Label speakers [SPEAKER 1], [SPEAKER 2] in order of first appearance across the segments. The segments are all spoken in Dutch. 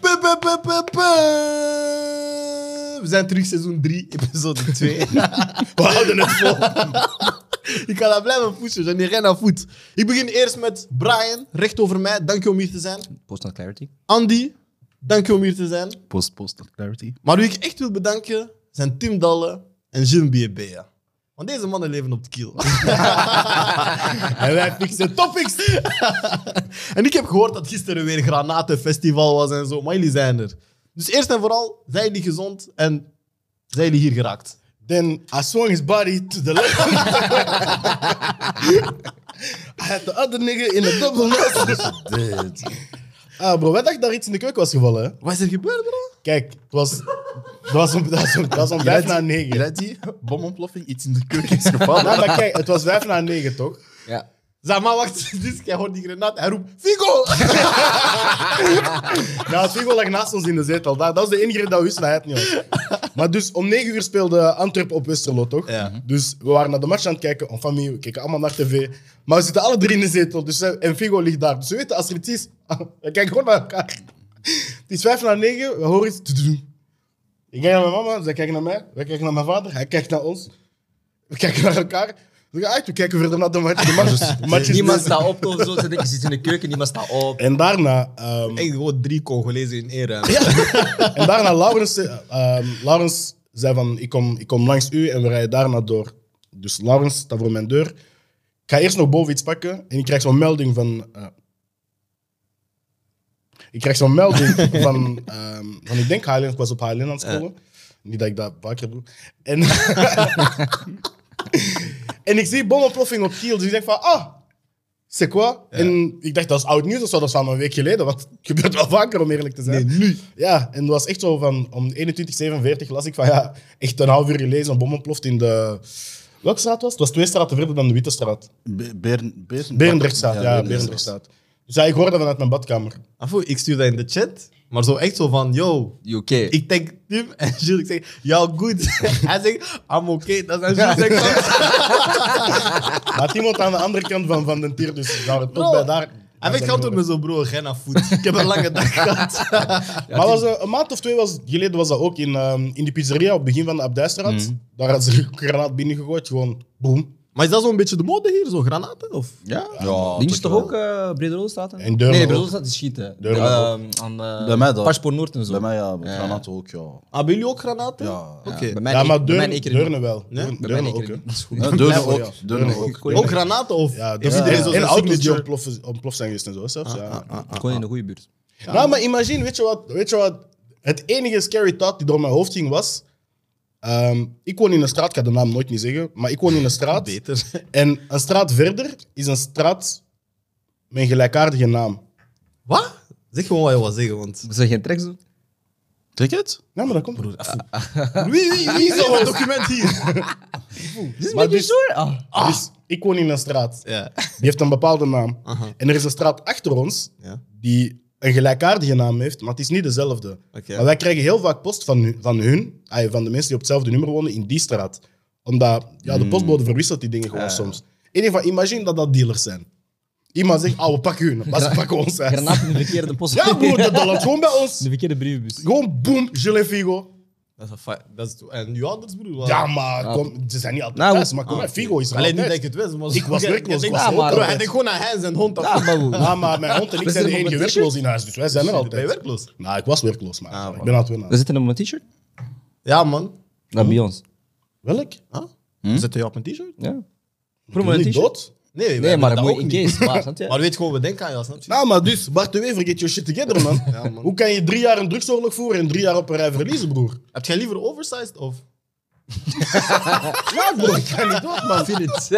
[SPEAKER 1] bup, bup, bup, bup. We zijn terug, seizoen 3, episode 2. We houden het vol. Ik ga dat blijven pushen, we zijn hier geen aan voet. Ik begin eerst met Brian, recht over mij. Dank je om hier te zijn.
[SPEAKER 2] Post not clarity.
[SPEAKER 1] Andy, dank je om hier te zijn.
[SPEAKER 2] Post, post not clarity.
[SPEAKER 1] Maar wie ik echt wil bedanken zijn Tim Dalle en Jim Biebea. Want deze mannen leven op de kiel. en wij fixen topics. en ik heb gehoord dat gisteren weer Granatenfestival was en zo, maar jullie zijn er. Dus eerst en vooral, zijn jullie gezond en zijn jullie hier geraakt?
[SPEAKER 3] Then I swung his body to the left. I had the other nigga in the double nest. Ah, bro, wij dachten dat er iets in de keuken was gevallen. Hè?
[SPEAKER 1] Wat is er gebeurd, bro?
[SPEAKER 3] Kijk, het was, het was om, het was om, het was om vijf na negen.
[SPEAKER 2] Red die bomontploffing iets in de keuken is gevallen.
[SPEAKER 3] Nee, maar kijk, het was vijf na negen, toch?
[SPEAKER 2] ja.
[SPEAKER 1] Zeg maar, wacht. Dus jij hoort die granaat. Hij roept, Figo!
[SPEAKER 3] Nou, Figo lag naast ons in de zetel. Dat, dat was de enige reden dat we wisten dat hij het niet was. Maar dus, om negen uur speelde Antwerpen op Westerlo, toch?
[SPEAKER 1] Ja.
[SPEAKER 3] Dus we waren naar de match aan het kijken, en familie, we keken allemaal naar tv. Maar we zitten alle drie in de zetel, dus, zij- en Figo ligt daar. Dus we weten, als er iets is, we kijken gewoon naar elkaar. Het is vijf naar negen, we horen iets. Tudu. Ik kijk naar mijn mama, zij kijkt naar mij, wij kijken naar mijn vader, hij kijkt naar ons. We kijken naar elkaar. We gaan uit, we kijken verder naar de match. De match, de match is
[SPEAKER 2] Niemand
[SPEAKER 3] dus-
[SPEAKER 2] staat op of zo. Ze denken, je zit in de keuken, niemand staat op.
[SPEAKER 3] En daarna... ehm,
[SPEAKER 1] Echt gewoon drie Congolezen in één ruimte.
[SPEAKER 3] En daarna Laurens, eh, ehm, Laurens zei van, ik kom, ik kom langs u en we rijden daarna door. Dus Laurens staat voor mijn deur. Ik ga eerst nog boven iets pakken en ik krijg zo'n melding van... eh, ik krijg zo'n melding van, ehm, van, ik denk Highland, ik was op Highland aan het scrollen. Niet dat ik dat vaker doe. En, en ik zie bomontploffing op Kiel, dus ik denk van, ah, c'est quoi? En ik dacht, dat is oud nieuws of zo, dat is van een week geleden, want het gebeurt wel vaker om eerlijk te zijn.
[SPEAKER 1] Nee, nu.
[SPEAKER 3] Ja, en het was echt zo van om 21.47 las ik van ja, echt een half uur gelezen, een bom ontploft in de. Welke straat was het? Het was twee straten verder dan de Witte Straat.
[SPEAKER 4] Be- Beren- Beren-
[SPEAKER 3] Berendrechtstraat, ja,
[SPEAKER 4] Berendrechtstraat.
[SPEAKER 3] Berendrechtstraat. Dus ja, ik hoorde dat vanuit mijn badkamer.
[SPEAKER 1] Afo, Ah, ik stuur dat in de chat. Maar zo echt zo van, yo,
[SPEAKER 2] Je oké?
[SPEAKER 1] Ik denk Tim en Jules, ik zeg, jou goed. Hij zegt, I'm okay. Dat zijn Jules zegt, "Kom."
[SPEAKER 3] Maar het iemand aan de andere kant van, van de tier, dus gaan we
[SPEAKER 1] Bro.
[SPEAKER 3] tot bij daar.
[SPEAKER 1] Hij weet gaat ook met zo'n bro, geen af voet. Ik heb een lange dag gehad.
[SPEAKER 3] Maar was, eh, een maand of twee was, geleden was dat ook in, ehm, in de pizzeria op het begin van de Abdijstraat. Daar had ze een granaat binnengegooid, gewoon boem.
[SPEAKER 1] Maar is dat zo'n beetje de mode hier, zo granaten? Of?
[SPEAKER 4] Ja, ja,
[SPEAKER 2] Links toch
[SPEAKER 4] wel.
[SPEAKER 2] ook eh Brede Rolstraat? hè?
[SPEAKER 3] En Deurne
[SPEAKER 2] Nee,
[SPEAKER 3] ook.
[SPEAKER 2] Brede Rolstraat is schieten.
[SPEAKER 3] Deurne
[SPEAKER 2] Eh, aan eh,
[SPEAKER 4] Bij mij dat.
[SPEAKER 2] Paspoort Noord en zo.
[SPEAKER 4] Bij mij ja, bij granaten ook, ja.
[SPEAKER 1] Hebben jullie ook granaten?
[SPEAKER 4] Ja.
[SPEAKER 1] Oké.
[SPEAKER 2] Bij mij
[SPEAKER 3] Ja,
[SPEAKER 2] niet-
[SPEAKER 3] maar
[SPEAKER 2] bij mij
[SPEAKER 3] Deurne,
[SPEAKER 2] één keer niet.
[SPEAKER 3] Deurne wel.
[SPEAKER 1] Ja?
[SPEAKER 3] Deurne,
[SPEAKER 2] Bij mij
[SPEAKER 3] Deurne
[SPEAKER 2] één
[SPEAKER 3] ook,
[SPEAKER 2] keer
[SPEAKER 3] hè.
[SPEAKER 2] niet. Dat is goed.
[SPEAKER 4] Ja, Deurne
[SPEAKER 1] Blijf-
[SPEAKER 4] ook. Deurne ook.
[SPEAKER 2] Goeie
[SPEAKER 1] Ook
[SPEAKER 2] plek.
[SPEAKER 1] granaten of?
[SPEAKER 3] Ja,
[SPEAKER 1] Dus
[SPEAKER 3] dat
[SPEAKER 1] iedereen zo
[SPEAKER 3] En
[SPEAKER 1] zijn
[SPEAKER 3] auto's die
[SPEAKER 1] signature.
[SPEAKER 3] ontploffen- ontploft zijn geweest en zo, hè,
[SPEAKER 1] Ah,
[SPEAKER 3] zelfs. ja.
[SPEAKER 4] Ah,
[SPEAKER 2] Gewoon in de goede buurt.
[SPEAKER 3] Nou, maar imagine, weet je wat? Weet je wat? Het enige scary thought die door mijn hoofd ging was. ehm, ik woon in een straat, ik ga de naam nooit niet zeggen, maar ik woon in een straat.
[SPEAKER 1] Beter.
[SPEAKER 3] En een straat verder is een straat met een gelijkaardige naam.
[SPEAKER 1] Wat? Zeg gewoon wat je wil zeggen, want...
[SPEAKER 2] Is er geen trek zo?
[SPEAKER 4] Ticket?
[SPEAKER 3] Ja, maar dat komt Ah. broer.
[SPEAKER 1] Wie, wie, wie is dat document hier?
[SPEAKER 2] Dit is
[SPEAKER 3] Maar
[SPEAKER 2] een beetje
[SPEAKER 3] dus-
[SPEAKER 2] zo. Ah.
[SPEAKER 3] Dus ik woon in een straat,
[SPEAKER 1] Ja.
[SPEAKER 3] die heeft een bepaalde naam.
[SPEAKER 1] Aha.
[SPEAKER 3] En er is een straat achter ons
[SPEAKER 1] Ja.
[SPEAKER 3] die een gelijkaardige naam heeft, maar het is niet dezelfde.
[SPEAKER 1] Oké.
[SPEAKER 3] Maar wij krijgen heel vaak post van, hu- van hun, ah, van de mensen die op hetzelfde nummer wonen, in die straat. Omdat ja,
[SPEAKER 1] Hmm.
[SPEAKER 3] de postbode verwisselt die dingen gewoon soms. Ik denk van, imagine dat dat dealers zijn. Iemand zegt, ah, we pakken hun, maar ze pakken ons uit.
[SPEAKER 2] Granaat in de verkeerde post.
[SPEAKER 3] Ja broer, dat, dat landt gewoon bij
[SPEAKER 2] De
[SPEAKER 3] ons.
[SPEAKER 2] verkeerde brievenbus.
[SPEAKER 3] Gewoon boem, Gilles Figo.
[SPEAKER 1] Dat is een fa- dat is- En je ouders, broer? wat?
[SPEAKER 3] Ja, maar kom, ze zijn niet altijd
[SPEAKER 2] Nou,
[SPEAKER 3] thuis, maar kom,
[SPEAKER 1] Ah,
[SPEAKER 3] maar, Figo is er
[SPEAKER 1] Alleen nu
[SPEAKER 3] altijd.
[SPEAKER 1] denk ik het wel. maar-
[SPEAKER 3] Ik was
[SPEAKER 1] Jij-
[SPEAKER 3] werkloos,
[SPEAKER 1] jij
[SPEAKER 3] ik
[SPEAKER 1] denkt-
[SPEAKER 2] was ook
[SPEAKER 1] Bro, Hij
[SPEAKER 3] werkloos.
[SPEAKER 1] denkt gewoon naar Hens en hond af.
[SPEAKER 2] Ja, maar hoe?
[SPEAKER 3] Ja, maar mijn hond en ik
[SPEAKER 2] We
[SPEAKER 3] zijn
[SPEAKER 2] zitten
[SPEAKER 3] de
[SPEAKER 2] op
[SPEAKER 3] enige
[SPEAKER 2] een
[SPEAKER 3] werkloos in huis, dus wij zijn er
[SPEAKER 1] Ben je
[SPEAKER 3] altijd.
[SPEAKER 1] werkloos?
[SPEAKER 3] Nou, ik was werkloos, maar
[SPEAKER 1] Ah,
[SPEAKER 3] ik ben aan het winnen.
[SPEAKER 2] We zitten op een t-shirt?
[SPEAKER 1] Ja, man.
[SPEAKER 2] Dat bij ons.
[SPEAKER 3] Welk?
[SPEAKER 1] Huh?
[SPEAKER 3] Hm?
[SPEAKER 1] Zet je op een t-shirt?
[SPEAKER 2] Ja.
[SPEAKER 3] Ik
[SPEAKER 2] Promo
[SPEAKER 3] ben
[SPEAKER 2] een
[SPEAKER 3] niet
[SPEAKER 2] t-shirt.
[SPEAKER 3] dood.
[SPEAKER 1] Nee, wij
[SPEAKER 2] Nee,
[SPEAKER 1] hebben
[SPEAKER 2] maar
[SPEAKER 1] dat
[SPEAKER 2] dat
[SPEAKER 1] ook
[SPEAKER 2] moet in
[SPEAKER 1] niet.
[SPEAKER 2] case. Maar snap je?
[SPEAKER 1] Maar weet gewoon, we denken aan jou, snap je?
[SPEAKER 3] Nou, maar dus, Bart de Wever, get your shit together, man. Hoe kan je drie jaar een drugsoorlog voeren en drie jaar op een rij verliezen, broer?
[SPEAKER 1] Heb jij liever oversized of...
[SPEAKER 3] Ja, broer, ik kan niet dood, man.
[SPEAKER 2] vind het.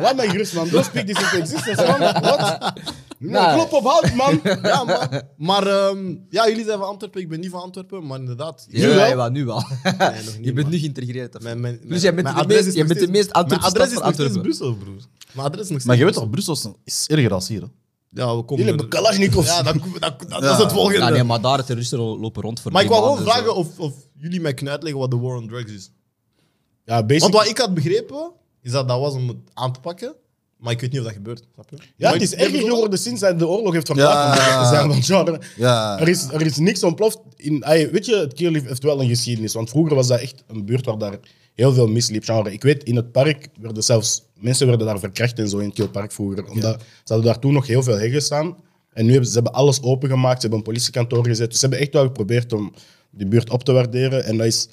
[SPEAKER 3] Laat mij gerust, man. Don't speak this into existence, man. Wat?
[SPEAKER 2] Nee.
[SPEAKER 3] Nou, klop op hout, man.
[SPEAKER 1] Ja, man. Maar ehm, ja, jullie zijn van Antwerpen, ik ben niet van Antwerpen, maar inderdaad.
[SPEAKER 2] Nu
[SPEAKER 3] wel?
[SPEAKER 2] wel? Ja, nu wel.
[SPEAKER 1] Nee, nog niet,
[SPEAKER 2] je bent
[SPEAKER 1] man.
[SPEAKER 2] nu geïntegreerd. of-
[SPEAKER 1] Mijn, mijn,
[SPEAKER 2] Dus jij bent de meest- jij bent de meest Antwerpse
[SPEAKER 1] Mijn adres is
[SPEAKER 2] stad
[SPEAKER 1] nog
[SPEAKER 2] van
[SPEAKER 1] steeds Brussel, broer. Mijn adres is nog steeds
[SPEAKER 4] Maar je weet toch, Brussel is- is erger dan hier. hè?
[SPEAKER 1] Ja, we komen...
[SPEAKER 3] Jullie hebben Kalashnikovs.
[SPEAKER 1] Ja, dat, dat, dat, dat is het volgende.
[SPEAKER 2] Ja, nee, maar daar terroristen lo- lopen rond voor
[SPEAKER 1] Maar ik
[SPEAKER 2] drie
[SPEAKER 1] wou gewoon
[SPEAKER 2] maanden,
[SPEAKER 1] vragen of, of jullie mij kunnen uitleggen wat de war on drugs is.
[SPEAKER 3] Ja, basic.
[SPEAKER 1] Want wat ik had begrepen, is dat dat was om het aan te pakken. Maar ik weet niet of dat gebeurt. Snap je?
[SPEAKER 3] Ja, het is erger geworden sinds hij de oorlog heeft verklaard.
[SPEAKER 4] Ja.
[SPEAKER 3] om te zijn, want ja, er-
[SPEAKER 4] Ja.
[SPEAKER 3] er, is, er is niks ontploft. In, ey, weet je, het Kierlief heeft wel een geschiedenis. Want vroeger was dat echt een buurt waar daar heel veel misliep. Genre. Ik weet, in het park werden zelfs... Mensen werden daar verkracht en zo in het Kielpark vroeger. Omdat, ze hadden daar toen nog heel veel heggen staan. En nu hebben ze, ze hebben alles opengemaakt. Ze hebben een politiekantoor gezet. Dus ze hebben echt wel geprobeerd om die buurt op te waarderen. En dat is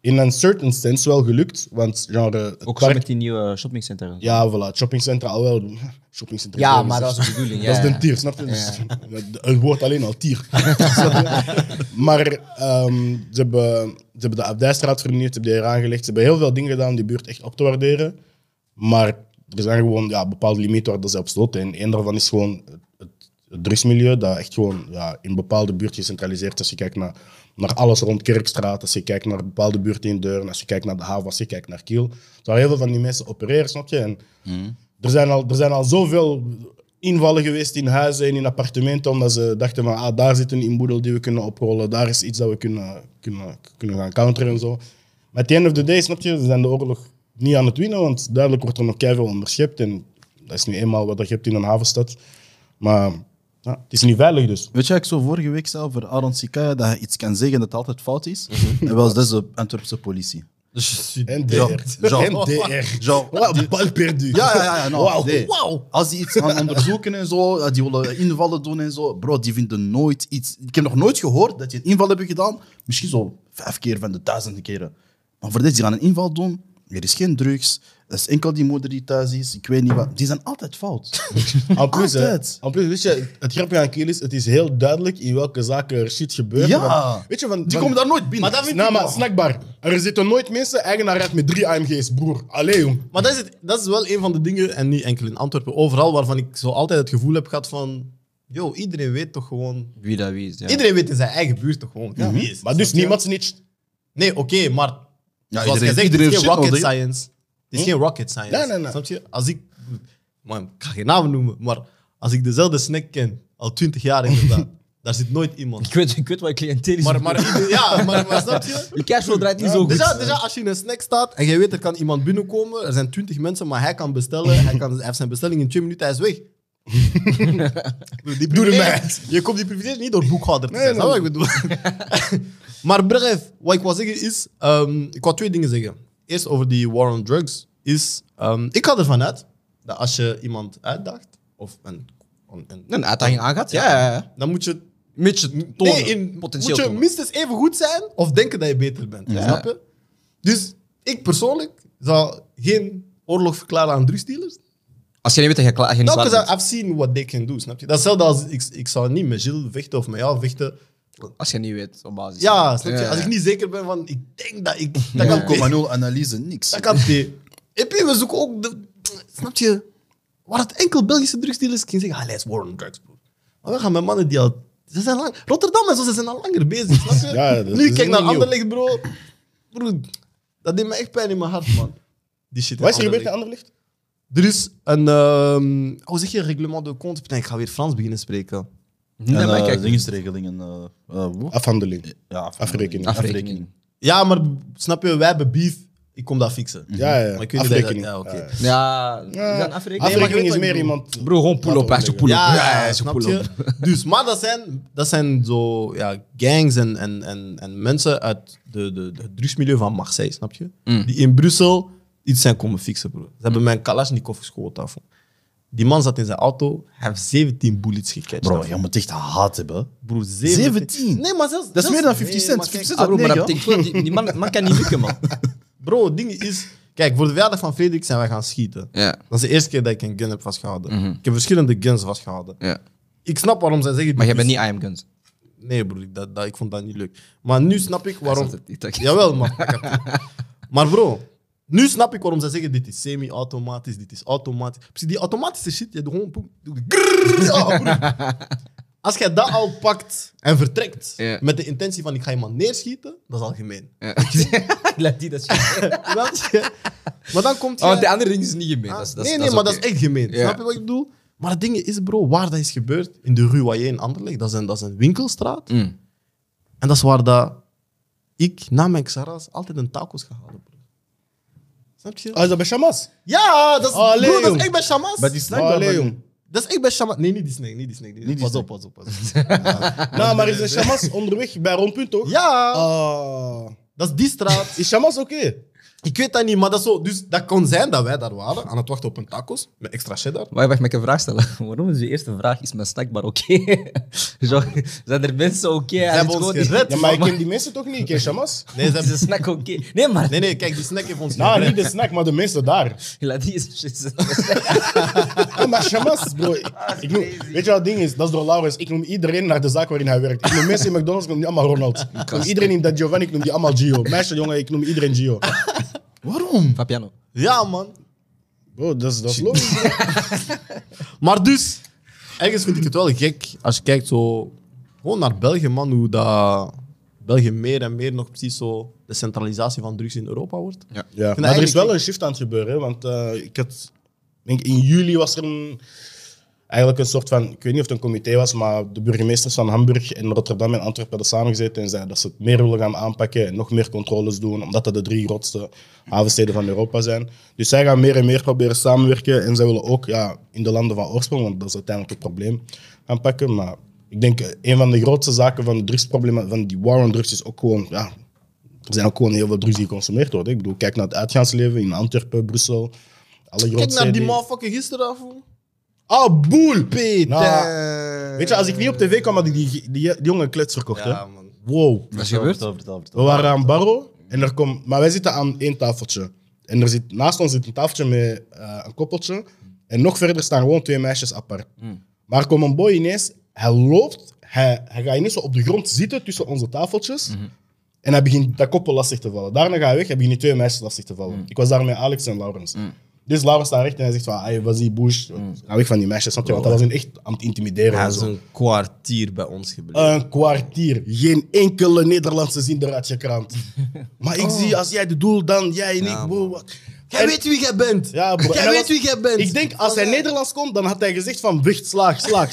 [SPEAKER 3] in een certain sense wel gelukt. Want genre, het
[SPEAKER 5] Ook zo
[SPEAKER 3] park...
[SPEAKER 5] met die nieuwe shoppingcenter.
[SPEAKER 3] Ja, voilà. Het shoppingcentra al wel. Shoppingcentra.
[SPEAKER 2] Ja,
[SPEAKER 3] wel
[SPEAKER 2] maar dat
[SPEAKER 3] gezegd.
[SPEAKER 2] was de bedoeling. ja,
[SPEAKER 3] Dat is
[SPEAKER 2] ja.
[SPEAKER 3] een tier, snap je? Dus, Het woord alleen al tier. Snap je? maar ehm, ze, hebben, ze hebben de Abdijstraat vernieuwd, ze hebben die eraan gelegd. Ze hebben heel veel dingen gedaan om die buurt echt op te waarderen. Maar er zijn gewoon ja, bepaalde limieten waar dat ze op sloten. En één daarvan is gewoon het, het, het drugsmilieu, dat echt gewoon ja, in bepaalde buurten gecentraliseerd is. Als je kijkt naar, naar alles rond Kerkstraat, als je kijkt naar bepaalde buurten in Deuren, als je kijkt naar de haven, als je kijkt naar Kiel. Daar heel veel van die mensen opereren, snap je? En,
[SPEAKER 2] Hmm.
[SPEAKER 3] er zijn, al, er zijn al zoveel invallen geweest in huizen en in appartementen, omdat ze dachten van ah, daar zit een inboedel die we kunnen oprollen, daar is iets dat we kunnen, kunnen, kunnen gaan counteren en zo. Maar at the end of the day, snap je, ze zijn de oorlog niet aan het winnen, want duidelijk wordt er nog keihard onderschept en dat is nu eenmaal wat je hebt in een havenstad. Maar ja, het is niet veilig dus.
[SPEAKER 4] Weet je, ik zo vorige week zei over Aaron Sikaya dat hij iets kan zeggen dat altijd fout is. En wel, dat is de Antwerpse politie.
[SPEAKER 1] Dus
[SPEAKER 3] NDR.
[SPEAKER 4] Ja, ja.
[SPEAKER 3] NDR.
[SPEAKER 4] Zo.
[SPEAKER 3] Wat bal perdu.
[SPEAKER 4] Ja, ja, ja. ja, nou,
[SPEAKER 3] Wauw.
[SPEAKER 4] nee. Als die iets gaan onderzoeken en zo, eh, die willen invallen doen en zo. Bro, die vinden nooit iets. Ik heb nog nooit gehoord dat je een inval hebt gedaan. Misschien zo vijf keer van de duizenden keren. Maar voor dit, die gaan een inval doen. Er is geen drugs. Dat is enkel die moeder die thuis is. Ik weet niet wat. Die zijn altijd fout.
[SPEAKER 3] En plus, hè,
[SPEAKER 4] Altijd.
[SPEAKER 3] en plus, weet je, het grapje aan Kiel is, het is heel duidelijk in welke zaken er shit gebeurt.
[SPEAKER 4] Ja.
[SPEAKER 3] Want, weet je, van,
[SPEAKER 4] Die
[SPEAKER 3] van-
[SPEAKER 4] komen daar nooit binnen.
[SPEAKER 1] Maar dat vind
[SPEAKER 3] Nou,
[SPEAKER 1] ik
[SPEAKER 3] maar
[SPEAKER 1] wel.
[SPEAKER 3] snackbar. Er zitten nooit mensen eigenaar uit met drie AMG's, broer. Allee, jong.
[SPEAKER 1] Maar dat is, het- dat is wel een van de dingen, en niet enkel in Antwerpen, overal waarvan ik zo altijd het gevoel heb gehad van... Yo, iedereen weet toch gewoon...
[SPEAKER 5] Wie dat wie is. Ja.
[SPEAKER 1] Iedereen weet in zijn eigen buurt toch gewoon wie is het,
[SPEAKER 3] Maar dus
[SPEAKER 1] snap je?
[SPEAKER 3] niemand snitcht.
[SPEAKER 1] Nee, oké, maar
[SPEAKER 4] Ja,
[SPEAKER 1] zoals
[SPEAKER 4] iedereen-
[SPEAKER 1] gezegd, het
[SPEAKER 4] iedereen
[SPEAKER 1] is geen
[SPEAKER 4] shit
[SPEAKER 1] rocket
[SPEAKER 4] nodig.
[SPEAKER 1] science. Het is geen rocket science.
[SPEAKER 3] Nee, nee, nee.
[SPEAKER 1] Snap je? Als ik... Man, ik ga geen namen noemen, maar als ik dezelfde snack ken, al twintig jaar inderdaad, daar zit nooit iemand.
[SPEAKER 5] Ik weet, ik weet wat cliënteel is.
[SPEAKER 1] Maar, maar, ieder- ja, maar, maar snap je?
[SPEAKER 5] je cashflow draait niet zo goed.
[SPEAKER 1] Dus ja, dus ja, als je in een snack staat en je weet er kan iemand binnenkomen, er zijn twintig mensen, maar hij kan bestellen, hij, kan, hij heeft zijn bestelling in twee minuten, hij is weg. die
[SPEAKER 3] Doe de
[SPEAKER 1] privilege-
[SPEAKER 3] meid.
[SPEAKER 1] Je komt die privilege niet door boekhouder te
[SPEAKER 3] Nee,
[SPEAKER 1] zijn,
[SPEAKER 3] nee.
[SPEAKER 1] snap je wat ik bedoel? maar bref, wat ik wil zeggen is, ehm, ik wil twee dingen zeggen. Eerst over die war on drugs, is, ehm, ik ga ervan uit dat als je iemand uitdaagt, of een, een, een-
[SPEAKER 2] Een uitdaging aangaat, ja. ja, ja.
[SPEAKER 1] dan moet je
[SPEAKER 2] Mits je tonen,
[SPEAKER 1] Nee, in,
[SPEAKER 2] potentieel
[SPEAKER 1] moet je
[SPEAKER 2] tonen.
[SPEAKER 1] minstens even goed zijn of denken dat je beter bent. Snap je? Dus ik persoonlijk zou geen oorlog verklaren aan drugsdealers.
[SPEAKER 2] Als je niet weet dat je klaar, je niet
[SPEAKER 1] Nou,
[SPEAKER 2] klaar
[SPEAKER 1] because
[SPEAKER 2] bent.
[SPEAKER 1] I've seen what they can do, snap je? Dat is hetzelfde als ik, ik zou niet met Gilles vechten of met jou vechten.
[SPEAKER 2] Als je niet weet, op basis.
[SPEAKER 1] Ja, snap je?
[SPEAKER 2] Ja,
[SPEAKER 1] Als
[SPEAKER 2] ja.
[SPEAKER 1] ik niet zeker ben van, ik denk dat ik... Dat kan komen.
[SPEAKER 4] 0,0 analyse, niks.
[SPEAKER 1] Dat kan thee. En puis, we zoeken ook... De, snap je? Waar het enkel Belgische drugsdealers kunnen zeggen, ah, hij is war on drugs, bro. Maar we gaan met mannen die al... Ze zijn lang, Rotterdam en zo, ze zijn al langer bezig, snap je?
[SPEAKER 3] Ja, dat
[SPEAKER 1] nu
[SPEAKER 3] is
[SPEAKER 1] kijk naar
[SPEAKER 3] niet nieuw.
[SPEAKER 1] Anderlecht, bro. Bro, dat deed me echt pijn in mijn hart, man. Die shit in
[SPEAKER 3] Wat is er gebeurd
[SPEAKER 1] Anderlecht.
[SPEAKER 3] in Anderlicht?
[SPEAKER 1] Er is een... ehm hoe zeg je? Reglement de compte. Putain, ik ga weer Frans beginnen spreken.
[SPEAKER 4] En,
[SPEAKER 5] Nee, maar
[SPEAKER 4] eh,
[SPEAKER 5] kijk,
[SPEAKER 4] dingesregelingen. eh, eh, hoe?
[SPEAKER 3] Afhandeling.
[SPEAKER 4] Ja,
[SPEAKER 3] Afrekening.
[SPEAKER 5] afrekening.
[SPEAKER 1] Ja, maar snap je, wij hebben beef. Ik kom dat fixen.
[SPEAKER 3] Ja, ja.
[SPEAKER 1] Maar ik weet niet dat je
[SPEAKER 3] Afrekening.
[SPEAKER 1] dat- ja, oké.
[SPEAKER 3] Ja.
[SPEAKER 5] Ja,
[SPEAKER 3] Ja,
[SPEAKER 5] is dat een afrekening?
[SPEAKER 1] Nee, maar je
[SPEAKER 3] Afrekening
[SPEAKER 1] weet
[SPEAKER 3] is
[SPEAKER 1] wat ik
[SPEAKER 3] meer
[SPEAKER 1] bedoel.
[SPEAKER 3] iemand...
[SPEAKER 2] Bro, gewoon pull-up,
[SPEAKER 3] Laat
[SPEAKER 2] hè,
[SPEAKER 3] omleggen.
[SPEAKER 2] pull-up.
[SPEAKER 1] Ja,
[SPEAKER 2] Ja, ja,
[SPEAKER 1] ja,
[SPEAKER 2] ja,
[SPEAKER 1] snap
[SPEAKER 2] pull-up.
[SPEAKER 1] je? Dus, maar dat zijn, dat zijn zo ja, gangs en, en, en, en mensen uit de, de, de- het drugsmilieu van Marseille, snap je?
[SPEAKER 4] Mm.
[SPEAKER 1] Die in Brussel iets zijn komen fixen, bro. Ze hebben mijn Kalashnikov geschoten. daarvoor. Die man zat in zijn auto, hij heeft 17 bullets gecatcht.
[SPEAKER 4] Bro,
[SPEAKER 1] daarvoor.
[SPEAKER 4] je moet echt haat hebben.
[SPEAKER 1] Bro, 17.
[SPEAKER 4] 17?
[SPEAKER 1] Nee, maar zelfs...
[SPEAKER 4] Dat is
[SPEAKER 1] zelfs-
[SPEAKER 4] meer dan 50
[SPEAKER 1] Nee,
[SPEAKER 4] cent.
[SPEAKER 1] maar
[SPEAKER 4] 50
[SPEAKER 1] kijk,
[SPEAKER 4] cent
[SPEAKER 5] Ah,
[SPEAKER 4] dat
[SPEAKER 5] bro, maar dat
[SPEAKER 4] negen.
[SPEAKER 5] betekent wel, die, die man, man kan niet lukken, man.
[SPEAKER 1] Bro, het ding is... Kijk, voor de verjaardag van Frederik zijn wij gaan schieten.
[SPEAKER 5] Ja,
[SPEAKER 1] Dat is de eerste keer dat ik een gun heb vastgehouden.
[SPEAKER 4] Mhm.
[SPEAKER 1] Ik heb verschillende guns vastgehouden.
[SPEAKER 5] ja. Dus-
[SPEAKER 1] Ik snap waarom zij zeggen...
[SPEAKER 5] Maar jij
[SPEAKER 1] die
[SPEAKER 5] bent niet I am Guns.
[SPEAKER 1] Nee, broer, ik- dat, dat, ik vond dat niet leuk. Maar nu snap ik waarom.
[SPEAKER 5] Hij zat het niet, hè?
[SPEAKER 1] Jawel, man. Ik heb- maar bro, nu snap ik waarom ze zeggen: dit is semi-automatisch, dit is automatisch. Precies, die automatische shit, je doet gewoon. poep, doe je grrrr, ja, broer. Als jij dat al pakt en vertrekt
[SPEAKER 5] Ja.
[SPEAKER 1] met de intentie van ik ga iemand neerschieten, dat is algemeen.
[SPEAKER 5] Laat die dat shit.
[SPEAKER 1] Snap je? maar dan komt
[SPEAKER 5] Oh,
[SPEAKER 1] jij-
[SPEAKER 5] want de andere ding is niet gemeen.
[SPEAKER 1] Ah,
[SPEAKER 5] Dat is- dat is-
[SPEAKER 1] nee,
[SPEAKER 5] dat
[SPEAKER 1] nee,
[SPEAKER 5] is
[SPEAKER 1] maar
[SPEAKER 5] oké.
[SPEAKER 1] dat is echt gemeen.
[SPEAKER 5] Ja.
[SPEAKER 1] Snap je wat ik bedoel? Maar het ding is, bro, waar dat is gebeurd, in de Ruwaye in Anderlecht, dat is een, dat is een winkelstraat.
[SPEAKER 5] Mm.
[SPEAKER 1] En dat is waar dat ik na mijn Xaras altijd een tacos ga halen, bro. Snap je?
[SPEAKER 3] Ah, is dat bij Shamas?
[SPEAKER 1] Ja, dat is,
[SPEAKER 3] Allee,
[SPEAKER 1] broer, dat
[SPEAKER 3] jong.
[SPEAKER 1] is echt bij Shamas.
[SPEAKER 4] Bij die snack
[SPEAKER 3] Oh,
[SPEAKER 4] bar,
[SPEAKER 3] allee,
[SPEAKER 4] bij-
[SPEAKER 3] jong.
[SPEAKER 1] Dat is echt bij Shamas. Nee, niet die snack. Niet die snack. Niet
[SPEAKER 4] die
[SPEAKER 1] pas,
[SPEAKER 4] snack.
[SPEAKER 1] op, pas op, pas op.
[SPEAKER 3] Nou, maar is een Shamas onderweg bij Rondpunt, toch?
[SPEAKER 1] Ja,
[SPEAKER 3] Ah.
[SPEAKER 1] dat is die straat.
[SPEAKER 3] Is Shamas oké?
[SPEAKER 1] Ik weet dat niet, maar dat, is zo, dus dat kon zijn dat wij daar waren aan het wachten op een tacos met extra cheddar.
[SPEAKER 5] Maar wacht, mag ik een vraag stellen? Waarom is je eerste vraag, is mijn snackbar oké? Zo, Zijn er mensen oké? Ze
[SPEAKER 1] hebben ons gered.
[SPEAKER 3] Ja, maar ik ken die mensen toch niet? Ik ken Shamas?
[SPEAKER 1] Nee, ze
[SPEAKER 5] Is de
[SPEAKER 1] hebben-
[SPEAKER 5] snack oké? Nee, maar...
[SPEAKER 1] nee, nee, kijk, die snack heeft ons
[SPEAKER 3] Nou,
[SPEAKER 1] gered.
[SPEAKER 3] niet de snack, maar de mensen daar.
[SPEAKER 5] Laat die is... is-
[SPEAKER 3] Ja, maar Shamas, bro. ik- ik noem- weet je wat het ding is? Dat is door Laurens. Ik noem iedereen naar de zaak waarin hij werkt. Ik noem mensen in McDonald's, ik noem die allemaal Ronald. Ik noem iedereen in dat Giovanni, ik noem die allemaal Gio. Meisje, jongen, ik noem iedereen Gio.
[SPEAKER 1] Waarom?
[SPEAKER 5] Fabiano.
[SPEAKER 1] Ja, man.
[SPEAKER 3] Bro, dat is, dat is logisch. bro.
[SPEAKER 1] Maar dus, ergens vind ik het wel gek als je kijkt zo gewoon naar België, man, hoe dat België meer en meer nog precies zo de centralisatie van drugs in Europa wordt.
[SPEAKER 3] Ja,
[SPEAKER 1] vind
[SPEAKER 3] maar er is
[SPEAKER 1] eigenlijk-
[SPEAKER 3] wel een shift aan het gebeuren. hè, Want eh, ik had, denk in juli was er een, eigenlijk een soort van, ik weet niet of het een comité was, maar de burgemeesters van Hamburg en Rotterdam en Antwerpen hadden samengezeten en zeiden dat ze het meer willen gaan aanpakken en nog meer controles doen, omdat dat de drie grootste havensteden van Europa zijn. Dus zij gaan meer en meer proberen samenwerken en zij willen ook ja, in de landen van oorsprong, want dat is uiteindelijk het probleem, aanpakken. Maar ik denk, eh, een van de grootste zaken van de drugsproblemen, van die war on drugs, is ook gewoon ja, er zijn ook gewoon heel veel drugs die geconsumeerd worden. Ik bedoel, kijk naar het uitgaansleven in Antwerpen, Brussel. Alle grote
[SPEAKER 1] Kijk naar die
[SPEAKER 3] steden.
[SPEAKER 1] motherfucker gisteravond.
[SPEAKER 3] Ah, boel!
[SPEAKER 1] Peter.
[SPEAKER 5] Eh,
[SPEAKER 3] Nou, Weet je, als ik niet op tv kwam, had ik die, die, die jonge klets verkocht.
[SPEAKER 1] Ja,
[SPEAKER 3] hè.
[SPEAKER 1] man.
[SPEAKER 3] Wow.
[SPEAKER 5] Wat is er gebeurd?
[SPEAKER 3] We waren aan Barro, en er kom, maar wij zitten aan één tafeltje. En er zit, naast ons zit een tafeltje met eh, een koppeltje. En nog verder staan gewoon twee meisjes apart. Maar er komt een boy ineens, hij loopt, hij, hij gaat ineens zo op de grond zitten tussen onze tafeltjes. En hij begint dat koppel lastig te vallen. Daarna gaat hij weg, hij begint die twee meisjes lastig te vallen. Ik was daar met Alex en Laurens. Dus Laurens staat recht en hij zegt van, "Ai, wat is die bush? Ga weg van die meisjes, snap je? Want dat was hun echt aan het intimideren. en
[SPEAKER 1] Hij is
[SPEAKER 3] zo.
[SPEAKER 1] een kwartier bij ons gebleven.
[SPEAKER 3] Een kwartier. Geen enkele Nederlandse zinder uit je krant. Maar ik zie, als jij de doel, dan jij en ik. Wow, wat.
[SPEAKER 1] Oh. jij
[SPEAKER 3] en-
[SPEAKER 1] weet wie jij bent.
[SPEAKER 3] Ja, bro. En
[SPEAKER 1] Jij
[SPEAKER 3] hij
[SPEAKER 1] weet
[SPEAKER 3] was-
[SPEAKER 1] wie jij bent. Oh,
[SPEAKER 3] Ik denk, als hij Nederlands komt, dan had hij gezegd van, wicht, slaag, slaag.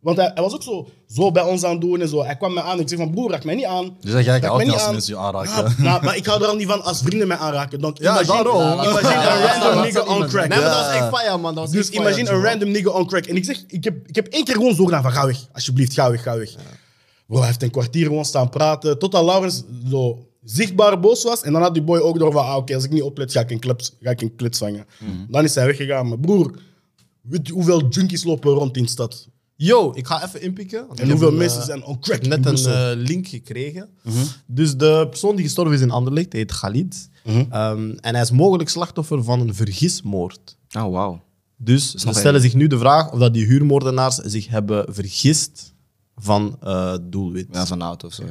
[SPEAKER 3] Want hij, hij was ook zo, zo bij ons aan het doen en zo. Hij kwam mij aan en ik zeg van, broer, raak mij niet aan.
[SPEAKER 4] Dus dat jij
[SPEAKER 3] Raak mij
[SPEAKER 4] altijd
[SPEAKER 3] niet
[SPEAKER 4] als
[SPEAKER 3] aan.
[SPEAKER 4] mensen je
[SPEAKER 3] Ja,
[SPEAKER 4] aanraken.
[SPEAKER 3] nou, maar ik hou er al niet van als vrienden mij aanraken. Dan
[SPEAKER 1] Ja,
[SPEAKER 3] imagine,
[SPEAKER 1] daarom.
[SPEAKER 3] Imagine een random
[SPEAKER 1] Nee,
[SPEAKER 3] nigga on crack.
[SPEAKER 1] maar dat was echt fire, man. Dat was
[SPEAKER 3] Dus
[SPEAKER 1] echt fire,
[SPEAKER 3] imagine een
[SPEAKER 1] Jimbo.
[SPEAKER 3] random nigga on crack. En ik zeg, ik heb, ik heb één keer gewoon zo gedaan van ga weg, alsjeblieft, ga weg, ga weg. Bro, hij heeft een kwartier gewoon staan praten, totdat Laurens zo zichtbaar boos was. En dan had die boy ook door van, ah, oké, als ik niet oplet, ga ik een klits, ga ik een klits vangen.
[SPEAKER 1] Mhm.
[SPEAKER 3] Dan is hij weggegaan. Maar broer, weet je hoeveel junkies lopen rond in de stad?
[SPEAKER 1] Yo, ik ga even inpikken. want ik
[SPEAKER 3] En
[SPEAKER 1] heb
[SPEAKER 3] hoeveel
[SPEAKER 1] een,
[SPEAKER 3] mensen
[SPEAKER 1] eh,
[SPEAKER 3] zijn on crack Mhm. in
[SPEAKER 1] net een
[SPEAKER 3] Brussel?
[SPEAKER 1] eh, link gekregen. Dus de persoon die gestorven is in Anderlecht heet Khalid.
[SPEAKER 3] Mhm.
[SPEAKER 1] Ehm, en hij is mogelijk slachtoffer van een vergismoord.
[SPEAKER 5] Oh, wauw.
[SPEAKER 1] Dus ze stellen zich nu de vraag of dat die huurmoordenaars zich hebben vergist van eh, doelwit.
[SPEAKER 5] Ja, van auto of zo.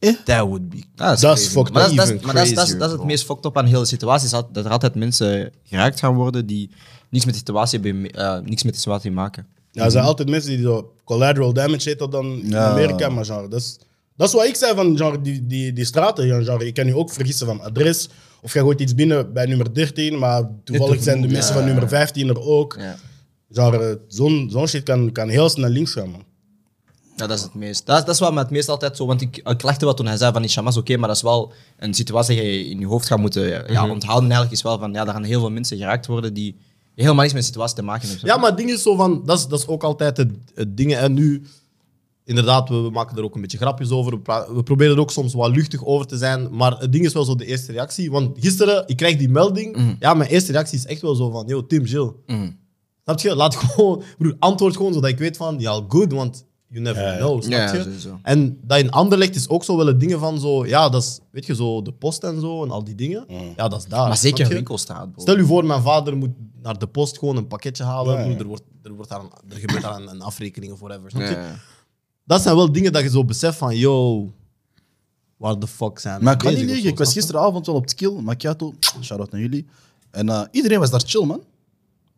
[SPEAKER 5] ja.
[SPEAKER 1] That would be.
[SPEAKER 5] Ja,
[SPEAKER 3] Dat is
[SPEAKER 5] crazy.
[SPEAKER 3] fucked
[SPEAKER 1] up.
[SPEAKER 5] maar Dat, is- dat,
[SPEAKER 1] Even
[SPEAKER 5] is- maar dat, is- dat, is-
[SPEAKER 1] crazier,
[SPEAKER 5] dat is het
[SPEAKER 1] bro.
[SPEAKER 5] meest fucked up aan de hele situatie. Is dat, dat er altijd mensen geraakt gaan worden die niks met de situatie, hebben, eh, niks met de situatie maken.
[SPEAKER 3] Ja, er zijn altijd mensen die zo collateral damage heet dat dan in
[SPEAKER 4] Ja.
[SPEAKER 3] Amerika, maar genre, dat is, dat is wat ik zei van genre, die, die, die straten. ja, Genre, je kan je ook vergissen van adres, of je gooit iets binnen bij nummer 13, maar toevallig zijn de mensen van nummer 15 er ook.
[SPEAKER 5] Ja.
[SPEAKER 3] Genre, zo'n zo'n shit kan, kan heel snel naar links gaan, man.
[SPEAKER 5] Ja, dat is het meest. Dat, is- dat is wat me het meest altijd zo. Want ik, ik lachte wat toen hij zei van die shamas, oké, maar dat is wel een situatie die je in je hoofd gaat moeten ja,
[SPEAKER 3] Mhm.
[SPEAKER 5] onthouden. Eigenlijk is wel van ja, daar gaan heel veel mensen geraakt worden die helemaal niks met de situatie te maken hebben.
[SPEAKER 1] Ja, maar het ding is zo van. Dat is, dat is ook altijd het, het ding. En nu, inderdaad, we, we maken er ook een beetje grapjes over. We, pra- we proberen er ook soms wat luchtig over te zijn. Maar het ding is wel zo de eerste reactie. Want gisteren, ik krijg die melding.
[SPEAKER 5] Mm.
[SPEAKER 1] Ja, mijn eerste reactie is echt wel zo van: Yo, Tim, Jill. Snap je? Laat gewoon, broer, antwoord gewoon zodat ik weet van, ja, good, want you never know. Snap
[SPEAKER 5] Ja,
[SPEAKER 1] je?
[SPEAKER 5] sowieso.
[SPEAKER 1] En dat in Anderlecht is ook zo wel het dingen van zo, ja, dat is, weet je, zo de post en zo en al die dingen. Ja, dat is daar.
[SPEAKER 5] Mm. maar
[SPEAKER 1] snap
[SPEAKER 5] zeker een
[SPEAKER 1] je?
[SPEAKER 5] winkelstraat.
[SPEAKER 4] Oh.
[SPEAKER 5] bro.
[SPEAKER 1] Stel je voor, mijn vader moet naar de post gewoon een pakketje halen.
[SPEAKER 3] Ja.
[SPEAKER 1] broer, er, wordt, er, wordt daar een- er gebeurt daar een, een afrekening of whatever. Snap
[SPEAKER 5] Ja,
[SPEAKER 1] je?
[SPEAKER 5] ja, ja.
[SPEAKER 1] Dat zijn wel dingen dat je zo beseft van, yo, waar de fuck zijn we
[SPEAKER 4] Maar ik kan
[SPEAKER 1] bezig
[SPEAKER 4] niet
[SPEAKER 1] of
[SPEAKER 4] liegen.
[SPEAKER 1] zo,
[SPEAKER 4] Ik was
[SPEAKER 1] snap je?
[SPEAKER 4] gisteravond wel op het kill. Macchiato, shout-out naar jullie. En eh, iedereen was daar chill, man.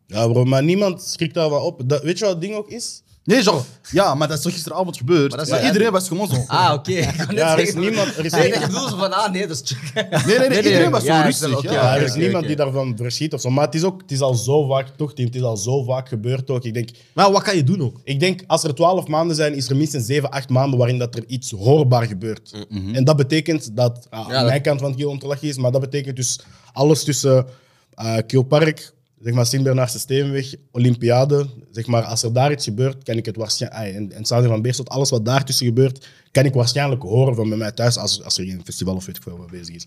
[SPEAKER 3] Ja, bro, maar niemand schrikt daar wel op. Dat, weet je wat het ding ook is?
[SPEAKER 4] Nee, genre, ja, maar dat is toch gisteravond gebeurd. Maar,
[SPEAKER 5] dat is wel
[SPEAKER 4] iedereen was gewoon zo.
[SPEAKER 5] Ah, oké. Ik wou net
[SPEAKER 3] Ja, er is
[SPEAKER 5] zeggen-
[SPEAKER 3] niemand- er is
[SPEAKER 5] Nee,
[SPEAKER 3] niemand-
[SPEAKER 5] Ik bedoel zo van, ah nee, dat is check.
[SPEAKER 4] Nee, nee, nee, iedereen was
[SPEAKER 5] ja,
[SPEAKER 4] zo
[SPEAKER 5] ik
[SPEAKER 4] rustig.
[SPEAKER 5] snap- oké,
[SPEAKER 3] Ja,
[SPEAKER 4] ja.
[SPEAKER 3] er is
[SPEAKER 5] oké,
[SPEAKER 3] niemand
[SPEAKER 5] oké.
[SPEAKER 3] die daarvan verschiet of zo. Maar het is, ook, het is al zo vaak, toch, Tim? Het is al zo vaak gebeurd ook. Ik denk,
[SPEAKER 1] Maar wat kan je doen ook?
[SPEAKER 3] Ik denk, als er twaalf maanden zijn, is er minstens zeven, acht maanden waarin dat er iets hoorbaar gebeurt.
[SPEAKER 1] Mm-hmm.
[SPEAKER 3] En dat betekent dat, ah, aan
[SPEAKER 5] dat-
[SPEAKER 3] mijn kant van het geheel ontelag is, maar dat betekent dus alles tussen eh Kielpark, zeg maar Sint-Bernardse Steenweg, Olympiade. Zeg maar, als er daar iets gebeurt, kan ik het waarschijnlijk... en, en het stadion van Beerschot, alles wat daartussen gebeurt, kan ik waarschijnlijk horen van bij mij thuis als, als er geen festival of weet ik veel wat bezig is.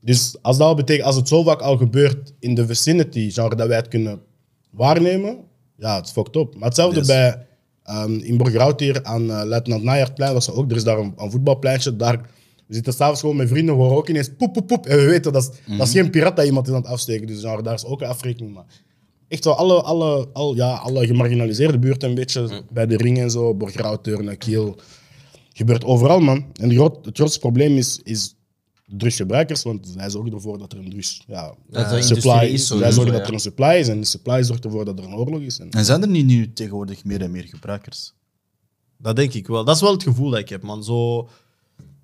[SPEAKER 3] Dus als dat al betekent, als het zo vaak al gebeurt in de vicinity, genre dat wij het kunnen waarnemen, ja, het is fucked up. Maar hetzelfde bij ehm, in Borgerhout hier aan eh, Luitenant Najaardplein was er ook. Er is daar een, een voetbalpleintje. Daar, we zitten s'avonds gewoon met vrienden, we horen ook ineens poep, poep, poep. En we weten, dat is, dat
[SPEAKER 5] Mhm.
[SPEAKER 3] is geen pirat dat iemand is aan het afsteken. Dus genre, daar is ook een afrekening. Maar echt wel alle, alle, al, ja, alle gemarginaliseerde buurten een beetje,
[SPEAKER 5] Mhm.
[SPEAKER 3] bij de ring en zo, Borgerhout, Deurne, Kiel. Gebeurt overal, man. En het groot- het grootste probleem is, is drugsgebruikers, want zij zorgen ervoor dat er een drugs... Ja,
[SPEAKER 5] Dat er
[SPEAKER 3] supply
[SPEAKER 5] industrie is
[SPEAKER 3] is. Zij
[SPEAKER 5] sowieso,
[SPEAKER 3] zorgen
[SPEAKER 5] ja.
[SPEAKER 3] dat er een supply is en de supply zorgt ervoor dat er een oorlog is. En
[SPEAKER 4] En zijn er niet nu tegenwoordig meer en meer gebruikers?
[SPEAKER 1] Dat denk ik wel. Dat is wel het gevoel dat ik heb, man. Zo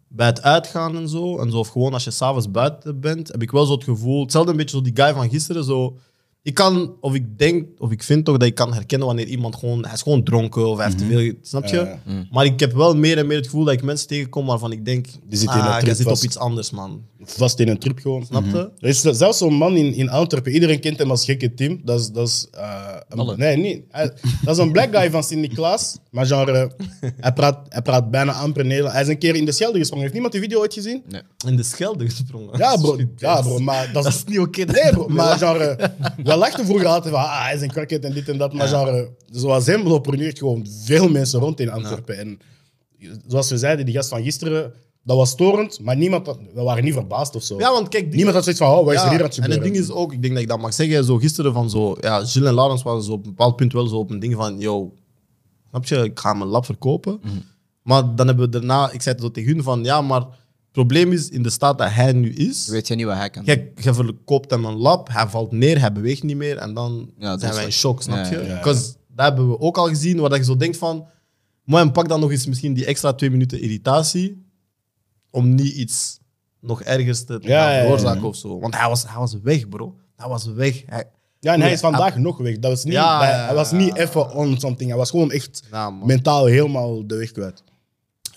[SPEAKER 1] bij het uitgaan en zo, en zo, of gewoon als je s'avonds buiten bent, heb ik wel zo het gevoel. Hetzelfde een beetje zo die guy van gisteren. Zo, ik kan, of ik denk, of ik vind toch dat ik kan herkennen wanneer iemand gewoon, hij is gewoon dronken of hij heeft te veel, snap je?
[SPEAKER 3] Ja, Mhm. ja.
[SPEAKER 1] Maar ik heb wel meer en meer het gevoel dat ik mensen tegenkom waarvan ik denk,
[SPEAKER 3] Die zitten in dat
[SPEAKER 1] ah, jij
[SPEAKER 3] trip
[SPEAKER 1] zit op
[SPEAKER 3] vast." Mhm.
[SPEAKER 1] iets anders, man.
[SPEAKER 3] vast in een trip gewoon.
[SPEAKER 1] Snap je?
[SPEAKER 3] Er is zelfs zo'n man in, in Antwerpen, iedereen kent hem als gekke Tim. Dat is. Dat is eh,
[SPEAKER 5] Alle.
[SPEAKER 3] een, nee, niet. Hij- dat is een black guy van Sint-Niklaas. Maar genre, hij praat, hij praat bijna amper Nederlands. Hij is een keer in de Schelde gesprongen. Heeft niemand die video ooit gezien?
[SPEAKER 1] In de schelde gesprongen.
[SPEAKER 3] Ja, bro. Ja, bro. Maar dat
[SPEAKER 1] Dat
[SPEAKER 3] is
[SPEAKER 1] is niet oké.
[SPEAKER 3] Nee, bro, maar genre, we lachten vroeger altijd van, ah, hij is een crackhead en dit en dat. Maar genre, zoals hem lopen er nu echt gewoon veel mensen rond in Antwerpen. En zoals we zeiden, die gast van gisteren, dat was storend, maar niemand had- we waren niet verbaasd of zo.
[SPEAKER 1] Ja, want kijk, die-
[SPEAKER 3] niemand had zoiets van, oh, wat is er hier aan het
[SPEAKER 1] en het
[SPEAKER 3] gebeuren?
[SPEAKER 1] ding is ook, ik denk dat ik dat mag zeggen, zo gisteren van zo, ja, Gilles en Laurens waren zo op een bepaald punt wel zo op een ding van, yo, snap je, ik ga mijn lab verkopen. Maar dan hebben we daarna, ik zei het zo tegen hun van, ja, maar het probleem is in de staat dat hij nu is,
[SPEAKER 2] Weet je niet wat hij kan?
[SPEAKER 1] je, je verkoopt hem een lab, hij valt neer, hij beweegt niet meer en dan
[SPEAKER 2] Ja, dat
[SPEAKER 1] zijn
[SPEAKER 2] is
[SPEAKER 1] wij in
[SPEAKER 2] ook-
[SPEAKER 1] shock, snap
[SPEAKER 2] ja,
[SPEAKER 1] je?
[SPEAKER 3] ja.
[SPEAKER 1] Because dat hebben we ook al gezien, waar dat je zo denkt van, man, pak dan nog eens misschien die extra twee minuten irritatie om niet iets nog ergers te te
[SPEAKER 3] Ja,
[SPEAKER 1] gaan
[SPEAKER 3] ja, ja,
[SPEAKER 1] veroorzaken
[SPEAKER 3] ja.
[SPEAKER 1] of zo. Want hij was, hij was weg, bro. Hij was weg. Hij,
[SPEAKER 3] Ja, en hij is vandaag nog weg. Dat was niet,
[SPEAKER 1] Ja,
[SPEAKER 3] hij,
[SPEAKER 1] ja,
[SPEAKER 3] hij was
[SPEAKER 1] ja.
[SPEAKER 3] niet even on something. Hij was gewoon echt
[SPEAKER 2] Nou,
[SPEAKER 1] Ja, man.
[SPEAKER 3] mentaal helemaal de weg kwijt.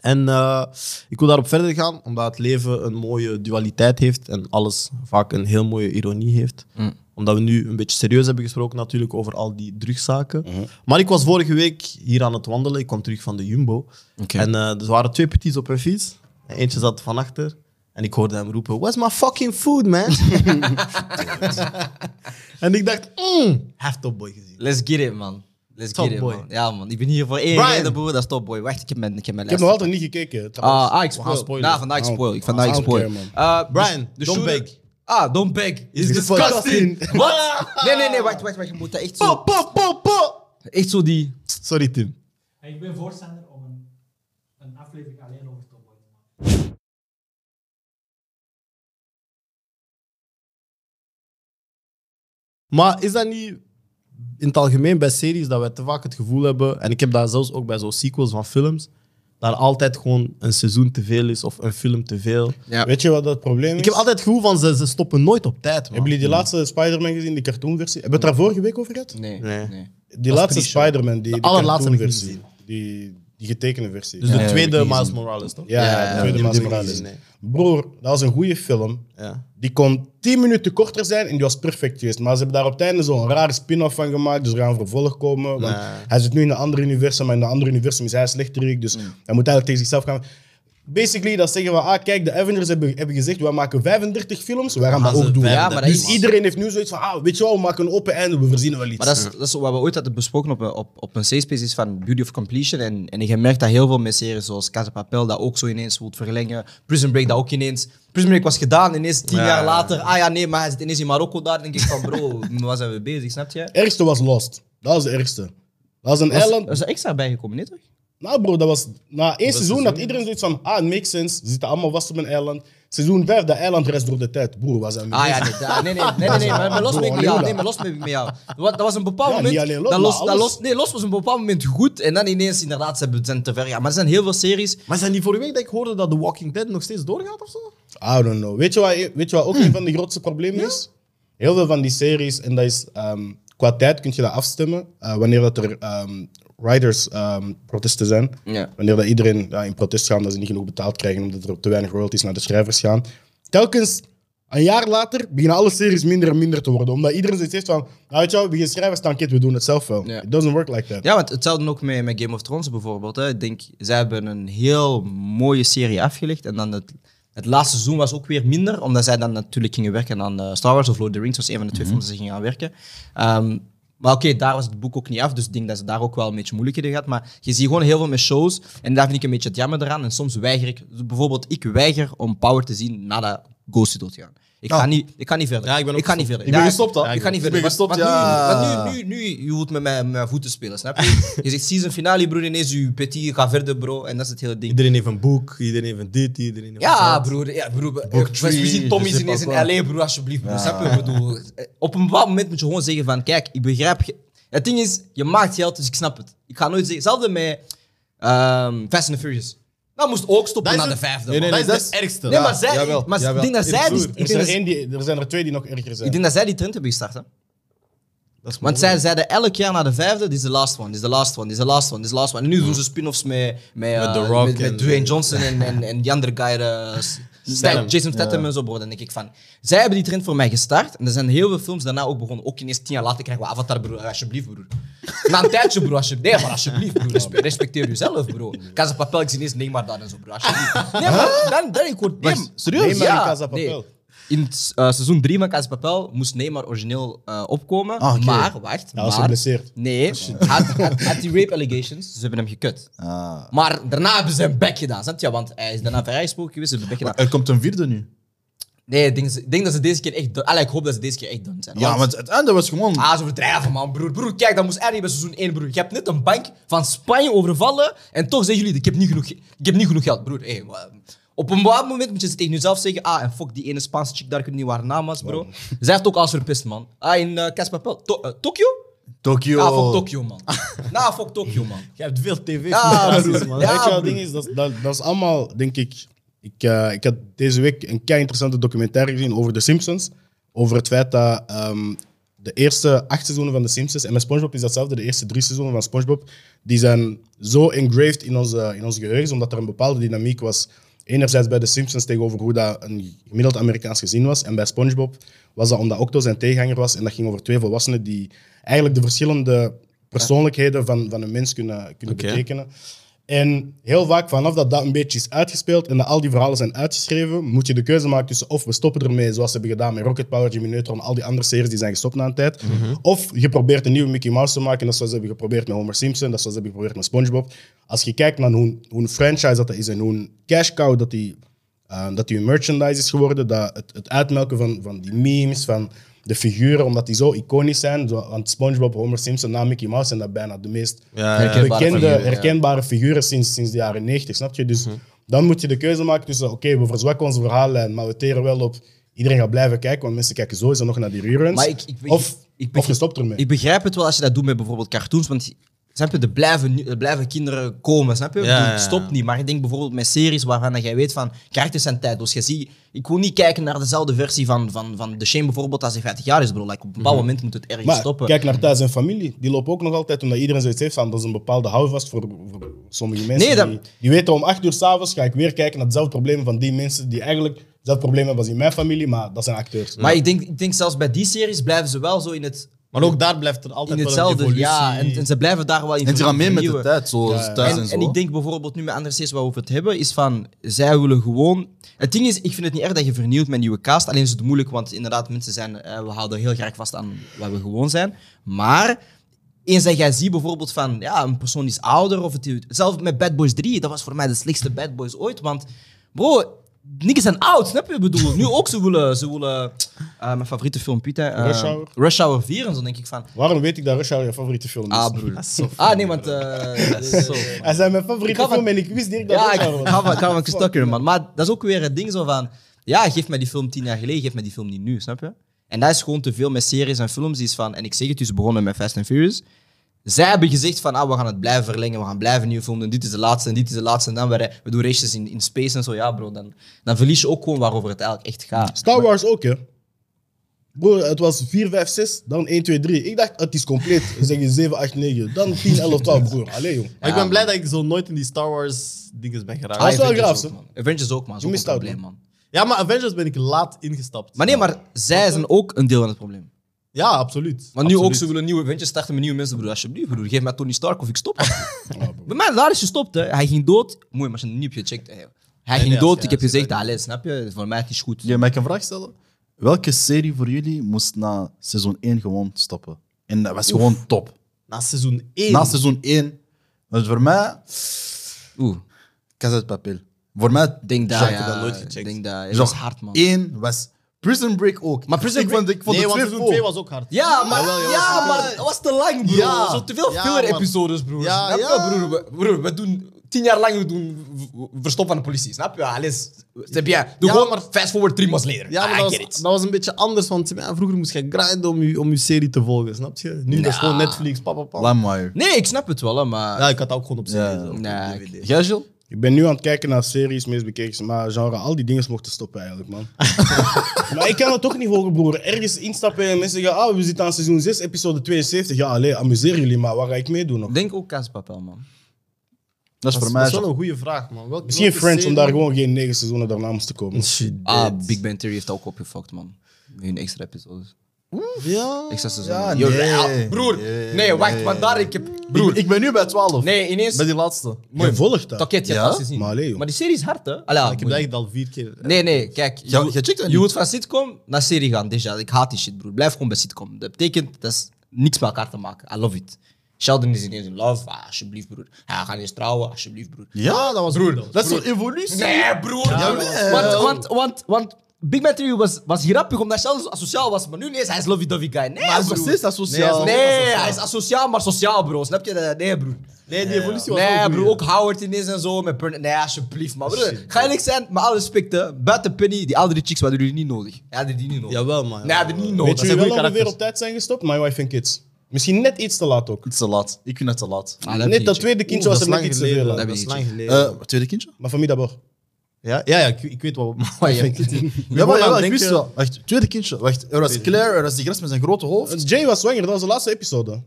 [SPEAKER 1] En eh, ik wil daarop verder gaan, omdat het leven een mooie dualiteit heeft en alles vaak een heel mooie ironie heeft. Omdat we nu een beetje serieus hebben gesproken natuurlijk over al die drugszaken. Maar ik was vorige week hier aan het wandelen, ik kwam terug van de Jumbo. En eh, er waren twee petits op hun fiets. En eentje zat van achter en ik hoorde hem roepen, where's my fucking food, man? en ik dacht, mm, hij heeft Topboy gezien.
[SPEAKER 5] Let's get it, man. Let's
[SPEAKER 1] Top
[SPEAKER 5] get it,
[SPEAKER 1] boy.
[SPEAKER 5] man. Ja, man. Ik ben hier voor één
[SPEAKER 1] Brian.
[SPEAKER 5] reden, broer. Dat is topboy. Wacht, ik heb mijn, ik heb mijn
[SPEAKER 3] Ik heb
[SPEAKER 5] lijst.
[SPEAKER 3] nog altijd niet gekeken. trouwens.
[SPEAKER 5] Ah, ah, ik
[SPEAKER 1] We gaan
[SPEAKER 5] spoil.
[SPEAKER 1] spoilen.
[SPEAKER 5] Nou, vandaag ik
[SPEAKER 3] Oh,
[SPEAKER 5] spoil. Ik vandaag ik
[SPEAKER 3] oh,
[SPEAKER 5] spoil.
[SPEAKER 3] oké, man.
[SPEAKER 5] Eh, dus-
[SPEAKER 1] Brian,
[SPEAKER 5] de
[SPEAKER 1] don't
[SPEAKER 5] shooter-
[SPEAKER 1] beg.
[SPEAKER 5] Ah, don't beg. Is disgusting.
[SPEAKER 1] disgusting.
[SPEAKER 5] Wat? Nee, nee, nee. Wacht, wacht, wacht. Je moet dat echt zo...
[SPEAKER 1] Pop, pop, pop, pop.
[SPEAKER 5] Echt zo die...
[SPEAKER 1] Sorry, Tim.
[SPEAKER 6] Ik ben voorstander om een, een aflevering alleen over Topboy te maken.
[SPEAKER 1] Maar is dat niet in het algemeen bij series dat we te vaak het gevoel hebben, en ik heb dat zelfs ook bij zo'n sequels van films, dat er altijd gewoon een seizoen te veel is of een film te veel.
[SPEAKER 2] Ja.
[SPEAKER 3] Weet je wat dat probleem is?
[SPEAKER 1] Ik heb altijd het gevoel van ze, ze stoppen nooit op tijd. Man.
[SPEAKER 3] Hebben jullie die laatste Spider-Man gezien, die cartoonversie? Hebben we het daar vorige week over gehad?
[SPEAKER 2] Nee.
[SPEAKER 1] Nee.
[SPEAKER 2] nee.
[SPEAKER 3] Die laatste Spider-Man, die, die
[SPEAKER 1] allerlaatste heb ik niet
[SPEAKER 3] cartoonversie. Die, die getekende versie.
[SPEAKER 1] Dus de
[SPEAKER 2] Ja,
[SPEAKER 1] tweede
[SPEAKER 2] ja,
[SPEAKER 1] Miles Morales toch?
[SPEAKER 3] ja,
[SPEAKER 2] Ja,
[SPEAKER 3] de tweede
[SPEAKER 1] ja,
[SPEAKER 3] Miles
[SPEAKER 1] die heb ik
[SPEAKER 3] Morales.
[SPEAKER 1] niet gezien,
[SPEAKER 3] Broer, dat was een goede film.
[SPEAKER 1] Ja.
[SPEAKER 3] Die kon 10 minuten korter zijn en die was perfect geweest. Maar ze hebben daar op het einde zo'n rare spin-off van gemaakt. Dus er gaat een vervolg komen. Want
[SPEAKER 1] Nee.
[SPEAKER 3] hij zit nu in een ander universum. En in een ander universum is hij slechterik.
[SPEAKER 5] Mm.
[SPEAKER 3] Dus hij moet eigenlijk tegen zichzelf gaan. Basically, dat zeggen we, ah kijk, de Avengers hebben, hebben gezegd, wij maken 35 films, wij gaan
[SPEAKER 1] Maar
[SPEAKER 3] dat
[SPEAKER 1] ze
[SPEAKER 3] ook doen.
[SPEAKER 1] vijf-
[SPEAKER 5] Ja, maar dat
[SPEAKER 3] dus
[SPEAKER 5] is-
[SPEAKER 3] iedereen heeft nu zoiets van, ah, weet je wel, we maken een open einde, we voorzien wel iets.
[SPEAKER 5] Maar dat is, dat is wat we ooit hadden besproken op, een- op, op een C-space is van Beauty of Completion. En, en je merkt dat heel veel met series zoals Casa Papel dat ook zo ineens wilt verlengen. Prison Break dat ook ineens. Prison Break was gedaan, ineens tien jaar later. Ah ja, nee, maar hij zit ineens in Marokko daar. denk ik van, bro, waar zijn we bezig, snap je?
[SPEAKER 3] ergste was Lost. Dat was de ergste. Dat was een eiland.
[SPEAKER 5] Er is een extra bijgekomen, nee toch?
[SPEAKER 3] Nou bro, dat was na één seizoen dat iedereen zoiets van, ah, it makes sense. Ze zitten allemaal vast op een eiland. Seizoen 5, dat eiland rest door de tijd. Broer, was hij
[SPEAKER 5] Ah ja, nee, da- nee, nee, nee, nee, nee, maar maar los
[SPEAKER 3] Bro,
[SPEAKER 5] ben ik met
[SPEAKER 3] alleen
[SPEAKER 5] jou.
[SPEAKER 3] dat.
[SPEAKER 5] Nee, maar los ben ik met jou. Dat wa- Dat was een bepaald
[SPEAKER 3] Ja,
[SPEAKER 5] moment.
[SPEAKER 3] niet alleen
[SPEAKER 5] dat
[SPEAKER 3] los, maar
[SPEAKER 5] los, dat
[SPEAKER 3] alles.
[SPEAKER 5] los, nee, los was een bepaald moment goed en dan ineens inderdaad ze hebben- zijn te ver. Ja, maar er zijn heel veel series.
[SPEAKER 1] Maar zijn die vorige week dat ik hoorde dat The Walking Dead nog steeds doorgaat of zo?
[SPEAKER 3] I don't know. Weet je wat, weet je wat ook
[SPEAKER 5] Hmm.
[SPEAKER 3] een van de grootste problemen is? Heel veel van die series, en dat is ehm, qua tijd kun je dat afstemmen. eh, wanneer dat er ehm writers ehm, protesten zijn.
[SPEAKER 2] Ja.
[SPEAKER 3] Wanneer dat iedereen ja, in protest gaat omdat ze niet genoeg betaald krijgen omdat er te weinig royalties naar de schrijvers gaan. Telkens Een jaar later beginnen alle series minder en minder te worden. Omdat iedereen zoiets heeft van, nou weet je wel, we gaan schrijven, staan kid, we doen het zelf wel.
[SPEAKER 5] Ja.
[SPEAKER 3] It doesn't work like that.
[SPEAKER 5] Ja, want hetzelfde ook met, met Game of Thrones bijvoorbeeld. Hè. Ik denk, zij hebben een heel mooie serie afgelegd. En dan het, het laatste seizoen was ook weer minder, omdat zij dan natuurlijk gingen werken aan eh, Star Wars of Lord of the Rings. was een van de twee
[SPEAKER 1] Mhm.
[SPEAKER 5] films die ze gingen aan werken. Ehm, maar oké, daar was het boek ook niet af, dus ik denk dat ze daar ook wel een beetje moeilijker in gaat. Maar je ziet gewoon heel veel met shows, en daar vind ik een beetje het jammer eraan. En soms weiger ik, bijvoorbeeld ik weiger om Power te zien nadat Ghost is doodgegaan. Ik, ga niet, ik ga niet verder.
[SPEAKER 1] Nou. Ja, ik ben ook
[SPEAKER 5] ga niet
[SPEAKER 1] gestopt.
[SPEAKER 5] verder.
[SPEAKER 1] Ik ben
[SPEAKER 5] Ja,
[SPEAKER 1] gestopt, hè.
[SPEAKER 5] Ik, ga niet
[SPEAKER 1] Ik
[SPEAKER 5] verder.
[SPEAKER 1] ben gestopt,
[SPEAKER 5] Want- want nu-
[SPEAKER 1] ja.
[SPEAKER 5] want nu,
[SPEAKER 4] Ah.
[SPEAKER 5] nu, nu, je moet met mijn, mijn voeten spelen, snap je? je zegt season finale, broer, ineens je petit, ga verder, bro. En dat is het hele ding.
[SPEAKER 1] Iedereen heeft een boek, iedereen heeft een dit, iedereen heeft
[SPEAKER 5] Ja,
[SPEAKER 1] dat.
[SPEAKER 5] broer. Ja, broer.
[SPEAKER 4] Book
[SPEAKER 5] eh,
[SPEAKER 4] three,
[SPEAKER 5] We zien Tommy
[SPEAKER 4] je zit
[SPEAKER 5] ineens in
[SPEAKER 4] pas wel.
[SPEAKER 5] LA, broer, alsjeblieft. Broer, snap je? Ik bedoel, eh, op een bepaald moment moet je gewoon zeggen van, kijk, ik begrijp... ge- Het ding is, je maakt geld, dus ik snap het. Ik ga nooit zeggen... Hetzelfde met ehm, Fast and the Furious. Dat moest ook stoppen
[SPEAKER 1] Dat
[SPEAKER 5] na
[SPEAKER 1] is
[SPEAKER 5] de
[SPEAKER 1] het-
[SPEAKER 5] vijfde.
[SPEAKER 1] Nee, nee,
[SPEAKER 5] man.
[SPEAKER 1] nee, dat is het ergste.
[SPEAKER 5] Nee,
[SPEAKER 1] Ja.
[SPEAKER 5] maar zij...
[SPEAKER 2] jawel,
[SPEAKER 5] maar
[SPEAKER 2] jawel.
[SPEAKER 5] ik denk dat zij... die-
[SPEAKER 3] Er,
[SPEAKER 5] Ik
[SPEAKER 3] zijn
[SPEAKER 5] denk
[SPEAKER 3] er,
[SPEAKER 5] dat,
[SPEAKER 3] één die, er zijn er twee die nog erger zijn.
[SPEAKER 5] ik denk dat zij die trend hebben gestart, hè.
[SPEAKER 1] Dat is
[SPEAKER 5] Want
[SPEAKER 1] mogelijk.
[SPEAKER 5] zij zeiden elk jaar na de vijfde, dit is de last one, dit is de last one, dit is de last one, dit is de last one. En nu doen ze spin-offs met, met, eh,
[SPEAKER 1] The Rock
[SPEAKER 5] met, met
[SPEAKER 1] en-
[SPEAKER 5] Dwayne Johnson en, en, en die andere guy, eh, S-
[SPEAKER 1] Statham.
[SPEAKER 5] Jason Statham en zo. Bro. Dan denk ik van, zij hebben die trend voor mij gestart. En er zijn heel veel films daarna ook begonnen. Ook ineens tien jaar later krijgen we Avatar, broer. Alsjeblieft, broer. Na een tijdje, broer. Alsjeblieft. Nee, maar alsjeblieft, broer. Respe- Respecteer jezelf, bro. Casa Papel, ik zie ineens Neymar daar en zo, broer. Alsjeblieft. Nee, maar dan, dan ik word... Nee,
[SPEAKER 4] serieus?
[SPEAKER 3] Neymar in
[SPEAKER 5] Ja,
[SPEAKER 3] Casa Papel.
[SPEAKER 5] nee. In het, eh, seizoen 3 van Casa Papel moest Neymar origineel eh, opkomen.
[SPEAKER 4] Ah, oké.
[SPEAKER 5] Maar, wacht.
[SPEAKER 3] Ja, was
[SPEAKER 5] maar,
[SPEAKER 3] geblesseerd.
[SPEAKER 4] Oh,
[SPEAKER 5] Nee, had, had, had die rape allegations, dus ze hebben hem gekut.
[SPEAKER 4] Ah.
[SPEAKER 5] Maar daarna hebben ze hem back gedaan, snap je? Want hij is daarna vrijgesproken geweest, ze hebben hem back gedaan.
[SPEAKER 4] Er komt een vierde nu.
[SPEAKER 5] Nee, ik denk, ze- ik denk dat ze deze keer echt... dun- Allee, ik hoop dat ze deze keer echt done zijn.
[SPEAKER 4] Ja, want het einde was gewoon...
[SPEAKER 5] Ah, ze overdrijven, man, broer. Broer, kijk, dat moest eigenlijk bij seizoen 1, broer. Je hebt net een bank van Spanje overvallen en toch zeggen jullie, ik heb niet genoeg, ge- ik heb niet genoeg geld, broer. Hey, wa- op een bepaald moment moet je ze tegen jezelf zeggen, ah, en fuck die ene Spaanse chick daar, ik weet niet waar haar naam was, bro. Zij heeft ook alles verpest, man. Ah, in eh, Casa Papel. To- eh, Tokio?
[SPEAKER 4] Tokio.
[SPEAKER 5] Ah, fuck Tokio, man. nah, fuck Tokio, man.
[SPEAKER 1] Je hebt veel tv
[SPEAKER 5] Ja, broer.
[SPEAKER 1] man.
[SPEAKER 5] Ja,
[SPEAKER 3] Weet je wat het
[SPEAKER 5] broer.
[SPEAKER 3] ding is? Dat, is- dat, dat is allemaal, denk ik... Ik, eh, ik had deze week een kei interessante documentaire gezien over de Simpsons. Over het feit dat ehm, de eerste acht seizoenen van de Simpsons... En met Spongebob is datzelfde. De eerste drie seizoenen van Spongebob... Die zijn zo engraved in onze, in onze geheugens. Omdat er een bepaalde dynamiek was. Enerzijds bij de Simpsons tegenover hoe dat een gemiddeld Amerikaans gezin was. En bij Spongebob was dat omdat Octo zijn tegenhanger was. En dat ging over twee volwassenen die eigenlijk de verschillende persoonlijkheden van, van een mens kunnen, kunnen betekenen. En heel vaak, vanaf dat dat een beetje is uitgespeeld en dat al die verhalen zijn uitgeschreven, moet je de keuze maken tussen of we stoppen ermee, zoals ze hebben gedaan met Rocket Power, Jimmy Neutron, al die andere series die zijn gestopt na een tijd.
[SPEAKER 5] Mhm.
[SPEAKER 3] Of je probeert een nieuwe Mickey Mouse te maken, dat is zoals ze hebben geprobeerd met Homer Simpson, dat is zoals ze hebben geprobeerd met SpongeBob. Als je kijkt naar hoe, hoe een franchise dat dat is en hoe een cash cow dat die Ehm, dat die een merchandise is geworden. Dat het, het uitmelken van, van die memes, van de figuren, omdat die zo iconisch zijn. Zo, want SpongeBob, Homer Simpson, na Mickey Mouse zijn dat bijna de meest
[SPEAKER 5] Herkenbare
[SPEAKER 3] bekende,
[SPEAKER 5] figuren, ja.
[SPEAKER 3] herkenbare figuren sinds, sinds de jaren 90, snap je?
[SPEAKER 5] Mhm.
[SPEAKER 3] Dus dan moet je de keuze maken tussen, oké, we verzwakken onze verhaallijn, maar we teren wel op... Iedereen gaat blijven kijken, want mensen kijken sowieso nog naar die reruns.
[SPEAKER 5] Maar ik- ik- ik-
[SPEAKER 3] of,
[SPEAKER 5] ik- ik-
[SPEAKER 3] of je stopt ermee.
[SPEAKER 5] Ik begrijp het wel als je dat doet met bijvoorbeeld cartoons, want snap je, er blijven, nu- er blijven kinderen komen, snap je? Ik
[SPEAKER 1] Ja,
[SPEAKER 5] bedoel,
[SPEAKER 1] ja,
[SPEAKER 5] Het
[SPEAKER 1] ja.
[SPEAKER 5] stopt niet, maar ik denk bijvoorbeeld met series waarvan dat jij weet van, karakters zijn tijd. Dus je ziet, ik wil niet kijken naar dezelfde versie van, van, van The Shame bijvoorbeeld als hij 50 jaar is, bro. Like, op een
[SPEAKER 1] Mhm.
[SPEAKER 5] bepaald moment moet het ergens
[SPEAKER 3] Maar
[SPEAKER 5] stoppen.
[SPEAKER 3] kijk naar thuis en familie. Die lopen ook nog altijd, omdat iedereen zoiets heeft van, dat is een bepaalde houvast voor, voor sommige mensen.
[SPEAKER 5] Nee, dat-
[SPEAKER 3] die, die weten om acht uur s'avonds ga ik weer kijken naar hetzelfde probleem van die mensen die eigenlijk hetzelfde probleem hebben als in mijn familie, maar dat zijn acteurs.
[SPEAKER 5] Maar ik denk, ik denk zelfs bij die series blijven ze wel zo in, het,
[SPEAKER 1] Maar ook daar blijft er altijd
[SPEAKER 5] in
[SPEAKER 1] wel een
[SPEAKER 5] hetzelfde.
[SPEAKER 1] evolutie.
[SPEAKER 5] Ja, en, en ze blijven daar wel in
[SPEAKER 4] En ze gaan mee met de
[SPEAKER 5] vernieuwen.
[SPEAKER 4] tijd, zo thuis en
[SPEAKER 5] En,
[SPEAKER 4] zo.
[SPEAKER 5] en ik denk bijvoorbeeld nu met andere series waar we over het hebben, is van zij willen gewoon. Het ding is, ik vind het niet erg dat je vernieuwt met nieuwe cast. Alleen is het moeilijk, want inderdaad, mensen zijn. eh, we houden heel graag vast aan waar we gewoon zijn. Maar eens dat jij ziet bijvoorbeeld van ja, een persoon is ouder of het. Zelfs met Bad Boys 3, dat was voor mij de slechtste Bad Boys ooit. Want bro. Niks zijn oud, snap je? Ik bedoel, nu ook ze willen. Ze willen eh, mijn favoriete film, Piet. hè, eh,
[SPEAKER 3] Rush Hour.
[SPEAKER 5] Rush Hour 4 en zo, denk ik van.
[SPEAKER 3] Waarom weet ik dat Rush Hour je favoriete film is?
[SPEAKER 5] Ah, broer. Ah, nee, want. eh,
[SPEAKER 3] Hij zei mijn
[SPEAKER 5] Ik
[SPEAKER 3] favoriete
[SPEAKER 5] had
[SPEAKER 3] film
[SPEAKER 5] van-
[SPEAKER 3] en ik wist niet dat
[SPEAKER 5] Ja,
[SPEAKER 3] Rush
[SPEAKER 5] ik
[SPEAKER 3] Hour was.
[SPEAKER 5] hou van- ik hou van Stucker, man. Maar dat is ook weer het ding zo van... Ja, geef mij die film tien jaar geleden, geef mij die film niet nu, snap je? En dat is gewoon te veel met series en films. Is van, en ik zeg het, dus begonnen met Fast and Furious. Zij hebben gezegd van, ah, we gaan het blijven verlengen, we gaan blijven nieuwe filmen. Dit is de laatste en dit is de laatste. En dan weer, we doen races in, in space en zo. Ja, bro, dan, dan verlies je ook gewoon waarover het eigenlijk echt gaat.
[SPEAKER 3] Star Wars ook, hè. Broer, het was 4, 5, 6, dan 1, 2, 3. Ik dacht, het is compleet. Dan zeg je 7, 8, 9, dan 10, 11, 12, broer. Allee, jong.
[SPEAKER 1] Maar ik ben blij dat ik zo nooit in die Star Wars dingen ben geraakt.
[SPEAKER 3] Ah, is wel
[SPEAKER 5] Avengers
[SPEAKER 3] graaf,
[SPEAKER 5] ook,
[SPEAKER 3] hè?
[SPEAKER 5] man. Avengers ook, man. Dat
[SPEAKER 3] Je
[SPEAKER 5] is ook
[SPEAKER 3] mist
[SPEAKER 5] een
[SPEAKER 3] out,
[SPEAKER 5] probleem, man.
[SPEAKER 1] Ja, maar Avengers ben ik laat ingestapt.
[SPEAKER 5] Maar nee, maar zij zijn ook een deel van het probleem.
[SPEAKER 1] Ja, absoluut.
[SPEAKER 5] Maar nu
[SPEAKER 1] Absoluut.
[SPEAKER 5] ook, ze willen nieuwe eventjes starten met nieuwe mensen. Broer, alsjeblieft, broer. Geef mij Tony Stark of ik stop. Ah, Bij mij, daar is gestopt. Hè. Hij ging dood. Mooi, maar als je het niet hebt gecheckt. hè. Hij ging
[SPEAKER 1] nee,
[SPEAKER 5] dood.
[SPEAKER 1] ja,
[SPEAKER 5] ik heb gezegd, allee, snap je? Voor mij het is goed.
[SPEAKER 4] Ja, maar ik kan een vraag stellen. Welke serie voor jullie moest na seizoen 1 gewoon stoppen? En dat was gewoon top.
[SPEAKER 1] Na seizoen 1.
[SPEAKER 4] Na seizoen 1. Dus voor mij,
[SPEAKER 5] Oeh,
[SPEAKER 4] Casa de Papel. Voor mij,
[SPEAKER 5] denk dat.
[SPEAKER 1] Ik heb
[SPEAKER 5] ja,
[SPEAKER 1] dat nooit gecheckt.
[SPEAKER 5] Denk dat. Het
[SPEAKER 4] Zo.
[SPEAKER 5] was hard, man.
[SPEAKER 4] 1 was Prison Break ook. Maar
[SPEAKER 5] Prison
[SPEAKER 4] ik vond, ik vond
[SPEAKER 1] nee,
[SPEAKER 4] de
[SPEAKER 1] want
[SPEAKER 4] twee
[SPEAKER 1] seizoen 2
[SPEAKER 4] vol.
[SPEAKER 1] was ook hard.
[SPEAKER 5] Ja, maar,
[SPEAKER 1] Jawel,
[SPEAKER 5] ja,
[SPEAKER 1] jawel, seizoen
[SPEAKER 5] maar
[SPEAKER 1] twee.
[SPEAKER 5] het was te lang, broer.
[SPEAKER 1] Ja.
[SPEAKER 5] Zo te veel
[SPEAKER 1] Ja,
[SPEAKER 5] filler-episodes, broer.
[SPEAKER 1] Ja,
[SPEAKER 5] snap
[SPEAKER 1] ja.
[SPEAKER 5] je, broer? We, broer, we doen tien jaar lang we doen v- verstop van de politie, snap je? Alles, snap je? Doe
[SPEAKER 1] Ja,
[SPEAKER 5] gewoon
[SPEAKER 1] maar-
[SPEAKER 5] fast forward drie maanden later.
[SPEAKER 1] Ja, maar
[SPEAKER 5] Ah, I
[SPEAKER 1] dat
[SPEAKER 5] get
[SPEAKER 1] was,
[SPEAKER 5] it.
[SPEAKER 1] dat was een beetje anders, want ja, vroeger moest je grinden om je, om je serie te volgen, snap je? Nu dat is gewoon Netflix, papa, papa.
[SPEAKER 4] Lamwire.
[SPEAKER 5] Nee, ik snap het wel, hè, maar...
[SPEAKER 1] Ja, ik had dat ook gewoon op serie. zo, op
[SPEAKER 5] Nee,
[SPEAKER 1] DVD.
[SPEAKER 5] ik-
[SPEAKER 4] Jij, Gilles?
[SPEAKER 3] Ik ben nu aan het kijken naar series, meest bekeken, maar genre, al die dingen mochten stoppen eigenlijk, man. maar ik kan het toch niet volgen, broer. Ergens instappen en mensen zeggen, ah, we zitten aan seizoen 6, episode 72. Ja, alleen, amuseer jullie, maar waar ga ik meedoen nog?
[SPEAKER 5] denk ook Kaaspapel, man.
[SPEAKER 4] Dat is
[SPEAKER 1] Dat
[SPEAKER 4] voor
[SPEAKER 1] is,
[SPEAKER 4] mij.
[SPEAKER 1] dat is wel een goede vraag, man. Welke,
[SPEAKER 3] Misschien
[SPEAKER 1] welke
[SPEAKER 3] Friends, om
[SPEAKER 1] serie-
[SPEAKER 3] daar gewoon Oh, geen negen seizoenen daarna moest te komen.
[SPEAKER 1] Shit.
[SPEAKER 5] Ah, Big Bang Theory heeft dat ook opgefokt, man. Nu een extra episode.
[SPEAKER 1] Ja.
[SPEAKER 5] Extra seizoen.
[SPEAKER 4] Ja,
[SPEAKER 5] Yo,
[SPEAKER 4] nee.
[SPEAKER 5] ja, broer,
[SPEAKER 4] Nee,
[SPEAKER 5] nee, wacht,
[SPEAKER 4] nee.
[SPEAKER 5] want daar ik heb...
[SPEAKER 4] Broer,
[SPEAKER 5] Broer,
[SPEAKER 4] ik ben nu bij 12.
[SPEAKER 5] nee, ineens...
[SPEAKER 4] Bij die laatste.
[SPEAKER 3] Je volgt dat.
[SPEAKER 5] Taket, je
[SPEAKER 4] Ja?
[SPEAKER 5] hebt alles gezien.
[SPEAKER 3] Maar allee, joh.
[SPEAKER 5] Maar die serie is hard, hè? Allee,
[SPEAKER 1] Ik heb
[SPEAKER 5] moeilijk.
[SPEAKER 1] dat echt al vier keer.
[SPEAKER 5] Nee, nee, kijk.
[SPEAKER 4] Ja,
[SPEAKER 5] je,
[SPEAKER 4] je checkt dat
[SPEAKER 5] je
[SPEAKER 4] niet.
[SPEAKER 5] moet van sitcom naar serie gaan, déjà. Ik haat die shit, broer. Blijf gewoon bij sitcom. Dat betekent, dat is niks met elkaar te maken. I love it. Sheldon is ineens in love. Ah, alsjeblieft, broer. Hij gaat eens trouwen, alsjeblieft, broer.
[SPEAKER 4] Ja,
[SPEAKER 1] dat was
[SPEAKER 4] broer.
[SPEAKER 1] goed,
[SPEAKER 4] Dat is een evolutie.
[SPEAKER 5] Nee, broer. want, want, want, want Big Man Theory was, was grappig omdat Sheldon zo asociaal was. Maar nu ineens, hij is lovey-dovey guy. Nee,
[SPEAKER 4] Maar hij is nog
[SPEAKER 5] broer.
[SPEAKER 4] steeds asociaal.
[SPEAKER 5] Nee, hij is asociaal, maar sociaal, bro. Snap je dat? Nee, broer.
[SPEAKER 1] Nee, die evolutie was
[SPEAKER 5] Nee,
[SPEAKER 1] wel
[SPEAKER 5] broer,
[SPEAKER 1] goeie.
[SPEAKER 5] ook Howard ineens en zo. Met Burn nee, alsjeblieft, man. Broer, ga eerlijk zijn, met alle respect, hè. buiten Penny, die andere chicks hadden jullie niet nodig. Ja, hadden die niet nodig.
[SPEAKER 1] Jawel, man.
[SPEAKER 5] Nee, hadden die niet nodig.
[SPEAKER 3] Weet
[SPEAKER 5] Oh, Dat
[SPEAKER 3] je
[SPEAKER 5] zijn
[SPEAKER 3] wel
[SPEAKER 5] goede
[SPEAKER 3] ongeveer
[SPEAKER 5] karakters.
[SPEAKER 3] op tijd zijn gestopt? My Wife and Kids. Misschien net iets te laat ook.
[SPEAKER 4] Het is te laat. Ik vind het te laat.
[SPEAKER 5] Ah, heb
[SPEAKER 3] Net
[SPEAKER 5] je
[SPEAKER 3] dat
[SPEAKER 5] niet,
[SPEAKER 3] tweede kindje
[SPEAKER 1] Oeh,
[SPEAKER 3] was er
[SPEAKER 1] dat
[SPEAKER 3] net
[SPEAKER 1] is
[SPEAKER 3] iets
[SPEAKER 1] lang
[SPEAKER 3] te veel
[SPEAKER 1] geleden,
[SPEAKER 3] aan.
[SPEAKER 5] Dat weet
[SPEAKER 1] is lang
[SPEAKER 5] ik.
[SPEAKER 1] geleden.
[SPEAKER 4] Eh, tweede kindje?
[SPEAKER 3] Maar familie d'abord.
[SPEAKER 1] ja, ja, ja, ik, ik weet wat. Maar
[SPEAKER 5] ja.
[SPEAKER 1] ik ben
[SPEAKER 4] Ja,
[SPEAKER 1] gewoon
[SPEAKER 4] maar
[SPEAKER 1] aan
[SPEAKER 4] ja,
[SPEAKER 1] het
[SPEAKER 4] ik wist
[SPEAKER 1] denken-
[SPEAKER 4] wel. Wacht, tweede kindje. Wacht, er was Claire, er was die gast met zijn grote hoofd.
[SPEAKER 3] Jay was zwanger, dat was de laatste episode.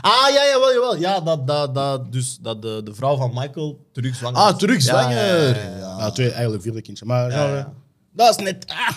[SPEAKER 1] Ah, ja, jawel, jawel. Ja, dat, dat, dat, dus, dat de, de vrouw van Michael terug zwanger
[SPEAKER 4] Ah,
[SPEAKER 1] was.
[SPEAKER 4] terug
[SPEAKER 1] Ja, ja, ja,
[SPEAKER 4] zwanger.
[SPEAKER 1] ja, ja.
[SPEAKER 3] Ah, twee, eigenlijk vierde kindje. Maar genre,
[SPEAKER 1] ja.
[SPEAKER 3] dat is net... Ah.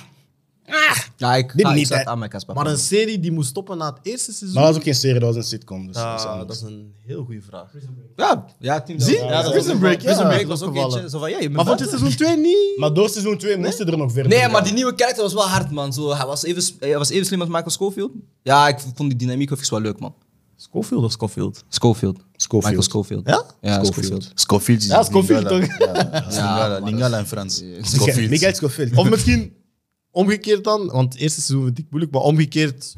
[SPEAKER 5] Ja, ik
[SPEAKER 3] Dit
[SPEAKER 5] ga
[SPEAKER 3] niet,
[SPEAKER 5] niet
[SPEAKER 3] hè.
[SPEAKER 5] aan mijn kast.
[SPEAKER 1] Maar een serie die moest stoppen na het eerste seizoen?
[SPEAKER 3] Maar dat was ook geen serie, dat was een sitcom. Dus Nou, dat is
[SPEAKER 1] Ah,
[SPEAKER 3] anders.
[SPEAKER 1] dat is een heel goede vraag.
[SPEAKER 5] Ja, ja, team.
[SPEAKER 4] Zie?
[SPEAKER 5] Ja, dat
[SPEAKER 4] Prison Break, ja.
[SPEAKER 5] Prison Break
[SPEAKER 1] Dat
[SPEAKER 5] was
[SPEAKER 1] is
[SPEAKER 5] ook
[SPEAKER 1] opgevallen.
[SPEAKER 5] eentje. Zo van, ja, je bent
[SPEAKER 1] Maar vond je
[SPEAKER 5] buiten.
[SPEAKER 1] seizoen 2 niet?
[SPEAKER 3] Maar door seizoen 2 moesten er nog verder.
[SPEAKER 5] Nee,
[SPEAKER 3] gaan.
[SPEAKER 5] maar die nieuwe karakter was wel hard, man. Zo, hij, was even, s- hij was even slim als Michael Schofield. Ja, ik vond die dynamiek even wel leuk, man.
[SPEAKER 1] Scofield of Scofield?
[SPEAKER 5] Schofield.
[SPEAKER 3] Schofield.
[SPEAKER 5] Michael Schofield.
[SPEAKER 1] Ja?
[SPEAKER 5] Ja,
[SPEAKER 4] Scofield.
[SPEAKER 5] Schofield.
[SPEAKER 4] Scofield is
[SPEAKER 1] Ja, Scofield
[SPEAKER 4] Lingala. Ja, dat is Lingala, Lingala en Frans.
[SPEAKER 3] Schofield.
[SPEAKER 4] Scofield.
[SPEAKER 3] Miguel Schofield.
[SPEAKER 1] Of misschien omgekeerd dan, want het eerste seizoen vind ik moeilijk, maar omgekeerd,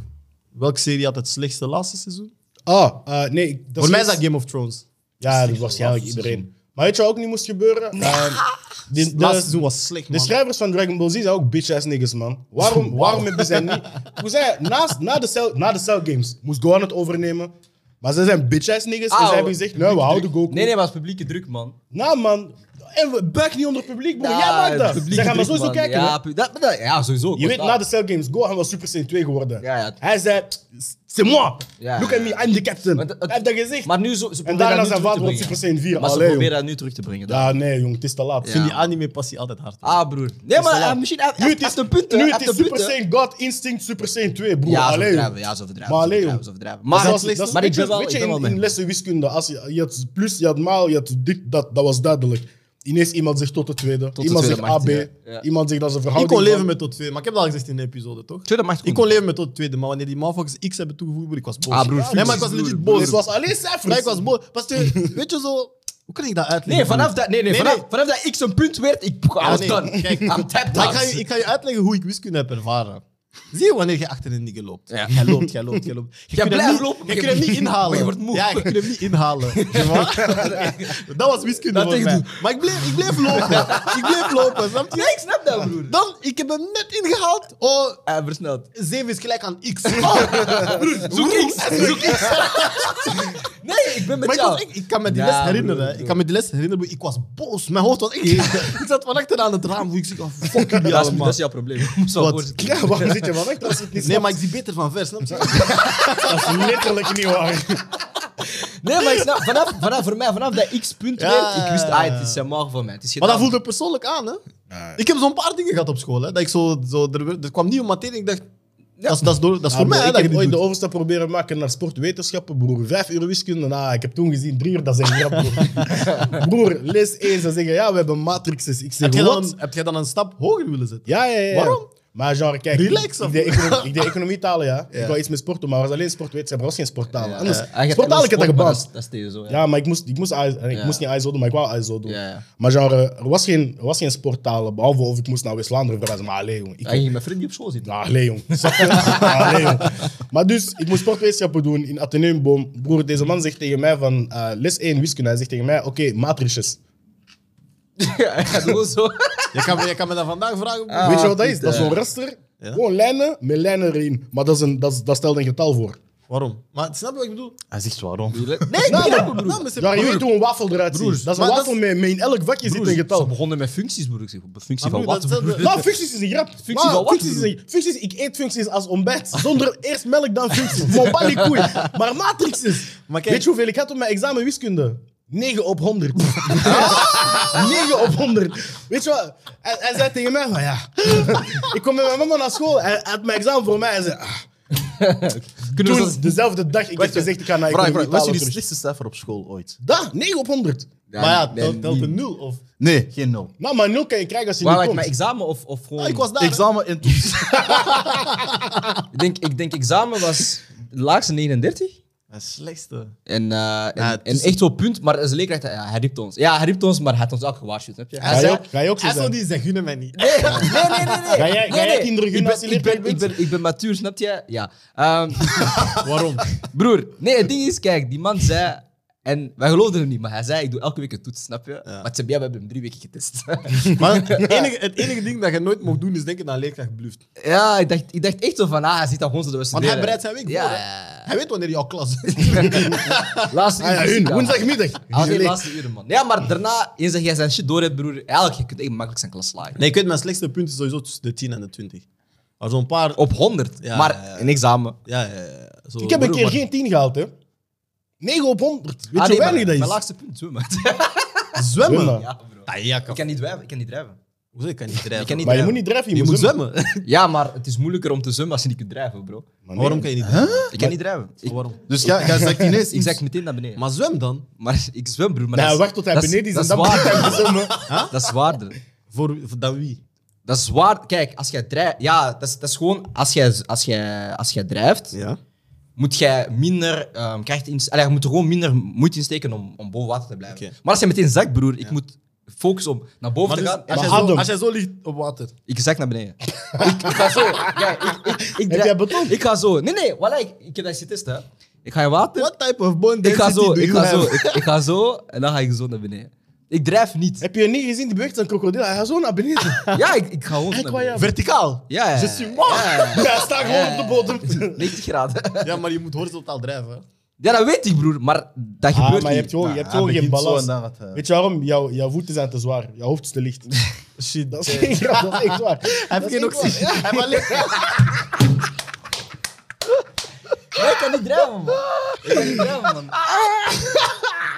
[SPEAKER 1] welke serie had het slechtste laatste seizoen?
[SPEAKER 3] Ah, eh, nee. ik-
[SPEAKER 1] Voor mij is dat Game of Thrones.
[SPEAKER 3] Ja, dat is waarschijnlijk iedereen. Maar weet je wat ook niet moest gebeuren? Ehm, die-
[SPEAKER 1] Het laatste
[SPEAKER 3] de,
[SPEAKER 1] seizoen was slecht,
[SPEAKER 3] de
[SPEAKER 1] man.
[SPEAKER 3] schrijvers van Dragon Ball Z zijn ook bitch-ass niggas, man. Waarom, waarom hebben zij niet... Hoe zei hij? naast, na, de cell, na de Cell Games moest Gohan het overnemen. Maar ze zijn bitch-ass niggas en
[SPEAKER 5] Ah,
[SPEAKER 3] zij hebben gezegd, nou, we houden Goku.
[SPEAKER 5] Nee, nee, maar het is publieke druk, man.
[SPEAKER 3] Nou, man. En we buik niet onder publiek, broer. Jij
[SPEAKER 5] Ja,
[SPEAKER 3] maakt dat.
[SPEAKER 5] het publiek
[SPEAKER 3] Ze gaan maar
[SPEAKER 5] druk, man.
[SPEAKER 3] sowieso kijken, hè.
[SPEAKER 5] Ja, pu- dat, dat- ja sowieso.
[SPEAKER 3] Je
[SPEAKER 5] kost
[SPEAKER 3] weet,
[SPEAKER 5] dat.
[SPEAKER 3] na de Cell Games, Gohan was Super Saiyan 2 geworden.
[SPEAKER 5] Ja, ja.
[SPEAKER 3] Hij zei, c'est moi.
[SPEAKER 5] Ja.
[SPEAKER 3] Look at me, I'm the captain.
[SPEAKER 5] Maar dat-
[SPEAKER 3] Hij heeft dat gezegd.
[SPEAKER 5] Maar nu zo, ze
[SPEAKER 3] en
[SPEAKER 5] proberen
[SPEAKER 3] daarna
[SPEAKER 5] dat nu
[SPEAKER 3] zijn
[SPEAKER 5] terug te
[SPEAKER 3] vader wordt Super
[SPEAKER 5] brengen.
[SPEAKER 3] Saiyan 4.
[SPEAKER 5] Maar ze
[SPEAKER 3] Allee,
[SPEAKER 5] proberen
[SPEAKER 3] jong.
[SPEAKER 5] dat nu terug te brengen.
[SPEAKER 3] Ja, nee, jong, het is te laat.
[SPEAKER 1] Ik vind die anime passie altijd hard.
[SPEAKER 5] Ah, broer. Nee, maar eh, misschien hij-
[SPEAKER 3] Nu
[SPEAKER 5] hij
[SPEAKER 3] het is,
[SPEAKER 5] heeft een punt. hè.
[SPEAKER 3] nu
[SPEAKER 5] Hij
[SPEAKER 3] het
[SPEAKER 5] heeft
[SPEAKER 3] is
[SPEAKER 5] een
[SPEAKER 3] Super
[SPEAKER 5] punt, hè.
[SPEAKER 3] Saiyan God Instinct Super Saiyan 2, broer.
[SPEAKER 5] Ja, ze
[SPEAKER 3] Allee, jong.
[SPEAKER 5] overdrijven. Ja, ze overdrijven.
[SPEAKER 3] Maar
[SPEAKER 5] ze overdrijven,
[SPEAKER 3] allee, joh.
[SPEAKER 5] ze overdrijven. Maar,
[SPEAKER 3] Zelfs-
[SPEAKER 5] het-
[SPEAKER 3] dat is-
[SPEAKER 5] maar ik
[SPEAKER 3] weet je-
[SPEAKER 5] ben wel,
[SPEAKER 3] Weet
[SPEAKER 5] ik
[SPEAKER 3] je,
[SPEAKER 5] ben wel
[SPEAKER 3] in, in
[SPEAKER 5] mee.
[SPEAKER 3] lessen wiskunde, als je, je had plus, je had maal, je had dit, dat, dat was duidelijk. Ineens iemand zegt tot de tweede, iemand
[SPEAKER 5] tweede
[SPEAKER 3] zegt AB,
[SPEAKER 5] maakt het, ja. Ja.
[SPEAKER 3] iemand zegt dat ze
[SPEAKER 1] Ik
[SPEAKER 3] verhouding
[SPEAKER 1] kon leven
[SPEAKER 3] van-
[SPEAKER 1] met tot twee, maar ik heb dat al gezegd in de episode, toch?
[SPEAKER 5] Tweede macht
[SPEAKER 1] Ik
[SPEAKER 5] goed.
[SPEAKER 1] kon leven met tot tweede, maar wanneer die motherfuckers X hebben toegevoegd, broer, ik was boos.
[SPEAKER 5] Ah, broer,
[SPEAKER 1] nee, maar ik
[SPEAKER 5] functies,
[SPEAKER 1] was legit
[SPEAKER 5] broer,
[SPEAKER 1] boos.
[SPEAKER 3] Dus het was alleen
[SPEAKER 1] Nee,
[SPEAKER 3] cijfers.
[SPEAKER 1] ik was boos. Pas je, weet je zo, hoe kan ik dat uitleggen?
[SPEAKER 5] Nee, vanaf dat, nee, nee,
[SPEAKER 1] Nee,
[SPEAKER 5] vanaf,
[SPEAKER 1] nee.
[SPEAKER 5] vanaf dat X een punt werd, ik I was
[SPEAKER 1] nee.
[SPEAKER 5] done.
[SPEAKER 1] Kijk,
[SPEAKER 5] I'm tapped
[SPEAKER 1] Maar
[SPEAKER 5] out.
[SPEAKER 1] ik, ga je, ik ga je uitleggen hoe ik wiskunde heb ervaren. Zie je wanneer je achter een nigger loopt?
[SPEAKER 5] Ja.
[SPEAKER 1] Jij loopt, jij loopt, jij loopt. Je
[SPEAKER 5] Jij
[SPEAKER 1] kunt hem
[SPEAKER 5] blijft
[SPEAKER 1] niet-
[SPEAKER 5] lopen, maar
[SPEAKER 1] Je
[SPEAKER 5] je-
[SPEAKER 1] kunt hem niet inhalen.
[SPEAKER 5] maar je wordt moe.
[SPEAKER 1] Ja, je kunt hem niet inhalen. Je wa- dat was wiskunde
[SPEAKER 5] Dat
[SPEAKER 1] voor
[SPEAKER 5] ik
[SPEAKER 1] mij.
[SPEAKER 5] doe.
[SPEAKER 1] Maar ik bleef, ik bleef lopen. ik bleef lopen, snap
[SPEAKER 5] Nee,
[SPEAKER 1] je?
[SPEAKER 5] ik snap dat, broer.
[SPEAKER 1] Dan, ik heb hem net ingehaald. Oh,
[SPEAKER 5] Eh, versneld.
[SPEAKER 1] 7 is gelijk aan x.
[SPEAKER 5] Zoek X, zoek X. Nee, ik ben met
[SPEAKER 1] Maar ik, was
[SPEAKER 5] jou.
[SPEAKER 1] echt- ik kan me die
[SPEAKER 5] Ja,
[SPEAKER 1] les
[SPEAKER 5] broer,
[SPEAKER 1] herinneren. hè.
[SPEAKER 5] broer.
[SPEAKER 1] Ik kan me die les herinneren. broer. Ik was boos. Mijn hoofd was echt... ik zat van achter aan het raam. broer. Ik zeg, oh, fuck jullie
[SPEAKER 5] Dat is, dat
[SPEAKER 1] allemaal.
[SPEAKER 5] is jouw probleem. Ik moest wel
[SPEAKER 1] Wat?
[SPEAKER 5] voorzitten.
[SPEAKER 3] Ja, waarom zit je van weg? Dat is het niet
[SPEAKER 1] Nee, maar ik zie beter van ver, snap je?
[SPEAKER 3] Dat is letterlijk niet waar.
[SPEAKER 5] Nee, maar ik snap, vanaf, vanaf, voor mij, vanaf dat x-punt
[SPEAKER 1] Ja,
[SPEAKER 5] werd, ik wist,
[SPEAKER 1] ja,
[SPEAKER 5] ah,
[SPEAKER 1] ja.
[SPEAKER 5] het is Samar voor mij. Het is
[SPEAKER 1] Maar dat
[SPEAKER 5] gedaan.
[SPEAKER 1] voelde persoonlijk aan, hè? Ik heb zo'n paar dingen gehad op school, hè? Dat ik zo, zo er, werd- er kwam nieuwe materie en ik dacht, dat is, dat is, door, dat is voor mij, hè,
[SPEAKER 3] ik
[SPEAKER 1] dat je
[SPEAKER 3] heb
[SPEAKER 1] dit
[SPEAKER 3] ooit de
[SPEAKER 1] doet.
[SPEAKER 3] overstap proberen maken naar sportwetenschappen, broer. Vijf uur wiskunde, nou, ik heb toen gezien, drie uur, dat is een grap, broer. broer, lees eens en zeggen, ja, we hebben matrices. Ik zeg,
[SPEAKER 1] Heb jij, dan
[SPEAKER 3] wat?
[SPEAKER 1] een, heb jij dan een stap hoger willen zetten?
[SPEAKER 3] Ja, ja, ja.
[SPEAKER 1] Waarom?
[SPEAKER 3] Maar genre, kijk,
[SPEAKER 1] Relax, of
[SPEAKER 3] ik, deed econo- ik deed economietalen, ja.
[SPEAKER 1] Ja.
[SPEAKER 3] Ik wou iets met sport doen, maar het was alleen sportwetenschappen, er was geen sporttalen.
[SPEAKER 5] Ja,
[SPEAKER 3] Anders,
[SPEAKER 5] eh, hij gaat
[SPEAKER 3] sporttalen, ik had dat
[SPEAKER 5] sport, maar
[SPEAKER 3] gebaat.
[SPEAKER 5] is- Dat is tegen zo, ja.
[SPEAKER 3] Ja, maar ik moest, ik, moest, AS en ik
[SPEAKER 5] Ja.
[SPEAKER 3] moest niet ISO doen, maar ik wou ISO doen.
[SPEAKER 5] Ja, ja.
[SPEAKER 3] Maar genre, er was geen, er was geen sporttaal, behalve of ik moest naar West-Vlaanderen verhuizen. Maar allee, jong. Ik,
[SPEAKER 5] Hij ging met vrienden op school zitten.
[SPEAKER 3] nou, allee, jong. Snap je? Nou, allee, jong. Maar dus, ik moest sportwetenschappen doen in Atheneumboom. Broer, deze man zegt tegen mij van eh, les 1 wiskunde. Hij zegt tegen mij, oké, matrices.
[SPEAKER 5] Hij gaat gewoon zo.
[SPEAKER 1] Je kan, me- je kan me dat vandaag vragen. broer.
[SPEAKER 3] Weet je wat dat is? Dat is zo'n raster. Gewoon lijnen met lijnen erin. Maar dat, is een, dat, is- dat stelt een getal voor.
[SPEAKER 1] Waarom? Maar snap je wat ik bedoel?
[SPEAKER 4] Hij zegt waarom.
[SPEAKER 5] Nee, ik
[SPEAKER 3] Nou,
[SPEAKER 5] begrijp
[SPEAKER 3] maar-
[SPEAKER 5] het,
[SPEAKER 1] Nou,
[SPEAKER 5] broer.
[SPEAKER 1] maar ze-
[SPEAKER 3] Genre, je
[SPEAKER 1] broer,
[SPEAKER 3] weet hoe een wafel eruit ziet.
[SPEAKER 1] Broers,
[SPEAKER 3] Dat is een
[SPEAKER 1] maar
[SPEAKER 3] wafel
[SPEAKER 1] dat
[SPEAKER 3] met, met in elk vakje zit een
[SPEAKER 5] Ze
[SPEAKER 3] getal.
[SPEAKER 5] begonnen met functies, broer. Ik zeg, op functie
[SPEAKER 1] Maar
[SPEAKER 5] van
[SPEAKER 1] broer,
[SPEAKER 5] wat?
[SPEAKER 1] dat-
[SPEAKER 5] broer?
[SPEAKER 3] Nou, functies is een grap. Maar
[SPEAKER 5] van wat,
[SPEAKER 3] Functies is een Functies, ik eet functies als ontbijt. Zonder eerst melk, dan functies. Mon pas les couilles. Maar matrices.
[SPEAKER 1] Maar kijk-
[SPEAKER 3] Weet je hoeveel ik had op mijn examen wiskunde? 9 op 100. 9 op 100. Weet je wat? Hij, hij zei tegen mij van ja. ik kom met mijn mama naar school. Hij hij had mijn examen voor mij. Hij zei ah.
[SPEAKER 5] Kunnen we
[SPEAKER 3] Toen,
[SPEAKER 5] dat-
[SPEAKER 3] dezelfde dag, ik heb gezegd ik ga naar
[SPEAKER 4] Vraag,
[SPEAKER 3] economie
[SPEAKER 4] vraag, wat is
[SPEAKER 3] talen
[SPEAKER 4] jullie
[SPEAKER 3] terug.
[SPEAKER 4] slechtste cijfer op school ooit?
[SPEAKER 3] Daar, 9 op 100.
[SPEAKER 1] Maar ja,
[SPEAKER 5] nee,
[SPEAKER 1] telt, telt
[SPEAKER 5] niet.
[SPEAKER 1] een nul. Of...
[SPEAKER 4] Nee, geen nul.
[SPEAKER 3] Nou, maar 0 kan je krijgen als je
[SPEAKER 5] Waar
[SPEAKER 3] niet
[SPEAKER 5] ik
[SPEAKER 3] komt.
[SPEAKER 5] mijn examen of, of gewoon...
[SPEAKER 1] Ah, ik was daar. hè.
[SPEAKER 4] Examen en toets.
[SPEAKER 5] Ik denk, ik denk examen was de laagste 39.
[SPEAKER 1] Het slechtste.
[SPEAKER 5] En, eh, en,
[SPEAKER 1] Ja, het
[SPEAKER 5] en
[SPEAKER 1] is-
[SPEAKER 5] echt zo'n punt, maar als leerkracht, ja, hij riep ons. Ja, hij riep ons, maar hij had ons ook gewaarschuwd. Heb je?
[SPEAKER 3] Ga je ook- ga je ook zo
[SPEAKER 1] Hij
[SPEAKER 3] zijn?
[SPEAKER 1] zou die zeggen, gunnen mij niet.
[SPEAKER 5] Nee, nee, nee, nee. nee.
[SPEAKER 3] Ga jij- ga
[SPEAKER 5] Nee,
[SPEAKER 3] jij
[SPEAKER 5] nee.
[SPEAKER 3] kinderen
[SPEAKER 5] ik
[SPEAKER 3] gunnen
[SPEAKER 5] ben,
[SPEAKER 3] als je
[SPEAKER 5] ik ben,
[SPEAKER 3] leerkracht
[SPEAKER 5] ik, ben, ik ben matuur, snap je? Ja. Ehm,
[SPEAKER 1] Waarom?
[SPEAKER 5] broer, nee, het ding is, kijk, die man zei... En wij geloofden hem niet, maar hij zei, ik doe elke week een toets, snap je? Maar het CBA, we hebben hem drie weken getest.
[SPEAKER 1] Maar het enige, het enige ding dat je nooit mocht doen is denken dat een leerkracht bluft.
[SPEAKER 5] ja, ik dacht, ik dacht echt zo van, ah, hij zit daar gewoon zo te
[SPEAKER 1] Want
[SPEAKER 5] studeren.
[SPEAKER 1] hij bereidt zijn week voor.
[SPEAKER 5] Ja,
[SPEAKER 1] hè.
[SPEAKER 5] ja.
[SPEAKER 1] Hij weet wanneer jouw klas is.
[SPEAKER 5] Laatste uur.
[SPEAKER 3] Ah ja,
[SPEAKER 5] fysica,
[SPEAKER 3] hun,
[SPEAKER 5] man.
[SPEAKER 3] woensdagmiddag.
[SPEAKER 5] Al die laatste uren, man. Ja, maar daarna, eens dat jij zijn shit door hebt, broer, eigenlijk, je kunt echt makkelijk zijn klas slagen.
[SPEAKER 1] Nee, ik weet, mijn slechtste punt is sowieso tussen de 10 en de 20. Maar zo'n paar.
[SPEAKER 5] Op 100,
[SPEAKER 1] Ja,
[SPEAKER 5] maar
[SPEAKER 1] ja, ja.
[SPEAKER 5] in examen.
[SPEAKER 1] Ja, ja, ja. Zo,
[SPEAKER 3] Ik heb een
[SPEAKER 1] broer,
[SPEAKER 3] keer
[SPEAKER 1] maar-
[SPEAKER 3] geen 10 gehaald, hè. 9 op 100. Weet
[SPEAKER 5] Ah, nee,
[SPEAKER 3] je hoe weinig
[SPEAKER 5] maar-
[SPEAKER 3] dat is?
[SPEAKER 5] Mijn laagste punt, zo, man.
[SPEAKER 1] Zwemmen?
[SPEAKER 3] Zwemmen.
[SPEAKER 5] Ja, bro.
[SPEAKER 1] Ah, ja,
[SPEAKER 5] Ik
[SPEAKER 1] kan.
[SPEAKER 5] kan niet drijven, ik kan niet drijven.
[SPEAKER 1] Hoezo, ik kan niet drijven.
[SPEAKER 5] Ik kan niet
[SPEAKER 3] Maar je
[SPEAKER 5] drijven.
[SPEAKER 3] moet niet drijven, je,
[SPEAKER 1] Je moet zwemmen.
[SPEAKER 5] Ja, maar het is moeilijker om te zwemmen als je niet kunt drijven, bro.
[SPEAKER 1] Maar waarom kan je niet drijven?
[SPEAKER 5] Ik kan niet drijven. Ik,
[SPEAKER 1] Waarom?
[SPEAKER 4] Dus jij jij zegt ineens
[SPEAKER 5] ik
[SPEAKER 4] iets.
[SPEAKER 5] zak meteen naar beneden. Maar,
[SPEAKER 1] Maar zwem dan.
[SPEAKER 5] ik zwem, broer. Maar
[SPEAKER 3] Nou,
[SPEAKER 5] dat is-
[SPEAKER 3] wacht tot hij
[SPEAKER 5] dat is-
[SPEAKER 3] beneden is en
[SPEAKER 5] Dat
[SPEAKER 3] dan
[SPEAKER 5] is
[SPEAKER 3] begint hij
[SPEAKER 5] zwaarder.
[SPEAKER 3] te zwemmen.
[SPEAKER 5] Dat is zwaarder.
[SPEAKER 1] Voor, voor dan wie?
[SPEAKER 5] Dat is zwaar. Kijk, als jij drijft... Ja, dat is, dat is gewoon... Als jij, als jij, als jij drijft,
[SPEAKER 1] Ja.
[SPEAKER 5] moet jij minder ehm kracht in, allee, je moet er gewoon minder moeite insteken om, om boven water te blijven.
[SPEAKER 1] Oké.
[SPEAKER 5] Maar als je meteen zakt, broer, ik moet focussen om naar boven
[SPEAKER 1] Maar
[SPEAKER 5] te
[SPEAKER 1] dus,
[SPEAKER 5] gaan.
[SPEAKER 1] als, jij
[SPEAKER 3] Maar
[SPEAKER 1] zo,
[SPEAKER 3] adem.
[SPEAKER 1] als jij zo ligt op water.
[SPEAKER 5] Ik zak naar beneden. ik, ik ga zo. Kijk, ik, ik, ik,
[SPEAKER 3] Heb
[SPEAKER 5] dra-
[SPEAKER 3] jij beton?
[SPEAKER 5] Ik ga zo. Nee, nee, voilà, ik, ik heb dat getest, hè. Ik ga in water.
[SPEAKER 1] What type of bond
[SPEAKER 5] Ik ga
[SPEAKER 1] density
[SPEAKER 5] zo,
[SPEAKER 1] do
[SPEAKER 5] ik
[SPEAKER 1] you
[SPEAKER 5] ga zo,
[SPEAKER 1] have?
[SPEAKER 5] ik, ik ga zo en dan ga ik zo naar beneden. Ik drijf niet.
[SPEAKER 3] Heb je niet gezien, die beweegt zijn krokodil. Hij gaat zo naar beneden.
[SPEAKER 5] Ja, ik, ik ga gewoon naar beneden.
[SPEAKER 3] Incroyable.
[SPEAKER 1] Verticaal.
[SPEAKER 5] Ja, ja.
[SPEAKER 1] Je suis mort.
[SPEAKER 5] Ja, ja.
[SPEAKER 3] Ja, hij staat gewoon op de bodem.
[SPEAKER 5] 90 graden.
[SPEAKER 1] Ja, maar je moet horizontaal drijven. hè.
[SPEAKER 5] Ja, dat weet ik, broer, maar dat
[SPEAKER 3] Ah,
[SPEAKER 5] gebeurt
[SPEAKER 3] maar je
[SPEAKER 5] niet.
[SPEAKER 3] hebt gewoon, je hebt
[SPEAKER 4] Hij
[SPEAKER 3] gewoon geen
[SPEAKER 4] Ah, begint zo
[SPEAKER 3] balans.
[SPEAKER 4] en dan gaat eh, hij-
[SPEAKER 3] Weet je waarom? Jouw, jouw voeten zijn te zwaar. Jouw hoofd is te licht.
[SPEAKER 1] Shit.
[SPEAKER 3] Dat is geen grap, dat is echt waar.
[SPEAKER 1] Hij
[SPEAKER 3] Dat
[SPEAKER 1] heeft
[SPEAKER 3] is
[SPEAKER 1] geen
[SPEAKER 3] echt waar.
[SPEAKER 1] oxygen. Hij heeft alleen-
[SPEAKER 5] Nee, ik kan niet drijven, man. Ik kan niet drijven, man.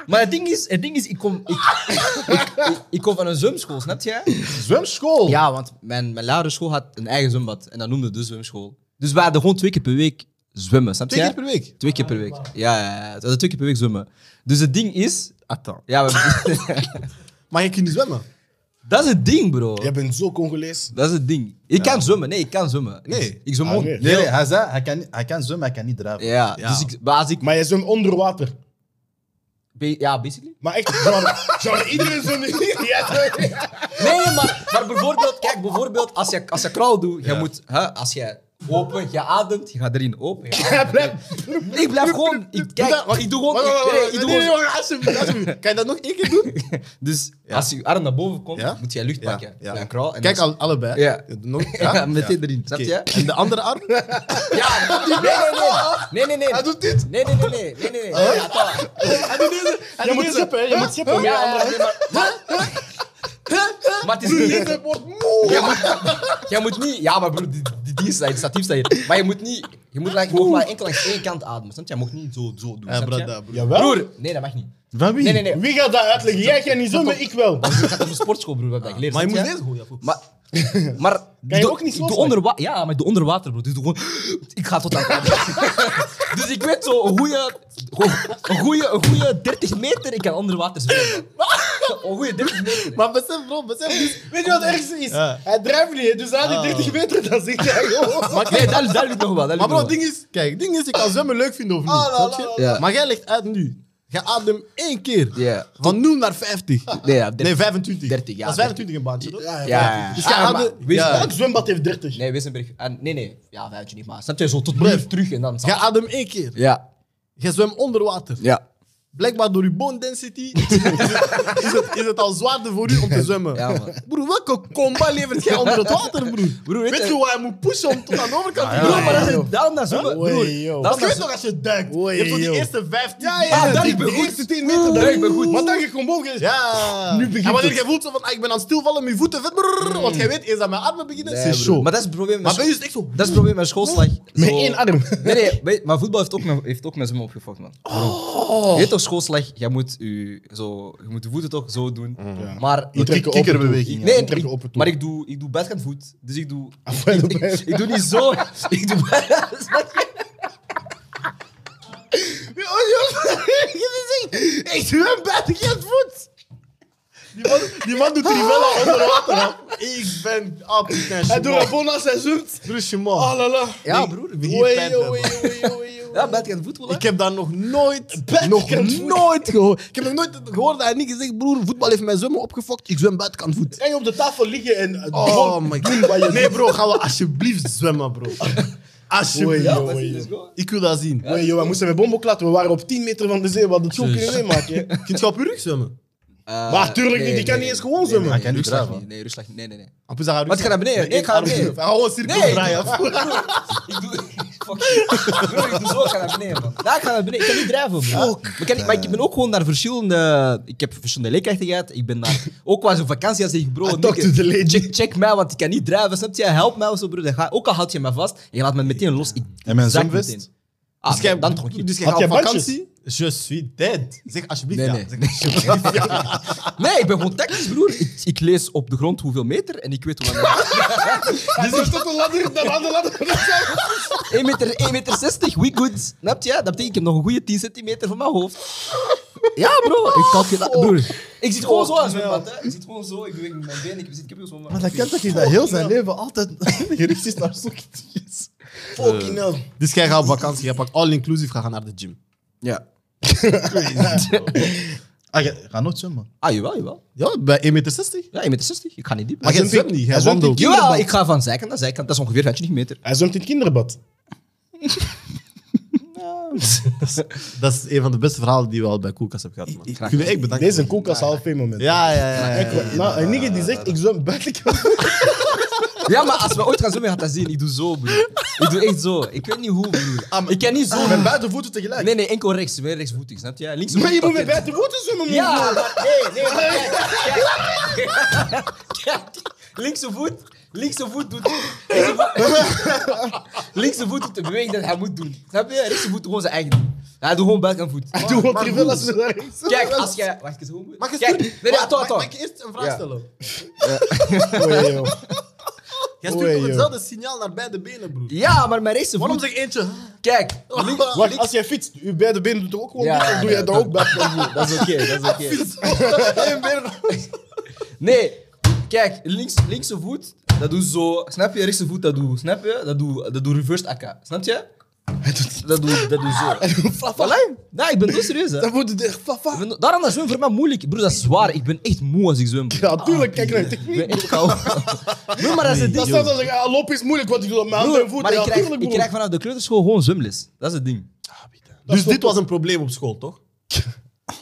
[SPEAKER 5] Maar het ding is, het ding is ik, kom, ik, ik, ik, ik kom van een zwemschool, snap je?
[SPEAKER 4] Zwemschool.
[SPEAKER 5] Ja, want mijn, mijn lagere school had een eigen zwembad en dat noemde de zwemschool. Dus we hadden gewoon twee keer per week zwemmen, snap je?
[SPEAKER 1] Twee keer per week.
[SPEAKER 5] Twee keer per week. Ja, ja, ja. We hadden twee keer per week zwemmen. Dus het ding is...
[SPEAKER 4] Attends.
[SPEAKER 5] Ja, we-
[SPEAKER 1] Maar je kunt niet zwemmen.
[SPEAKER 5] dat is het ding, bro.
[SPEAKER 3] Jij bent zo Congolees.
[SPEAKER 5] Dat is het ding. Ik kan zwemmen. Nee, ik kan zwemmen.
[SPEAKER 1] Nee.
[SPEAKER 5] Ik zwem
[SPEAKER 3] Ah,
[SPEAKER 5] gewoon...
[SPEAKER 3] oké.
[SPEAKER 4] Nee, nee, hij zei hij kan, niet- hij kan zwemmen, hij kan niet drijven.
[SPEAKER 5] Ja,
[SPEAKER 1] Ja.
[SPEAKER 5] dus ik, maar als ik...
[SPEAKER 3] Maar jij zwemt onder water.
[SPEAKER 5] Ja, basically.
[SPEAKER 3] Maar echt, genre, genre, iedereen zwemt hier. Jij zwemt-
[SPEAKER 5] Nee, maar, maar bijvoorbeeld, kijk, bijvoorbeeld als je, als je crawl doet, je moet, hè, als je open, je ademt, je gaat erin open. je ademt. ik blijf gewoon, ik, kijk, ik doe gewoon,
[SPEAKER 1] Wacht, wacht,
[SPEAKER 5] ik,
[SPEAKER 1] wacht,
[SPEAKER 5] nee, ik
[SPEAKER 1] wacht.
[SPEAKER 5] doe
[SPEAKER 1] Nee, nee,
[SPEAKER 5] gewoon.
[SPEAKER 1] wacht, alsjeblieft, alsjeblieft. Kan je dat nog één keer doen?
[SPEAKER 5] Dus als je arm naar boven komt,
[SPEAKER 1] Ja?
[SPEAKER 5] moet je lucht
[SPEAKER 1] Ja,
[SPEAKER 5] pakken.
[SPEAKER 1] ja.
[SPEAKER 5] Bij een crawl. En
[SPEAKER 1] Kijk,
[SPEAKER 5] dan-
[SPEAKER 1] al, allebei.
[SPEAKER 5] Ja.
[SPEAKER 1] Nog,
[SPEAKER 5] ja,
[SPEAKER 1] ja?
[SPEAKER 5] meteen erin, snap
[SPEAKER 1] Oké.
[SPEAKER 5] je?
[SPEAKER 1] En de andere arm?
[SPEAKER 5] Ja, nee, nee, nee. Nee, nee, nee. Hij doet dit. Nee, nee, nee, nee. nee, nee, nee. Ja, toch.
[SPEAKER 3] Je moet scheppen, hè. Je moet scheppen. met je
[SPEAKER 5] Oh Ja,
[SPEAKER 3] andere-
[SPEAKER 5] nee, maar... Maar het is niet...
[SPEAKER 1] Dit wordt moe.
[SPEAKER 5] Jij moet, jij moet niet... Ja, maar broer, die, die, die hier sta je, het statief sta je. Maar je moet niet, je moet, like, je mag maar enkel langs één kant ademen, snap je? Je mag niet zo, zo doen,
[SPEAKER 1] Ja,
[SPEAKER 5] snap je?
[SPEAKER 1] brada, bro.
[SPEAKER 3] Jawel.
[SPEAKER 5] Broer, nee, dat mag niet.
[SPEAKER 4] Van wie?
[SPEAKER 5] Nee, nee, nee.
[SPEAKER 3] Wie gaat dat uitleggen? Jij gaat niet zo, maar ik wel.
[SPEAKER 5] Ik zat op een sportschool, broer, we hebben dat geleerd.
[SPEAKER 1] Ah. Maar je moet
[SPEAKER 5] snap
[SPEAKER 1] deze gooien. ja.
[SPEAKER 5] Maar, maar
[SPEAKER 3] Kan je
[SPEAKER 5] doe-
[SPEAKER 3] ook niet zo
[SPEAKER 5] doe
[SPEAKER 3] zijn?
[SPEAKER 5] onder wa- Ja, maar ik doe onder water, bro. Dus doe gewoon... Ik ga tot aan Dus ik weet zo, een goede, een goede, een goede 30 meter, ik kan onder water zwemmen. Een goede 30 meter.
[SPEAKER 1] Maar besef, bro, besef. Dus,
[SPEAKER 3] Weet je wat het ergste is?
[SPEAKER 1] Ja.
[SPEAKER 3] Hij drijft niet, hè, dus aan die 30 meter, dan zit hij gewoon.
[SPEAKER 5] Maar nee, dat, dat lukt nog wel. dat lukt
[SPEAKER 1] maar bro,
[SPEAKER 5] nog
[SPEAKER 1] het
[SPEAKER 5] wel.
[SPEAKER 1] ding is, kijk, het ding is, ik kan zwemmen leuk vinden of niet.
[SPEAKER 3] Ah, la,
[SPEAKER 1] snap
[SPEAKER 3] la,
[SPEAKER 1] je?
[SPEAKER 2] la, la.
[SPEAKER 1] Maar jij legt uit nu. Je ademt één keer.
[SPEAKER 2] Ja.
[SPEAKER 1] Van 0 naar 50.
[SPEAKER 2] Nee, ja,
[SPEAKER 1] Nee, 25.
[SPEAKER 2] 30, ja,
[SPEAKER 1] Dat is 25 een baantje, toch?
[SPEAKER 3] Ja,
[SPEAKER 2] Ja, ja,
[SPEAKER 1] Dus
[SPEAKER 2] ja.
[SPEAKER 1] jij
[SPEAKER 5] Ah, maar-
[SPEAKER 1] ademt...
[SPEAKER 5] wees-
[SPEAKER 1] Ja.
[SPEAKER 3] Elk zwembad heeft 30.
[SPEAKER 5] Nee, Wissenburg. En, nee, nee. Ja, vijfje niet, maar. Snap je? Zo tot nu terug en dan...
[SPEAKER 1] Jij ademt één keer.
[SPEAKER 2] Ja,
[SPEAKER 1] Jij zwemt onder water.
[SPEAKER 2] ja.
[SPEAKER 1] Blijkbaar door je bone density is het, is het, is het al zwaarder voor u om te zwemmen.
[SPEAKER 2] Ja, man.
[SPEAKER 1] broer, welke comba levert jij onder het water, broer?
[SPEAKER 5] Broer,
[SPEAKER 1] weet je waar je moet pushen om tot aan de overkant te
[SPEAKER 5] Broer,
[SPEAKER 1] komen?
[SPEAKER 5] maar dat is daarom dat zwemmen...
[SPEAKER 3] Oei,
[SPEAKER 5] Broer,
[SPEAKER 3] joh.
[SPEAKER 1] Dat je weet
[SPEAKER 5] daarom dat zwemmen-
[SPEAKER 1] nog als je duikt.
[SPEAKER 3] Oei,
[SPEAKER 1] je hebt toch die
[SPEAKER 3] joh.
[SPEAKER 1] eerste 15
[SPEAKER 3] Ja, ja,
[SPEAKER 5] Ah,
[SPEAKER 3] ja.
[SPEAKER 5] dat
[SPEAKER 3] die-
[SPEAKER 5] ik ben
[SPEAKER 3] die
[SPEAKER 5] goed.
[SPEAKER 3] eerste 10 meter. Dat
[SPEAKER 5] ik ben goed.
[SPEAKER 3] Want dan je komt boven. je-
[SPEAKER 1] Ja. Nu
[SPEAKER 3] begint
[SPEAKER 1] en wanneer
[SPEAKER 3] het.
[SPEAKER 1] je voelt zo van, ah, ik ben aan het stilvallen, mijn voeten vet, brrr, want jij weet, eens dat mijn armen beginnen,
[SPEAKER 2] Nee,
[SPEAKER 1] c'est
[SPEAKER 2] broer.
[SPEAKER 1] show.
[SPEAKER 5] Maar
[SPEAKER 1] Maar,
[SPEAKER 5] dat is het probleem met,
[SPEAKER 1] bij u is het echt zo.
[SPEAKER 5] dat is het probleem met schoolslag.
[SPEAKER 3] Met
[SPEAKER 5] Zo-
[SPEAKER 3] één arm.
[SPEAKER 5] Nee, nee, weet- maar voetbal heeft ook, mijn- heeft ook mijn zwemmen opgefokt, man.
[SPEAKER 3] Oh.
[SPEAKER 5] Je weet toch, schoolslag, jij moet je, zo, je moet je voeten toch zo doen.
[SPEAKER 3] Mhm.
[SPEAKER 5] Maar
[SPEAKER 3] Die trekken op en toe.
[SPEAKER 4] kikkerbeweging, ja.
[SPEAKER 5] Nee,
[SPEAKER 3] Die trekken
[SPEAKER 5] ik-
[SPEAKER 3] op en toe.
[SPEAKER 5] maar ik doe, ik doe buitenkantvoet, dus ik doe...
[SPEAKER 3] bij de
[SPEAKER 5] ik,
[SPEAKER 3] buitenkant.
[SPEAKER 5] ik doe niet zo, ik doe buitenkant-
[SPEAKER 1] Ik zwem buitenkant voet. Die man, die man doet Rivella onder water. hè. Ik ben... Ah, putain,
[SPEAKER 3] Hij doet
[SPEAKER 1] Shimon.
[SPEAKER 3] een bonus en zoekt.
[SPEAKER 1] Broer, Shimon.
[SPEAKER 3] Oh la la.
[SPEAKER 5] Ja, broer.
[SPEAKER 1] Wie hier
[SPEAKER 3] Oei,
[SPEAKER 1] pijn hebben.
[SPEAKER 3] oei, oei, oei, oei.
[SPEAKER 5] Ja, buitenkantvoet, wel, hè.
[SPEAKER 1] Ik heb dat nog nooit, nog
[SPEAKER 3] Buitenkant voet.
[SPEAKER 1] nooit gehoord. Ik heb nog nooit gehoord dat hij niet gezegd, broer, voetbal heeft mijn zwemmen opgefokt, ik zwem buitenkant voet.
[SPEAKER 3] Ga je op de tafel liggen en eh,
[SPEAKER 1] Oh
[SPEAKER 3] gewoon
[SPEAKER 1] my
[SPEAKER 3] doen wat je
[SPEAKER 1] god. Nee bro, gaan we alsjeblieft zwemmen bro. Alsjeblieft.
[SPEAKER 3] Oei,
[SPEAKER 5] Ja, maar
[SPEAKER 3] oei,
[SPEAKER 5] let's
[SPEAKER 3] oei.
[SPEAKER 5] go.
[SPEAKER 1] Ik wil dat zien.
[SPEAKER 3] Nee, joh, we moesten met bombo klatten. We waren op 10 meter van de zee. We hadden het gewoon kunnen meemaken. hè.
[SPEAKER 1] Kun je op je rug zwemmen?
[SPEAKER 2] Eh,
[SPEAKER 3] Maar tuurlijk niet,
[SPEAKER 2] nee,
[SPEAKER 3] die kan
[SPEAKER 2] nee,
[SPEAKER 3] niet eens gewoon
[SPEAKER 2] nee,
[SPEAKER 3] zwemmen.
[SPEAKER 2] nee,
[SPEAKER 4] Hij kan niet
[SPEAKER 2] Rusland
[SPEAKER 4] draven.
[SPEAKER 2] niet. Nee, Rusland niet. Nee, nee, nee.
[SPEAKER 1] Ah, poes, hij gaat
[SPEAKER 5] Wat, ik ga naar beneden?
[SPEAKER 1] Met één
[SPEAKER 5] Ik ga naar
[SPEAKER 1] arm
[SPEAKER 5] beneden.
[SPEAKER 1] zwemmen. Hij gaat gewoon cirkel
[SPEAKER 5] Nee.
[SPEAKER 1] draaien.
[SPEAKER 5] Ik doe... Fuck. Broer, ik doe zo, ik ga naar beneden, man. Ja, ik ga naar beneden. Ik kan niet drijven, bro. Maar, ik kan niet- maar ik ben ook gewoon naar verschillende... Ik heb verschillende leerkrachten gehad. Ik ben naar... Ook qua zo'n vakantie als ik, bro...
[SPEAKER 3] I
[SPEAKER 5] Nick,
[SPEAKER 3] talk to the lady.
[SPEAKER 5] check, check mij, want ik kan niet drijven. Snap je? Help mij of zo, bro. Dat Ga, ook al houd je mij vast, je laat me meteen los. Ik
[SPEAKER 4] En mijn
[SPEAKER 5] zak
[SPEAKER 4] zwemvest?
[SPEAKER 5] meteen. Ah,
[SPEAKER 1] Dus jij-
[SPEAKER 5] dan toch niet.
[SPEAKER 1] Dus jij
[SPEAKER 3] Had
[SPEAKER 1] gaat op
[SPEAKER 3] jij bandjes?
[SPEAKER 1] vakantie? Je suis dead. Zeg alsjeblieft
[SPEAKER 2] Nee,
[SPEAKER 1] ja.
[SPEAKER 2] nee.
[SPEAKER 1] Zeg alsjeblieft ja.
[SPEAKER 5] Nee, ik ben gewoon tactisch, broer. Ik, ik lees op de grond hoeveel meter en ik weet hoe lang...
[SPEAKER 3] Die zit tot een ladder, dan aan de ladder.
[SPEAKER 5] 1 meter, 1 meter 60, we good. Snap je? Dat betekent, ik heb nog een goede 10 centimeter van mijn hoofd. Ja, bro. Ik kan het niet- broer. Ik zit gewoon zo aan zo'n bad, hè. Ik zit gewoon zo, ik beweeg met mijn benen, ik zit ik heb heel zo'n
[SPEAKER 4] Maar dat kan toch niet dat heel zijn leven altijd gericht is naar zoekjes.
[SPEAKER 3] Fucking hell.
[SPEAKER 1] Dus jij gaat op vakantie. Jij pakt all inclusive. Ga gaan naar de gym.
[SPEAKER 2] Ja.
[SPEAKER 4] Ah, je gaat nooit zwemmen.
[SPEAKER 5] Ah, jawel, jawel.
[SPEAKER 1] Ja, bij 1,60 meter.
[SPEAKER 5] Ja, 1 meter 60, ik ga niet diep.
[SPEAKER 1] Maar jij
[SPEAKER 3] zwemt
[SPEAKER 1] zwemt
[SPEAKER 3] in-
[SPEAKER 1] niet.
[SPEAKER 3] hij
[SPEAKER 1] Jij
[SPEAKER 3] zwemt in
[SPEAKER 1] wandelt.
[SPEAKER 3] kie-
[SPEAKER 5] Jawel,
[SPEAKER 3] kinderbad.
[SPEAKER 5] ik ga van zijkant naar zijkant, dat is ongeveer 25 meter.
[SPEAKER 3] Hij zwemt in het kinderbad.
[SPEAKER 1] Dat is een van de beste verhalen die we al bij Koelkast hebben gehad. man. Ik wil je echt bedanken.
[SPEAKER 3] Deze is een koelkast half fame moment.
[SPEAKER 1] Ja, ja, ja. ja,
[SPEAKER 3] Kijk,
[SPEAKER 1] ja.
[SPEAKER 3] nou, een nigger die zegt, ik zwem buitenkant.
[SPEAKER 5] Ja, maar als we ooit gaan zwemmen, gaat dat zien. Ik doe zo, broer. Ik doe echt zo. Ik weet niet hoe, broer. Ik kan niet zo.
[SPEAKER 4] Met beide voeten tegelijk.
[SPEAKER 5] Nee, nee, enkel rechts. Weer rechtsvoetig, snap Ah, je? Links
[SPEAKER 3] Maar je moet met buiten moeten zwemmen, man.
[SPEAKER 5] Ja, maar nee, nee, maar kijk, kijk. Kijk, linkse voet, linkse voet doet deze voet- linkse voet doet de beweging dat hij moet doen. Snap je? Rechtse voet doet gewoon zijn eigen ding. Hij doet gewoon buik en voet.
[SPEAKER 3] Doe gewoon trivellas naar rechts.
[SPEAKER 5] Kijk, als jij... Wacht eens, hoe moet...
[SPEAKER 1] Mag ik
[SPEAKER 5] Kijk,
[SPEAKER 1] eens
[SPEAKER 5] nee, nee,
[SPEAKER 1] mag- mag-
[SPEAKER 5] attends,
[SPEAKER 1] mag
[SPEAKER 5] attends.
[SPEAKER 1] ik eerst een vraag stellen?
[SPEAKER 3] Oei, joh.
[SPEAKER 1] Jij
[SPEAKER 3] Oei,
[SPEAKER 1] stuurt toch
[SPEAKER 3] joh.
[SPEAKER 1] hetzelfde signaal naar beide benen, broer.
[SPEAKER 5] Ja, maar mijn rechtse
[SPEAKER 1] Waarom
[SPEAKER 5] voet...
[SPEAKER 1] zeg eentje?
[SPEAKER 5] Kijk, link-
[SPEAKER 3] Wacht, als jij fietst, je beide benen doet er ook gewoon
[SPEAKER 5] Ja,
[SPEAKER 3] ja,
[SPEAKER 5] ja,
[SPEAKER 3] doe
[SPEAKER 5] ja,
[SPEAKER 3] jij daar
[SPEAKER 5] dat-
[SPEAKER 3] ook buitenkant voet.
[SPEAKER 5] Dat is oké, dat is oké. Nee, kijk, links, linkse voet, dat doe zo. Snap je? Rechtse voet, dat doe. Snap je? Dat doe, dat doe reverse AK. Snap je? Dat doe, dat doe zo. Allee? Nee, ik ben zo serieus. Hè.
[SPEAKER 3] Dan moet het echt
[SPEAKER 5] Ik
[SPEAKER 3] fafa.
[SPEAKER 5] ben- Daarom dat zwemmen voor mij moeilijk. Broer, dat is zwaar. Ik ben echt moe als ik zwem. broer.
[SPEAKER 3] Ja, tuurlijk, kijk naar de
[SPEAKER 5] Ik
[SPEAKER 3] techniek.
[SPEAKER 5] ben echt koud. Broer, maar dat is het
[SPEAKER 3] Dat
[SPEAKER 5] ding.
[SPEAKER 3] staat als ik ah, lopen is moeilijk, want ik doe dat met handen en
[SPEAKER 5] Broer,
[SPEAKER 3] voeten.
[SPEAKER 5] maar ik
[SPEAKER 3] Ja,
[SPEAKER 5] krijg,
[SPEAKER 3] tuurlijk,
[SPEAKER 5] ik
[SPEAKER 3] broer.
[SPEAKER 5] krijg vanaf de kleuterschool gewoon zwemles. Dat is het ding.
[SPEAKER 1] Dus dit was een probleem op school, toch?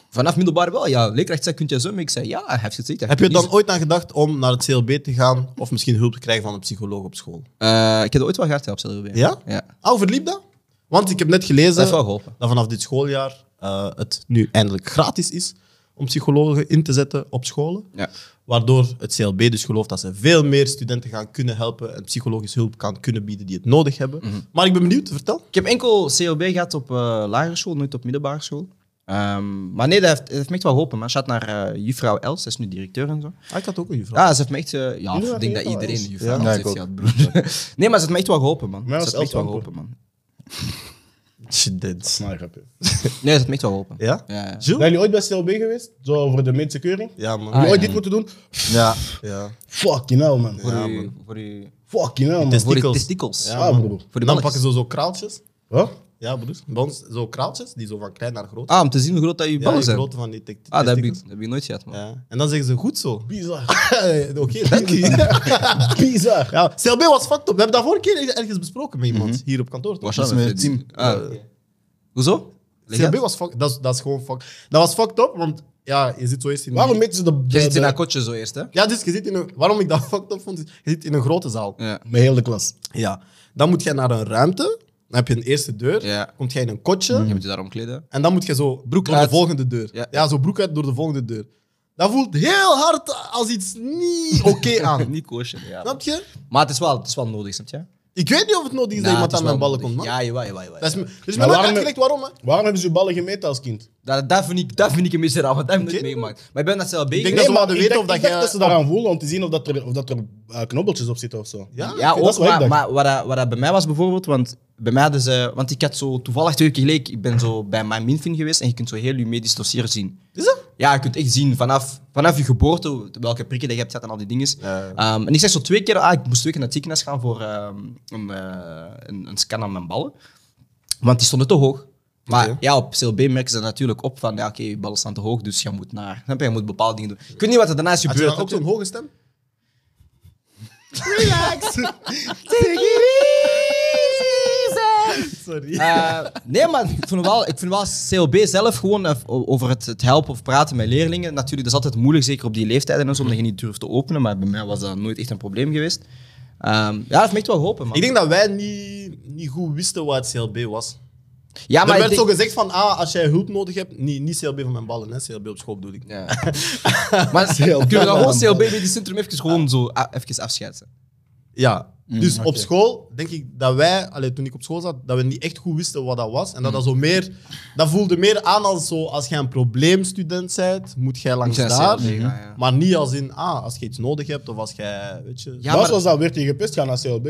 [SPEAKER 5] Vanaf middelbaar wel. Ja, leerkracht zei, kun je zwemmen? Ik zei, ja, hij heeft gezegd. hij
[SPEAKER 1] Heb je er
[SPEAKER 5] heeft
[SPEAKER 1] dan ooit aan gedacht om naar het CLB te gaan of misschien hulp te krijgen van een psycholoog op school?
[SPEAKER 5] Eh, ik heb dat ooit wel gehad, ja, op CLB.
[SPEAKER 1] Ja?
[SPEAKER 5] Ja.
[SPEAKER 1] Hoe verliep dat? Want ik heb net gelezen
[SPEAKER 5] Dat heeft wel geholpen.
[SPEAKER 1] dat vanaf dit schooljaar eh, het nu eindelijk gratis is om psychologen in te zetten op scholen.
[SPEAKER 5] Ja.
[SPEAKER 1] Waardoor het CLB dus gelooft dat ze veel meer studenten gaan kunnen helpen en psychologische hulp kan kunnen bieden die het nodig hebben. Maar ik ben benieuwd, vertel.
[SPEAKER 5] Ik heb enkel CLB gehad op eh lagere school, nooit op middelbare school. Ehm, maar nee, dat heeft, dat heeft me echt wel geholpen. Man. Shout naar eh, juffrouw Els, zij is nu directeur en zo.
[SPEAKER 1] Ah, ik had ook een juffrouw.
[SPEAKER 5] Ja, ze heeft me echt... eh, ja,
[SPEAKER 1] Jullie
[SPEAKER 5] ik denk dat
[SPEAKER 1] waren
[SPEAKER 5] iedereen
[SPEAKER 1] Els.
[SPEAKER 5] juffrouw
[SPEAKER 1] Ja.
[SPEAKER 5] Els
[SPEAKER 4] Ja, ik
[SPEAKER 5] heeft
[SPEAKER 4] ook.
[SPEAKER 5] gehad, broer. nee, maar ze heeft me echt wel geholpen, man. Ze
[SPEAKER 3] was
[SPEAKER 5] heeft me
[SPEAKER 3] Els
[SPEAKER 5] echt wel
[SPEAKER 3] amper.
[SPEAKER 5] geholpen, man.
[SPEAKER 1] Shit, dit.
[SPEAKER 3] Maar grapje.
[SPEAKER 5] Nee, ze heeft me echt wel geholpen.
[SPEAKER 1] Ja?
[SPEAKER 5] Ja, ja.
[SPEAKER 1] Jules?
[SPEAKER 3] Ben je ooit bij CLB geweest? Zo voor de medische keuring? Heb
[SPEAKER 1] Ja, man.
[SPEAKER 5] Ah,
[SPEAKER 3] je
[SPEAKER 5] ja.
[SPEAKER 3] ooit dit moeten doen?
[SPEAKER 4] Ja.
[SPEAKER 1] ja.
[SPEAKER 3] Fucking hell, man.
[SPEAKER 5] Voor, uw, voor, uw,
[SPEAKER 3] Fucking hell, man.
[SPEAKER 1] Test-
[SPEAKER 5] voor uw
[SPEAKER 1] Testikels.
[SPEAKER 5] testikels.
[SPEAKER 1] Ja,
[SPEAKER 3] Ah,
[SPEAKER 1] man.
[SPEAKER 3] broer.
[SPEAKER 5] Voor de
[SPEAKER 1] dan
[SPEAKER 5] balletjes.
[SPEAKER 1] pakken ze zo kraaltjes.
[SPEAKER 3] Huh?
[SPEAKER 1] Ja, broer. Bij ons zo kraaltjes, die zo van klein naar groot.
[SPEAKER 5] Ah, om te zien hoe groot dat je
[SPEAKER 1] ja,
[SPEAKER 5] ballen
[SPEAKER 1] de
[SPEAKER 5] zijn.
[SPEAKER 1] grootte van die tek-
[SPEAKER 5] Ah, dat heb, ik,
[SPEAKER 1] testikels.
[SPEAKER 5] dat heb ik nooit gehad, man.
[SPEAKER 1] Ja. En dan zeggen ze goed zo.
[SPEAKER 3] Bizar.
[SPEAKER 1] Oké, dank je.
[SPEAKER 3] Bizar.
[SPEAKER 1] Ja, CLB was fucked up. We hebben dat vorige keer ergens besproken met iemand hier op kantoor. toch?
[SPEAKER 5] Was dat
[SPEAKER 4] Iets met
[SPEAKER 5] met
[SPEAKER 4] team.
[SPEAKER 5] team? Ah. Hoezo?
[SPEAKER 1] CLB was fucked dat, is- dat is gewoon fucked. Dat was fucked up, want ja, je zit zo eerst in. die-
[SPEAKER 3] Waarom meten ze de...
[SPEAKER 5] Je
[SPEAKER 3] de,
[SPEAKER 5] zit in
[SPEAKER 3] de-
[SPEAKER 5] dat kotje zo eerst, hè?
[SPEAKER 1] Ja, dus je zit in een. Waarom ik dat fucked up vond, is je zit in een grote zaal.
[SPEAKER 5] Ja.
[SPEAKER 3] Met heel de klas.
[SPEAKER 1] Ja. Dan moet jij naar een ruimte. Dan heb je een eerste deur.
[SPEAKER 5] Ja. Mhm.
[SPEAKER 1] Komt jij in een kotje.
[SPEAKER 5] Je moet je daarom kleden.
[SPEAKER 1] En dan moet je zo broek door
[SPEAKER 5] uit.
[SPEAKER 1] de volgende deur. Ja.
[SPEAKER 5] Ja.
[SPEAKER 1] zo broek uit door de volgende deur. Dat voelt heel hard als iets niet oké aan.
[SPEAKER 5] Niet koosje. Ja.
[SPEAKER 1] Snap je?
[SPEAKER 5] Maar het is wel, het is wel nodig, snap je?
[SPEAKER 1] Ik weet niet of het nodig is dat iemand aan mijn ballen komt, man.
[SPEAKER 5] Ja, jawel, jawel. jawel.
[SPEAKER 1] Dat is me, dus er is
[SPEAKER 3] Maar
[SPEAKER 1] me nooit
[SPEAKER 3] waarom-
[SPEAKER 1] uitgelegd waarom, hè.
[SPEAKER 3] Waarom hebben ze je ballen gemeten als kind?
[SPEAKER 5] Dat, dat, vind ik, dat vind ik een miserabel, want dat heb ik nooit
[SPEAKER 1] Oké.
[SPEAKER 5] meegemaakt. Maar ik ben dat zelf bezig.
[SPEAKER 1] denk dat ze
[SPEAKER 3] maar
[SPEAKER 1] wilden
[SPEAKER 3] ik
[SPEAKER 1] weten
[SPEAKER 3] dacht-
[SPEAKER 1] of dat
[SPEAKER 3] ik dacht
[SPEAKER 1] jij-
[SPEAKER 3] dat ze daaraan voelen om te zien of dat er, of dat er eh, knobbeltjes op zitten of zo.
[SPEAKER 1] Ja?
[SPEAKER 5] Ja,
[SPEAKER 3] dat
[SPEAKER 5] ook,
[SPEAKER 3] is wat ik
[SPEAKER 5] maar,
[SPEAKER 3] dacht.
[SPEAKER 5] maar wat, dat, wat dat bij mij was bijvoorbeeld, want bij mij hadden ze... Want ik had zo toevallig twee weken geleden, ik ben zo bij mijn minfin geweest en je kunt zo heel je medisch dossier zien.
[SPEAKER 1] Is dat?
[SPEAKER 5] Ja, je kunt echt zien vanaf, vanaf je geboorte welke prikken dat je hebt gehad en al die dingen. Ehm, en ik zeg zo twee keer, ah, ik moest twee keer naar het ziekenhuis gaan voor ehm, een, eh, een, een scan aan mijn ballen. Want die stonden te hoog. Maar ja, op CLB merken ze natuurlijk op van, ja, oké, je ballen staan te hoog, dus je moet naar, snap je, je moet bepaalde dingen doen. Ik weet niet wat er daarna is
[SPEAKER 1] Had je
[SPEAKER 5] gebeurd.
[SPEAKER 1] dan ook zo'n hoge stem? Sorry.
[SPEAKER 5] Eh, nee, maar ik vind, wel, ik vind wel CLB zelf gewoon eh, over het, het helpen of praten met leerlingen. Natuurlijk, dat is altijd moeilijk, zeker op die leeftijden en zo, omdat je niet durft te openen. Maar bij mij was dat nooit echt een probleem geweest. Ehm, ja, dat heeft me echt wel geholpen, man.
[SPEAKER 1] Ik denk dat wij niet, niet goed wisten wat CLB was.
[SPEAKER 5] ja,
[SPEAKER 1] er
[SPEAKER 5] maar
[SPEAKER 1] werd
[SPEAKER 5] ik
[SPEAKER 1] zo
[SPEAKER 5] denk-
[SPEAKER 1] gezegd van, ah, als jij hulp nodig hebt, niet, niet CLB van mijn ballen, hè. CLB op school bedoel ik.
[SPEAKER 5] Ja. maar kunnen we dan gewoon CLB bij die centrum even, gewoon zo, ah, even afscheiden?
[SPEAKER 1] Ja.
[SPEAKER 5] Mm,
[SPEAKER 1] Dus op school denk ik dat wij, allee, toen ik op school zat, dat we niet echt goed wisten wat dat was. En
[SPEAKER 5] Mm.
[SPEAKER 1] dat dat zo meer, dat voelde meer aan als zo, als jij een probleemstudent bent, moet jij langs
[SPEAKER 5] Moet jij
[SPEAKER 1] daar.
[SPEAKER 5] CLB gaan, ja.
[SPEAKER 1] Maar niet als in, ah, als je iets nodig hebt of als jij, weet je.
[SPEAKER 5] Ja,
[SPEAKER 3] dat
[SPEAKER 5] maar-
[SPEAKER 3] was dat weer tegen gepest gaan naar CLB.